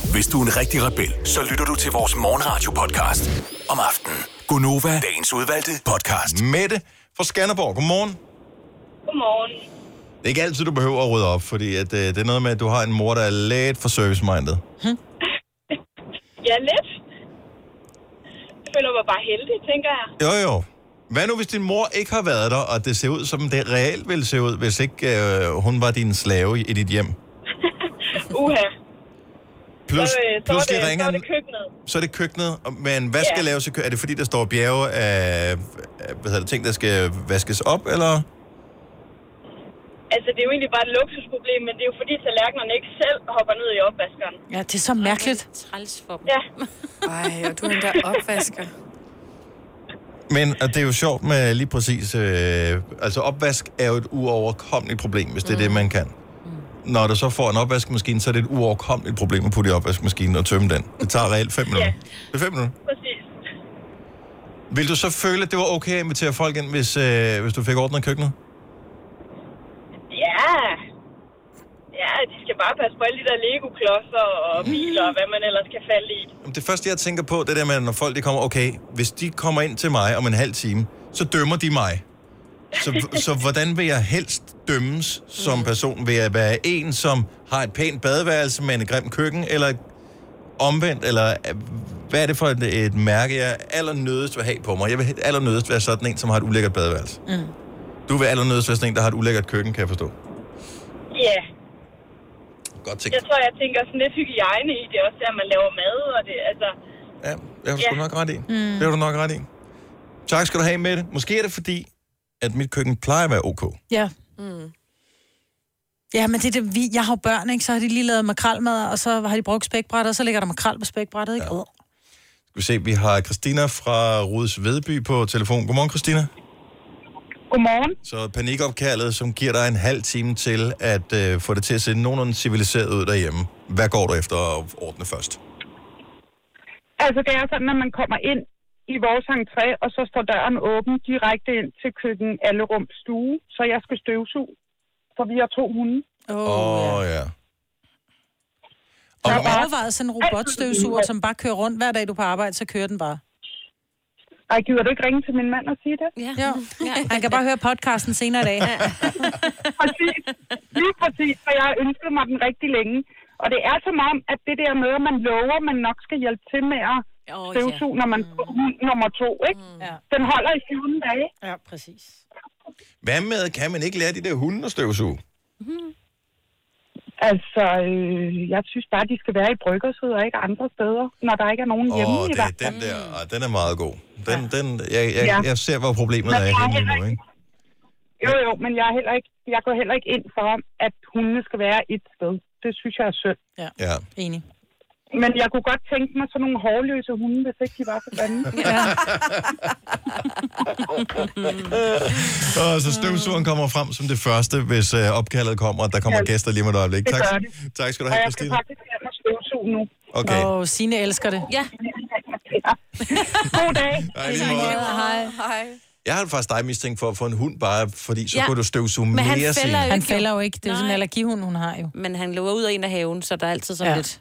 [SPEAKER 6] Hvis du er en rigtig rebel, så lytter du til vores morgenradio-podcast om aftenen. Gunova, dagens udvalgte podcast.
[SPEAKER 1] Mette fra Skanderborg, godmorgen.
[SPEAKER 10] Godmorgen.
[SPEAKER 1] Det er ikke altid, du behøver at rydde op, fordi at, øh, det er noget med, at du har en mor, der er lidt for service-minded.
[SPEAKER 10] Ja, lidt. Jeg føler mig bare heldig, tænker jeg.
[SPEAKER 1] Jo, jo. Hvad nu, hvis din mor ikke har været der, og det ser ud, som det reelt ville se ud, hvis ikke øh, hun var din slave i, i dit hjem?
[SPEAKER 10] Uha.
[SPEAKER 1] Plus,
[SPEAKER 10] så, øh, så, er
[SPEAKER 1] pludselig
[SPEAKER 10] det,
[SPEAKER 1] ringer
[SPEAKER 10] så er
[SPEAKER 1] en-
[SPEAKER 10] det køkkenet.
[SPEAKER 1] så er det køkkenet, og- men hvad skal
[SPEAKER 10] Ja.
[SPEAKER 1] laves i køkkenet? Er det fordi, der står bjerge af, af hvad hedder det, ting, der skal vaskes op, eller?
[SPEAKER 10] Altså, det er jo egentlig bare et luksusproblem, men det er jo fordi tallerkenerne ikke selv hopper ned i opvaskeren.
[SPEAKER 4] Ja, det er så mærkeligt.
[SPEAKER 3] Træls for dem.
[SPEAKER 10] Ja.
[SPEAKER 2] Ej, og du er endda opvasker.
[SPEAKER 1] Men og det er jo sjovt med lige præcis, øh, altså opvask er jo et uoverkommeligt problem, hvis det er det, man kan. Når du så får en opvaskemaskine, så er det et uoverkommeligt problem at putte i opvaskemaskinen og tømme den. Det tager reelt 5 minutter. Det er 5 minutter.
[SPEAKER 10] Præcis.
[SPEAKER 1] Vil du så føle, at det var okay at invitere folk ind, hvis, øh, hvis du fik ordnet køkkenet?
[SPEAKER 10] Ja. Ja, de skal bare passe på alle de der Lego-klodser og biler og hvad man ellers kan falde i.
[SPEAKER 1] Jamen, Det første, jeg tænker på, det er det med, når folk de kommer, okay, hvis de kommer ind til mig om en halv time, så dømmer de mig. Så, så hvordan vil jeg helst dømmes som person? Vil jeg være en, som har et pænt badeværelse med en grim køkken, eller omvendt, eller øh, hvad er det for et, et mærke, jeg allernødest vil have på mig? Jeg vil allernødest være sådan en, som har et ulækkert badeværelse.
[SPEAKER 4] Mm.
[SPEAKER 1] Du vil allernødest være sådan en, der har et ulækkert køkken, kan jeg forstå.
[SPEAKER 10] Ja,
[SPEAKER 1] Godt tænkt.
[SPEAKER 10] jeg tror, jeg tænker sådan lidt hygiejne i det også, at man laver mad og det, altså...
[SPEAKER 1] Ja, det har du sgu
[SPEAKER 10] Ja.
[SPEAKER 1] nok ret i. Mm.
[SPEAKER 10] Mm.
[SPEAKER 1] Det har du nok ret i. Tak skal du have med det. Måske er det fordi, at mit køkken plejer at være ok.
[SPEAKER 4] Ja. Mm. Ja, men det er det, vi, jeg har jo børn, ikke? Så har de lige lavet makrelmad, og så har de brugt spækbrættet, og så ligger der makrel på spækbrættet, ikke? Ja.
[SPEAKER 1] Skal vi se, vi har Christina fra Rudes Vedby på telefon. Godmorgen, Christina.
[SPEAKER 16] Godmorgen.
[SPEAKER 1] Så panikopkaldet, som giver dig en halv time til at øh, få det til at se nogenlunde civiliseret ud derhjemme. Hvad går du efter at ordne først?
[SPEAKER 7] Altså, det er sådan, at man kommer ind i vores entré, og så står døren åben direkte ind til køkken Allerum stue, så jeg skal støvsuge, for vi har to hunde.
[SPEAKER 1] Åh, oh, oh, ja.
[SPEAKER 4] Jeg
[SPEAKER 1] Og-
[SPEAKER 4] har overvejet sådan en robotstøvsuger, som bare kører rundt hver dag, du er på arbejde, så kører den bare.
[SPEAKER 1] Mm.
[SPEAKER 7] Ej, gider du ikke ringe til min mand og sige det?
[SPEAKER 3] Ja.
[SPEAKER 4] Jo. Han kan bare høre podcasten senere i dag.
[SPEAKER 7] præcis. Lige præcis, for jeg har ønsket mig den rigtig længe. Og det er som om, at det der med, at man lover, man nok skal hjælpe til med at støvsuge, når man får hund nummer to, ikke? Den holder i 14 dage.
[SPEAKER 4] Ja, præcis.
[SPEAKER 1] Hvad med, kan man ikke lære de der hunde at støvsuge?
[SPEAKER 7] Altså, øh, jeg synes bare, de skal være i bryggerset og ikke andre steder, når der ikke er nogen hjemme
[SPEAKER 1] Åh,
[SPEAKER 7] i
[SPEAKER 1] det
[SPEAKER 7] hvert
[SPEAKER 1] er den der, ah, den er meget god. Den, den, jeg, jeg,
[SPEAKER 7] Ja.
[SPEAKER 1] jeg ser, hvor problemet
[SPEAKER 7] Men
[SPEAKER 1] er
[SPEAKER 7] jeg er
[SPEAKER 1] henne
[SPEAKER 7] heller
[SPEAKER 1] lige nu, ikke?
[SPEAKER 7] Jo, jo, men jeg, er heller ikke, jeg går heller ikke ind for, at hundene skal være et sted. Det synes jeg er synd.
[SPEAKER 4] Ja.
[SPEAKER 1] ja.
[SPEAKER 4] Enig.
[SPEAKER 7] Men jeg kunne godt tænke mig sådan nogle hårløse hunde, hvis ikke de var så grimme.
[SPEAKER 1] Og så støvsugeren kommer frem som det første, hvis øh, opkaldet kommer, og der kommer
[SPEAKER 7] Ja.
[SPEAKER 1] gæster lige med et øjeblik.
[SPEAKER 7] Det
[SPEAKER 1] Tak,
[SPEAKER 7] gør det.
[SPEAKER 1] tak skal du
[SPEAKER 7] Og
[SPEAKER 1] have,
[SPEAKER 7] jeg skal
[SPEAKER 1] Christina.
[SPEAKER 7] faktisk hjem og støvsuge nu.
[SPEAKER 1] Okay.
[SPEAKER 4] Og Signe elsker det.
[SPEAKER 3] Ja.
[SPEAKER 7] God dag.
[SPEAKER 1] Hej, lige måde.
[SPEAKER 4] Hej.
[SPEAKER 2] Hej.
[SPEAKER 1] Jeg har faktisk dig mistænkt for at få en hund, bare fordi så
[SPEAKER 3] Ja.
[SPEAKER 1] ja. kunne du støvsuge mere Signe.
[SPEAKER 4] Han fælder jo ikke. Det er jo sådan en allergihund, hun har jo.
[SPEAKER 3] Men han løber ud af en af haven, så der er altid sådan
[SPEAKER 4] Ja.
[SPEAKER 3] ja. lidt...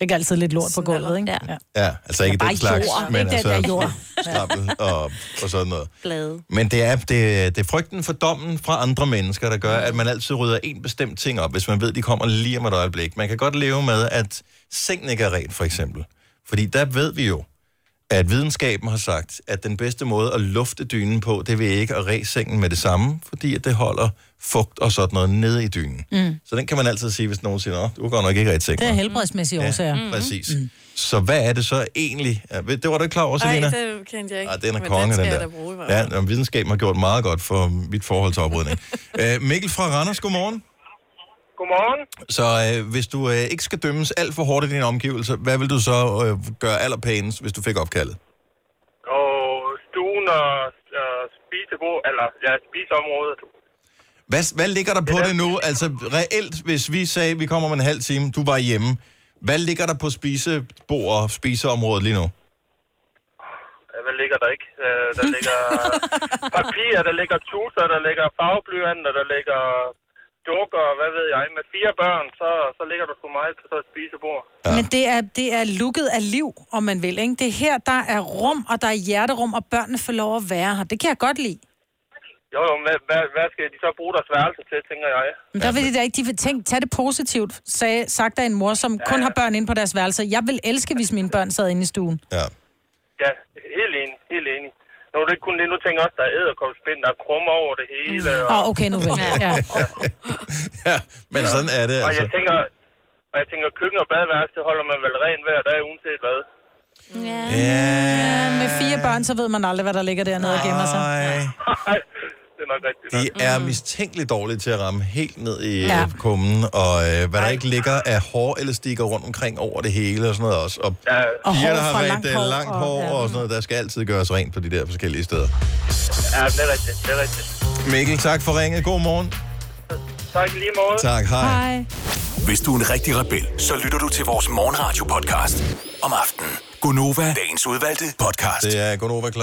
[SPEAKER 4] Ikke altid lidt lort på gulvet, ikke?
[SPEAKER 3] Ja.
[SPEAKER 1] Ja, altså ikke
[SPEAKER 4] Bare
[SPEAKER 1] den slags,
[SPEAKER 4] jord.
[SPEAKER 1] men
[SPEAKER 4] Ikke den
[SPEAKER 1] altså
[SPEAKER 4] der jord.
[SPEAKER 1] skrabbel og, og sådan noget.
[SPEAKER 3] Blade.
[SPEAKER 1] Men det er, det, det er frygten for dommen fra andre mennesker, der gør, at man altid rydder en bestemt ting op, hvis man ved, de kommer lige om et øjeblik. Man kan godt leve med, at sengen ikke er ren, for eksempel. Fordi der ved vi jo, at videnskaben har sagt, at den bedste måde at lufte dynen på, det er ved ikke at ræse sengen med det samme, fordi at det holder fugt og sådan noget nede i dynen.
[SPEAKER 4] Mm.
[SPEAKER 1] Så den kan man altid sige, hvis nogen siger, "Nå, du går nok ikke ret
[SPEAKER 4] Det
[SPEAKER 1] sengen.
[SPEAKER 4] er helbredsmæssige årsager.
[SPEAKER 1] Ja, præcis. Mm. Så hvad er det så egentlig? Ja, ved- Det var du ikke klar over,
[SPEAKER 2] Ej,
[SPEAKER 1] Selina?
[SPEAKER 2] det kendte jeg ikke.
[SPEAKER 1] Ej, den er
[SPEAKER 2] Men
[SPEAKER 1] konge,
[SPEAKER 2] skal
[SPEAKER 1] den
[SPEAKER 2] jeg
[SPEAKER 1] der.
[SPEAKER 2] da bruge i hvert
[SPEAKER 1] Ja, og videnskaben har gjort meget godt for mit forhold til oprydning. Æ, Mikkel fra Randers, godmorgen.
[SPEAKER 8] Godmorgen.
[SPEAKER 1] Så øh, hvis du øh, ikke skal dømmes alt for hårdt i dine omgivelser, hvad vil du så øh, gøre allerpænest, hvis du fik opkaldet?
[SPEAKER 8] Og stuen og øh, spisebord, eller ja, spiseområdet.
[SPEAKER 1] Hvad, hvad ligger der på det nu? Altså reelt, hvis vi sagde, vi kommer om en halv time, du var hjemme. Hvad ligger der på spisebord og spiseområdet lige nu?
[SPEAKER 8] Ja, Hvad ligger der ikke? Øh, der ligger papir, der ligger tuser, der ligger farveblyanter, der ligger dukker, hvad ved jeg. Med fire børn, så, så ligger der sgu meget på så et spisebord.
[SPEAKER 4] Ja. Men det er, det er lukket af liv, om man vil. Ikke? Det er her, der er rum, og der er hjerterum, og børnene får lov at være her. Det kan jeg godt lide.
[SPEAKER 8] Jo, jo, men hvad, hvad, hvad skal de så bruge deres værelse til, tænker jeg.
[SPEAKER 4] Men der vil de da ikke, de vil tænke, tag det positivt, sagde, sagt af en mor, som ja, kun har børn inde på deres værelse. Jeg vil elske, hvis mine børn sad inde i stuen.
[SPEAKER 1] Ja.
[SPEAKER 8] Ja, helt enig, helt enig. Nu er det ikke kun det, nu tænker jeg også, der er æderkopspind, der er krummer over det hele.
[SPEAKER 4] Åh, oh, okay, nu vel. Ja.
[SPEAKER 1] ja, men sådan er det
[SPEAKER 8] Og
[SPEAKER 1] altså.
[SPEAKER 8] jeg tænker, og jeg tænker, køkken og badeværelse det holder man vel ren hver dag, uanset hvad.
[SPEAKER 1] Ja,
[SPEAKER 4] med fire børn, så ved man aldrig, hvad der ligger dernede og gemmer sig.
[SPEAKER 1] Nej.
[SPEAKER 8] Det er nok rigtigt.
[SPEAKER 1] De er mistænkeligt dårlige til at ramme helt ned i
[SPEAKER 4] Ja.
[SPEAKER 1] ja. kummen, og øh, hvad der ikke ligger af hår eller stikker rundt omkring over det hele og sådan noget også. Og, ja.
[SPEAKER 8] Og hår
[SPEAKER 1] der har
[SPEAKER 8] fra
[SPEAKER 1] været
[SPEAKER 8] langt
[SPEAKER 1] øh,
[SPEAKER 8] hår
[SPEAKER 1] langt
[SPEAKER 8] og-
[SPEAKER 1] hår
[SPEAKER 8] ja.
[SPEAKER 1] og, og sådan noget, der skal altid gøres rent på de der forskellige steder.
[SPEAKER 8] Ja, det er rigtigt, det er rigtigt.
[SPEAKER 1] Mikkel, tak for ringet. God morgen.
[SPEAKER 8] Tak i lige måde.
[SPEAKER 1] Tak, hej.
[SPEAKER 8] hej.
[SPEAKER 6] Hvis du er en rigtig rebel, så lytter du til vores morgenradio-podcast om aftenen. Gunova, dagens udvalgte podcast.
[SPEAKER 1] Det er Gunova kl.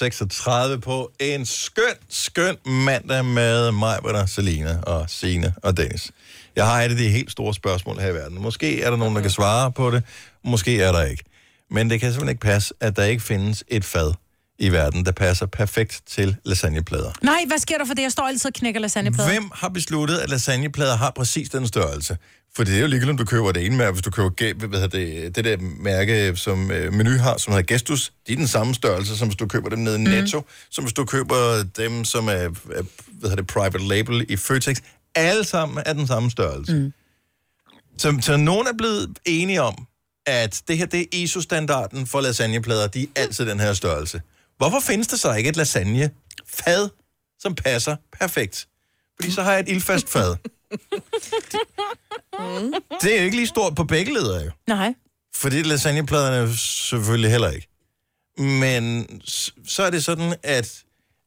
[SPEAKER 1] 8.36 på en skøn, skøn mandag med mig, hvor der Selina og Sine og Dennis. Jeg har et af de helt store spørgsmål her i verden. Måske er der nogen, der kan svare på det, måske er der ikke. Men det kan simpelthen ikke passe, at der ikke findes et fad i verden, der passer perfekt til lasagneplader.
[SPEAKER 4] Nej, hvad sker der for det? Jeg står altid og knækker lasagneplader.
[SPEAKER 1] Hvem har besluttet, at lasagneplader har præcis den størrelse? For det er jo ligegyldigt, om du køber det ene mærke, hvis du køber gæ- hvad hedder det, det der mærke, som øh, menu har, som hedder Gestus. De er den samme størrelse, som hvis du køber dem nede i Netto, mm. som hvis du køber dem, som er, er hvad hedder det, private label i Føtex. Alle sammen er den samme størrelse. Mm. Så, så nogen er blevet enige om, at det her, det er ISO-standarden for lasagneplader. De er altid den her størrelse. Hvorfor findes der så ikke et lasagnefad, som passer perfekt? Fordi så har jeg et ildfast fad.
[SPEAKER 4] Mm.
[SPEAKER 1] Det er jo ikke lige stort på begge ledere, jo.
[SPEAKER 4] Nej.
[SPEAKER 1] Fordi lasagnepladerne er jo selvfølgelig heller ikke. Men s- så er det sådan, at,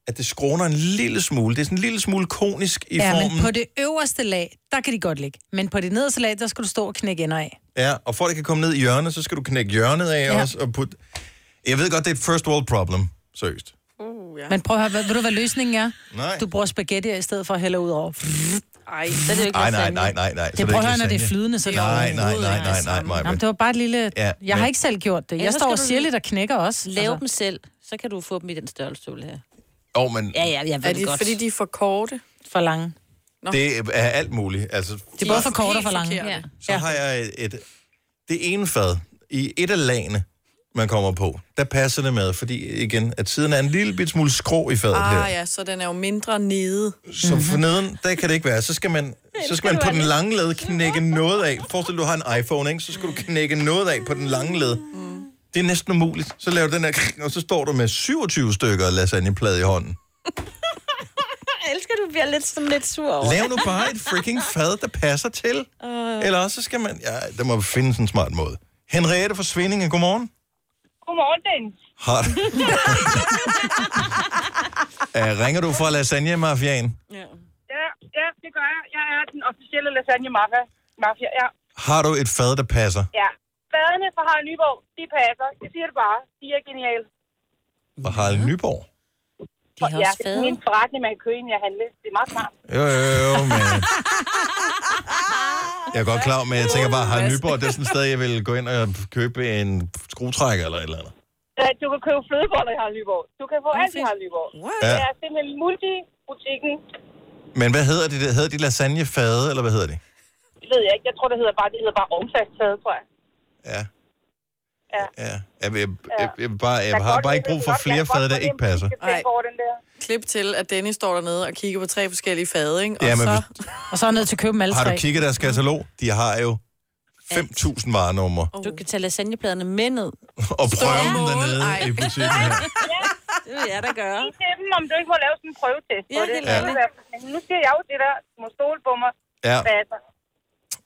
[SPEAKER 1] at det skråner en lille smule. Det er sådan en lille smule konisk i
[SPEAKER 4] ja,
[SPEAKER 1] formen.
[SPEAKER 4] men på det øverste lag, der kan de godt ligge. Men på det nederste lag, der skal du stå og knække ender af.
[SPEAKER 1] Ja, og for at det kan komme ned i hjørnet, så skal du knække hjørnet af ja.
[SPEAKER 4] Ja.
[SPEAKER 1] også. Og put... Jeg ved godt, det er et first world problem. Seriøst.
[SPEAKER 3] Oh,
[SPEAKER 4] Uh, ja. Men prøv at høre, hvad- ved du, hvad løsningen er?
[SPEAKER 1] Nej.
[SPEAKER 4] Du bruger spaghetti i stedet for at hælde ud over.
[SPEAKER 2] Ej,
[SPEAKER 4] så er det jo ikke
[SPEAKER 1] Ej, nej,
[SPEAKER 4] lasagne.
[SPEAKER 1] nej, nej, nej.
[SPEAKER 4] Det
[SPEAKER 1] så er
[SPEAKER 4] prøver
[SPEAKER 1] ikke
[SPEAKER 4] han, når det er
[SPEAKER 1] lasagne.
[SPEAKER 4] flydende, så er det
[SPEAKER 1] Nej, nej,
[SPEAKER 4] overhovedet
[SPEAKER 1] nej,
[SPEAKER 4] ikke
[SPEAKER 1] nej, nej, nej.
[SPEAKER 4] Jamen, det var bare et lille...
[SPEAKER 1] Ja,
[SPEAKER 4] Ja, jeg har
[SPEAKER 1] men-
[SPEAKER 4] ikke selv gjort det. Jeg
[SPEAKER 3] Ellers
[SPEAKER 4] står og
[SPEAKER 3] skal du
[SPEAKER 4] siger lidt og knækker også. altså.
[SPEAKER 3] Lave dem selv, så kan du få dem i den størrelse, du vil have.
[SPEAKER 1] Åh, oh, men
[SPEAKER 3] Ja, ja, jeg ved
[SPEAKER 2] Er
[SPEAKER 3] det
[SPEAKER 2] de-
[SPEAKER 3] godt.
[SPEAKER 2] fordi de er for korte?
[SPEAKER 4] For lange.
[SPEAKER 2] Nå.
[SPEAKER 1] Det er alt muligt. Altså,
[SPEAKER 4] Det er både for kort og for lange.
[SPEAKER 2] forkerte.
[SPEAKER 1] Så har jeg et, et, det ene fad i et af lagene, man kommer på. Der passer det med, fordi igen, at siden er en lille bit smule skrå i fadet her.
[SPEAKER 2] Ah ja, så den er jo mindre nede.
[SPEAKER 1] Så forneden, der kan Mhm. det ikke være. Så skal man, så skal man på den lange led knække noget af. Forestil dig, du har en iPhone, ikke? Så skal du knække noget af på den lange led. Det er næsten umuligt. Så laver du den her, kring, og så står du med 27 stykker lasagneplade i hånden.
[SPEAKER 3] Jeg elsker, du bliver lidt, sådan lidt sur over.
[SPEAKER 1] Lav nu bare et freaking fad, der passer til.
[SPEAKER 3] Øh.
[SPEAKER 1] Eller også så skal man... Ja, der må findes en smart måde. Henriette fra Svindinge, godmorgen.
[SPEAKER 10] Godmorgen, Dennis.
[SPEAKER 1] Har du... Uh, ringer du fra lasagne mafiaen
[SPEAKER 10] Ja, ja, det gør jeg. Jeg er den officielle lasagne mafia. mafia. Ja,
[SPEAKER 1] Har du et fad, der passer?
[SPEAKER 10] ja. Badene fra Harald Nyborg, de passer. Jeg siger det bare. De er geniale.
[SPEAKER 1] Og Harald Nyborg?
[SPEAKER 10] De har ja, det er min forretning, man kan købe, inden jeg handler. Det er meget smart.
[SPEAKER 1] Jo, jo, jo, men... Jeg er godt klar, men jeg tænker bare, Harald Nyborg, det er sådan et sted, jeg vil gå ind og købe en skruetrækker eller et eller andet.
[SPEAKER 10] Ja, Øh, du kan købe flødeboller i Harald Nyborg. Du kan få alt i Harald Nyborg.
[SPEAKER 1] Ja.
[SPEAKER 10] Det er simpelthen multibutikken.
[SPEAKER 1] Men hvad hedder de? Hedder de lasagnefade, eller hvad hedder de?
[SPEAKER 10] Det ved jeg ikke. Jeg tror, det hedder bare, det hedder bare ovnfasttaget, tror jeg.
[SPEAKER 1] Ja.
[SPEAKER 10] Ja.
[SPEAKER 1] Ja. Jeg, vil, jeg, jeg, vil bare, jeg øh, har bare ikke brug for flere fade, der ikke passer.
[SPEAKER 2] Nej. Klip til, at Dennis står dernede og kigger på tre forskellige fade, ikke? Og,
[SPEAKER 1] Ja,
[SPEAKER 2] ja,
[SPEAKER 1] men
[SPEAKER 2] så,
[SPEAKER 4] og så er han nødt til at købe dem alle
[SPEAKER 1] Har du
[SPEAKER 4] tre.
[SPEAKER 1] kigget i deres katalog? De har jo 5.000 varenumre.
[SPEAKER 3] Du kan tage lasagnepladerne med ned.
[SPEAKER 1] Og prøve dem dernede i butikken her.
[SPEAKER 3] Det vil jeg da gøre.
[SPEAKER 10] Sig til dem, om du ikke må lave sådan en prøvetest på
[SPEAKER 3] Ja,
[SPEAKER 10] det.
[SPEAKER 3] helt
[SPEAKER 10] Ja.
[SPEAKER 1] ærligt.
[SPEAKER 10] Nu siger jeg jo det der, du må stole på mig.
[SPEAKER 1] Ja.
[SPEAKER 10] Passer.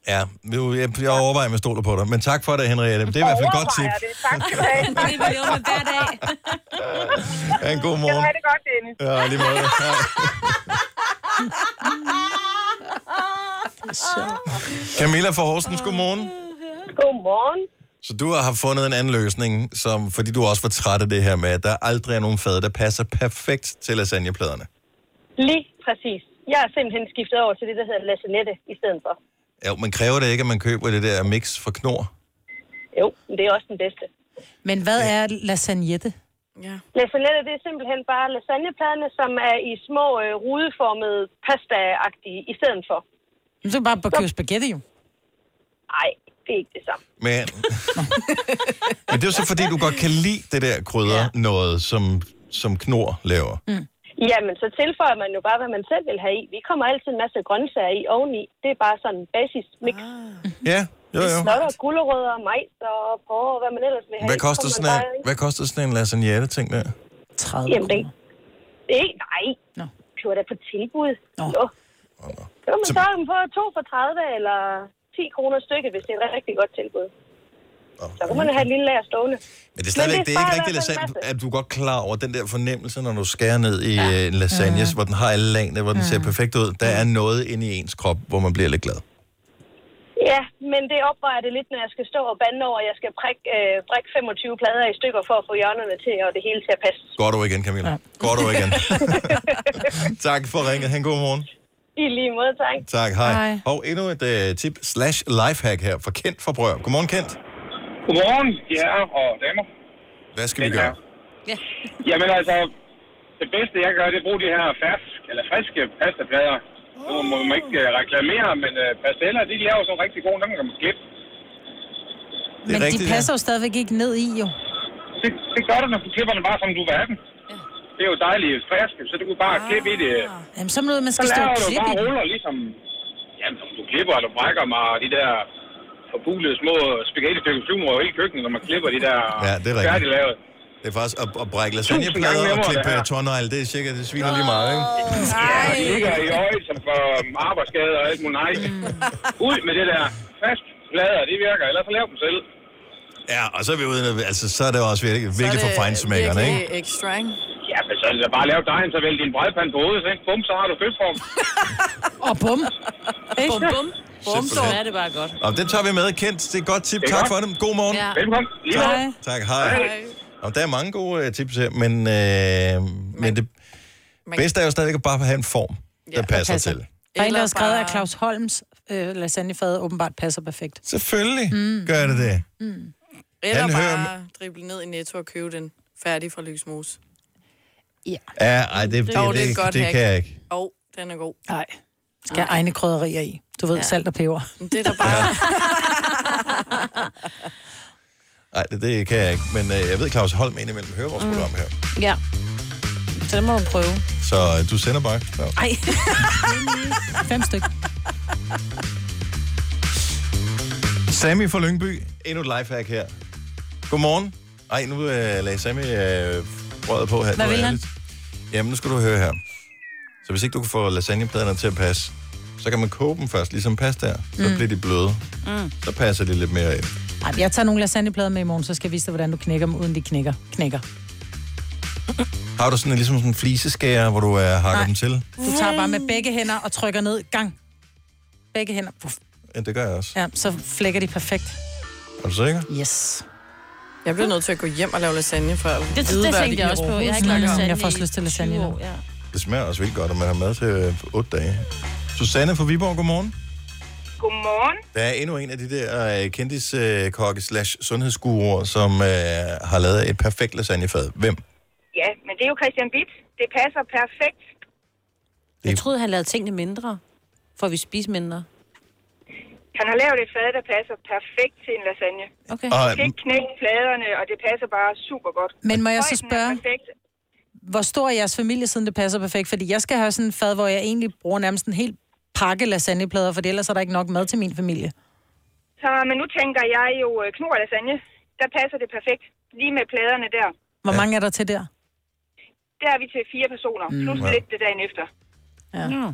[SPEAKER 1] Ja, nu- jeg, jeg overvejer, om jeg stoler på dig. Men tak for det, Henriette. Det er i hvert fald et godt
[SPEAKER 10] Overvejer
[SPEAKER 1] tip.
[SPEAKER 10] Det. Tak skal du have.
[SPEAKER 3] Det vil jeg med hver dag.
[SPEAKER 1] Ja, en
[SPEAKER 10] Skal du
[SPEAKER 1] god morgen.
[SPEAKER 10] have det godt, Dennis.
[SPEAKER 1] Ja, lige måde. Ja. Camilla fra Horsens, godmorgen.
[SPEAKER 25] Godmorgen.
[SPEAKER 1] Så du har fundet en anden løsning, som, fordi du også var træt af det her med, at der aldrig er nogen fad, der passer perfekt til lasagnepladerne.
[SPEAKER 25] Lige præcis. Jeg er simpelthen skiftet over til det, der hedder lasagnette i stedet for.
[SPEAKER 1] Jo, men kræver det ikke, at man køber det der mix fra Knor?
[SPEAKER 25] Jo, men det er også den bedste.
[SPEAKER 4] Men hvad er lasagnette?
[SPEAKER 25] Lasagnette, det er simpelthen bare lasagnepladerne, som er i små øh, rudeformede pasta-agtige i stedet for.
[SPEAKER 4] Men Så kan du bare købe spaghetti jo.
[SPEAKER 25] Nej, det er ikke det samme.
[SPEAKER 1] Men, men det er jo så, fordi du godt kan lide det der krydder ja. noget, som, som Knor laver.
[SPEAKER 25] Jamen, så tilføjer man jo bare, hvad man selv vil have i. Vi kommer altid en masse grøntsager i oveni. Det er bare sådan en basismix.
[SPEAKER 1] Ja, Ah. jo, jo.
[SPEAKER 25] Så er der gulerødder, majs og porre og hvad man ellers vil have.
[SPEAKER 1] Hvad
[SPEAKER 25] i. Så
[SPEAKER 1] koster
[SPEAKER 25] kommer
[SPEAKER 1] sådan,
[SPEAKER 25] bare
[SPEAKER 1] en, hvad koster sådan en lasagnette-ting der?
[SPEAKER 4] 30
[SPEAKER 25] Jamen, det, det er ikke, nej. Nå. Køber da på tilbud. Nå. Nå. Så kan man så dem på 2 for 30 eller 10 kroner stykket, hvis det er et rigtig godt tilbud. Så kan man jo have et lille lager stående.
[SPEAKER 1] Men det er stadigvæk, det er ikke
[SPEAKER 25] sparer
[SPEAKER 1] rigtig
[SPEAKER 25] i hvert fald
[SPEAKER 1] lasagne. Er du godt klar over den der fornemmelse, når du skærer ned i ja. en lasagne, mm. hvor den har alle lagene, hvor den ser perfekt ud? Der er noget inde i ens krop, hvor man bliver lidt glad.
[SPEAKER 25] Ja, men det opvejer det lidt, når jeg skal stå og bande over, at jeg skal prikke, øh, prikke 25 plader i stykker for at få hjørnerne til og det hele til at passe.
[SPEAKER 1] Godt over igen, Camilla. Ja. Godt over igen. tak for ringet. Han god morgen.
[SPEAKER 25] I lige måde, tak.
[SPEAKER 1] Tak, hej. hej. Og endnu et uh, tip slash lifehack her fra Kent fra Brør. Godmorgen, Kent.
[SPEAKER 25] Godmorgen.
[SPEAKER 26] Ja, og damer.
[SPEAKER 1] Hvad skal vi gøre?
[SPEAKER 3] Ja.
[SPEAKER 26] Jamen altså, det bedste jeg gør, det er at bruge de her fersk, eller friske pastaplader. Nu må man ikke øh, reklamere, men øh, pasteller, de laver sådan nogle rigtig gode, dem kan man skæppe.
[SPEAKER 4] Men
[SPEAKER 26] rigtigt,
[SPEAKER 4] de
[SPEAKER 26] ja.
[SPEAKER 4] passer jo stadigvæk ikke ned i, jo.
[SPEAKER 26] Det, det gør det, når du klipper den bare, som du vil have den. Det er jo dejligt friske, så du kan bare klippe i det.
[SPEAKER 4] Jamen, så er det noget, man
[SPEAKER 26] Så
[SPEAKER 4] skal stå
[SPEAKER 26] laver
[SPEAKER 4] og
[SPEAKER 26] du
[SPEAKER 4] klippe
[SPEAKER 26] bare
[SPEAKER 4] i.
[SPEAKER 26] ruller, ligesom... Jamen, om du klipper, eller brækker mig, og de der forbulede små spaghetti-stykker flyver over hele køkkenet, når man klipper de der
[SPEAKER 1] Ja, det er rigtigt.
[SPEAKER 26] færdiglavet.
[SPEAKER 1] Det er faktisk at, at brække
[SPEAKER 26] Tusind gange
[SPEAKER 1] lasagneplader og
[SPEAKER 26] nemmere,
[SPEAKER 1] klippe
[SPEAKER 26] det
[SPEAKER 1] ja.
[SPEAKER 26] her.
[SPEAKER 1] tårnegle, det er cirka, det sviner lige meget, ikke?
[SPEAKER 26] Ja, de ligger i øjet, som for arbejdsskader og alt muligt. Nej. Ud med det der fast plader, det virker. Ellers så lav dem selv.
[SPEAKER 1] Ja, og så er vi ude, altså, så er det jo også virkelig, virkelig for fejnsmækkerne, ikke?
[SPEAKER 2] ekstra, ikke?
[SPEAKER 26] Ja, men så er det da bare lave dejen, så vælg din bredpande på hovedet, så ikke? Bum, så har du fedtform.
[SPEAKER 4] Og bum.
[SPEAKER 3] Bum, bum. Bum, så er det bare godt.
[SPEAKER 1] Og den tager vi med, Kent. Det er et godt tip.
[SPEAKER 26] Det er
[SPEAKER 1] Tak
[SPEAKER 26] godt.
[SPEAKER 1] for dem. God morgen.
[SPEAKER 3] Ja.
[SPEAKER 26] Velkommen. Lige
[SPEAKER 1] tak.
[SPEAKER 26] meget.
[SPEAKER 1] tak, hej.
[SPEAKER 26] Hej.
[SPEAKER 1] Og der er mange gode øh, tips her, men, øh, men det bedste er jo stadigvæk at bare have en form, der passer,
[SPEAKER 4] passer.
[SPEAKER 1] til.
[SPEAKER 4] Der er en, der har
[SPEAKER 2] Eller
[SPEAKER 4] skrevet,
[SPEAKER 2] bare-
[SPEAKER 4] at Claus Holms øh, lasagnefad åbenbart passer perfekt.
[SPEAKER 1] Selvfølgelig mm. gør det det.
[SPEAKER 2] Eller
[SPEAKER 1] Han hører-
[SPEAKER 2] bare drible ned i Netto og købe den færdig fra Lysmose.
[SPEAKER 1] Ja, ej, det, det, det,
[SPEAKER 2] Jo,
[SPEAKER 1] det,
[SPEAKER 2] er et
[SPEAKER 1] det,
[SPEAKER 2] godt
[SPEAKER 1] det
[SPEAKER 2] hack.
[SPEAKER 1] kan jeg ikke.
[SPEAKER 2] Jo, den er god.
[SPEAKER 4] Nej. Skal have egne krydderier i. Du ved, ja. salt og peber.
[SPEAKER 2] Det er da bare...
[SPEAKER 1] Nej, det, det kan jeg ikke. Men øh, jeg ved, Claus Holm indimellem hører vores mm. program her.
[SPEAKER 3] Ja. Så det må du prøve.
[SPEAKER 1] Så øh, du sender bare. Claus.
[SPEAKER 3] Ej.
[SPEAKER 4] Fem styk.
[SPEAKER 1] Sammy fra Lyngby, endnu et lifehack her. Godmorgen. Ej, nu øh, lagde Sammy øh, røret på her.
[SPEAKER 4] Hvad
[SPEAKER 1] Det var
[SPEAKER 4] vil han?
[SPEAKER 1] ærligt. Jamen, nu skal du høre her. Så hvis ikke du kan få lasagnepladerne til at passe, så kan man koge dem først, ligesom pastaer. Så
[SPEAKER 4] Mm.
[SPEAKER 1] bliver de bløde.
[SPEAKER 4] Mm.
[SPEAKER 1] Så passer de lidt mere ind.
[SPEAKER 4] Ej, men jeg tager nogle lasagneplader med i morgen, så skal jeg vise dig, hvordan du knækker dem, uden de knækker. knækker.
[SPEAKER 1] Har du sådan en- ligesom sådan en fliseskærer, hvor du øh, hakker
[SPEAKER 4] Nej.
[SPEAKER 1] dem til?
[SPEAKER 4] Du tager bare med begge hænder og trykker ned. Gang. Begge hænder. Puff.
[SPEAKER 1] Ja, det gør jeg også.
[SPEAKER 4] Ja, så flækker de perfekt.
[SPEAKER 1] Er du sikker?
[SPEAKER 4] Yes.
[SPEAKER 2] Jeg bliver nødt til at gå hjem og lave lasagne for at
[SPEAKER 3] det
[SPEAKER 2] vide, hvad
[SPEAKER 3] tænkte jeg også på. Jeg har ikke
[SPEAKER 2] lavet
[SPEAKER 3] lavet lasagne
[SPEAKER 4] Jeg får også lyst til lasagne nu.
[SPEAKER 3] Ja.
[SPEAKER 1] Det smager også vildt godt, og man har mad til øh, 8 dage. Susanne fra Viborg, godmorgen.
[SPEAKER 27] Godmorgen.
[SPEAKER 1] Der er endnu en af de der øh, kendiskokke slash sundhedsguruer, som øh, har lavet et perfekt lasagnefad. Hvem?
[SPEAKER 27] Ja, men det er jo Christian Bitt. Det passer perfekt.
[SPEAKER 3] Jeg troede, han lavede tingene mindre, for at vi spiser mindre.
[SPEAKER 27] Han har lavet et fad, der passer perfekt til en lasagne.
[SPEAKER 3] Okay.
[SPEAKER 1] Og-
[SPEAKER 27] Du skal ikke knække pladerne, og det passer bare super godt.
[SPEAKER 4] Men må jeg så
[SPEAKER 27] Højden er
[SPEAKER 4] spørge?
[SPEAKER 27] perfekt.
[SPEAKER 4] Hvor stor er jeres familie, siden det passer perfekt? Fordi jeg skal have sådan en fad, hvor jeg egentlig bruger nærmest en hel pakke lasagneplader, for ellers er der ikke nok mad til min familie.
[SPEAKER 27] Så, men nu tænker jeg jo øh, knor lasagne. Der passer det perfekt. Lige med pladerne der.
[SPEAKER 4] Hvor mange er der til der?
[SPEAKER 27] Der er vi til fire personer,
[SPEAKER 4] Mm.
[SPEAKER 27] plus
[SPEAKER 4] Ja.
[SPEAKER 27] lidt det dagen efter.
[SPEAKER 4] Ja.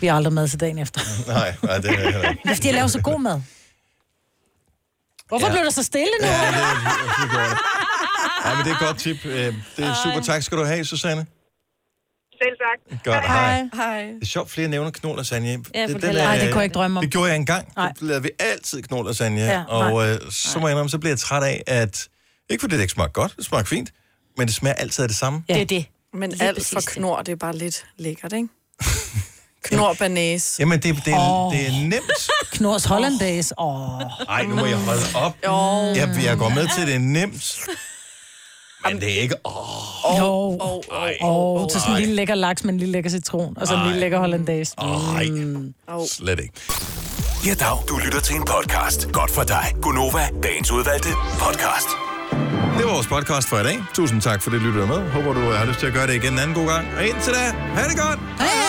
[SPEAKER 4] Vi har aldrig mad til dagen efter.
[SPEAKER 1] Nej, nej det er jeg heller ikke.
[SPEAKER 4] Det er, fordi jeg laver så god mad. Hvorfor
[SPEAKER 1] Ja.
[SPEAKER 4] ja. blev der så stille nu?
[SPEAKER 1] Ja, det er virkelig godt. Ja, men det er et godt tip. Øh, Det er super. Tak skal du have, Susanne.
[SPEAKER 27] Selv tak.
[SPEAKER 1] Godt, hej.
[SPEAKER 2] Hej.
[SPEAKER 1] Det er sjovt, flere nævner knold lasagne. Ja,
[SPEAKER 4] for det heller ikke. Ej, det kunne jeg ikke drømme om.
[SPEAKER 1] Det gjorde jeg engang. Så lavede vi altid knold lasagne.
[SPEAKER 4] Ja,
[SPEAKER 1] og
[SPEAKER 4] nej.
[SPEAKER 1] øh, så må jeg indrømme, så bliver jeg træt af, at... Ikke fordi det ikke smagte godt, det smagte fint, men det smager altid af det samme.
[SPEAKER 2] Ja. Det er det. Men Lige alt for knor, det er bare lidt lækkert, ikke? knor banæs.
[SPEAKER 1] Jamen, det, det, er,
[SPEAKER 2] Åh.
[SPEAKER 1] det er nemt.
[SPEAKER 4] Knors Hollandaise. Åh.
[SPEAKER 1] Ej, nu må jeg holde op. Jeg, jeg går med til, det er nemt. Men det er ikke... Åh,
[SPEAKER 4] Åh, oh, oh, oh, oh, til sådan en lille lækker laks med en lille lækker citron, og så en lille lækker hollandaise. Mm.
[SPEAKER 1] Nej, slet ikke.
[SPEAKER 6] Ja, dag. Du lytter til en podcast. Godt for dig. Gunova, dagens udvalgte podcast.
[SPEAKER 1] Det var vores podcast for i dag. Tusind tak for det, lyttede med. Håber, du har lyst til at gøre det igen en anden god gang. Og indtil da, ha' det godt! Hej!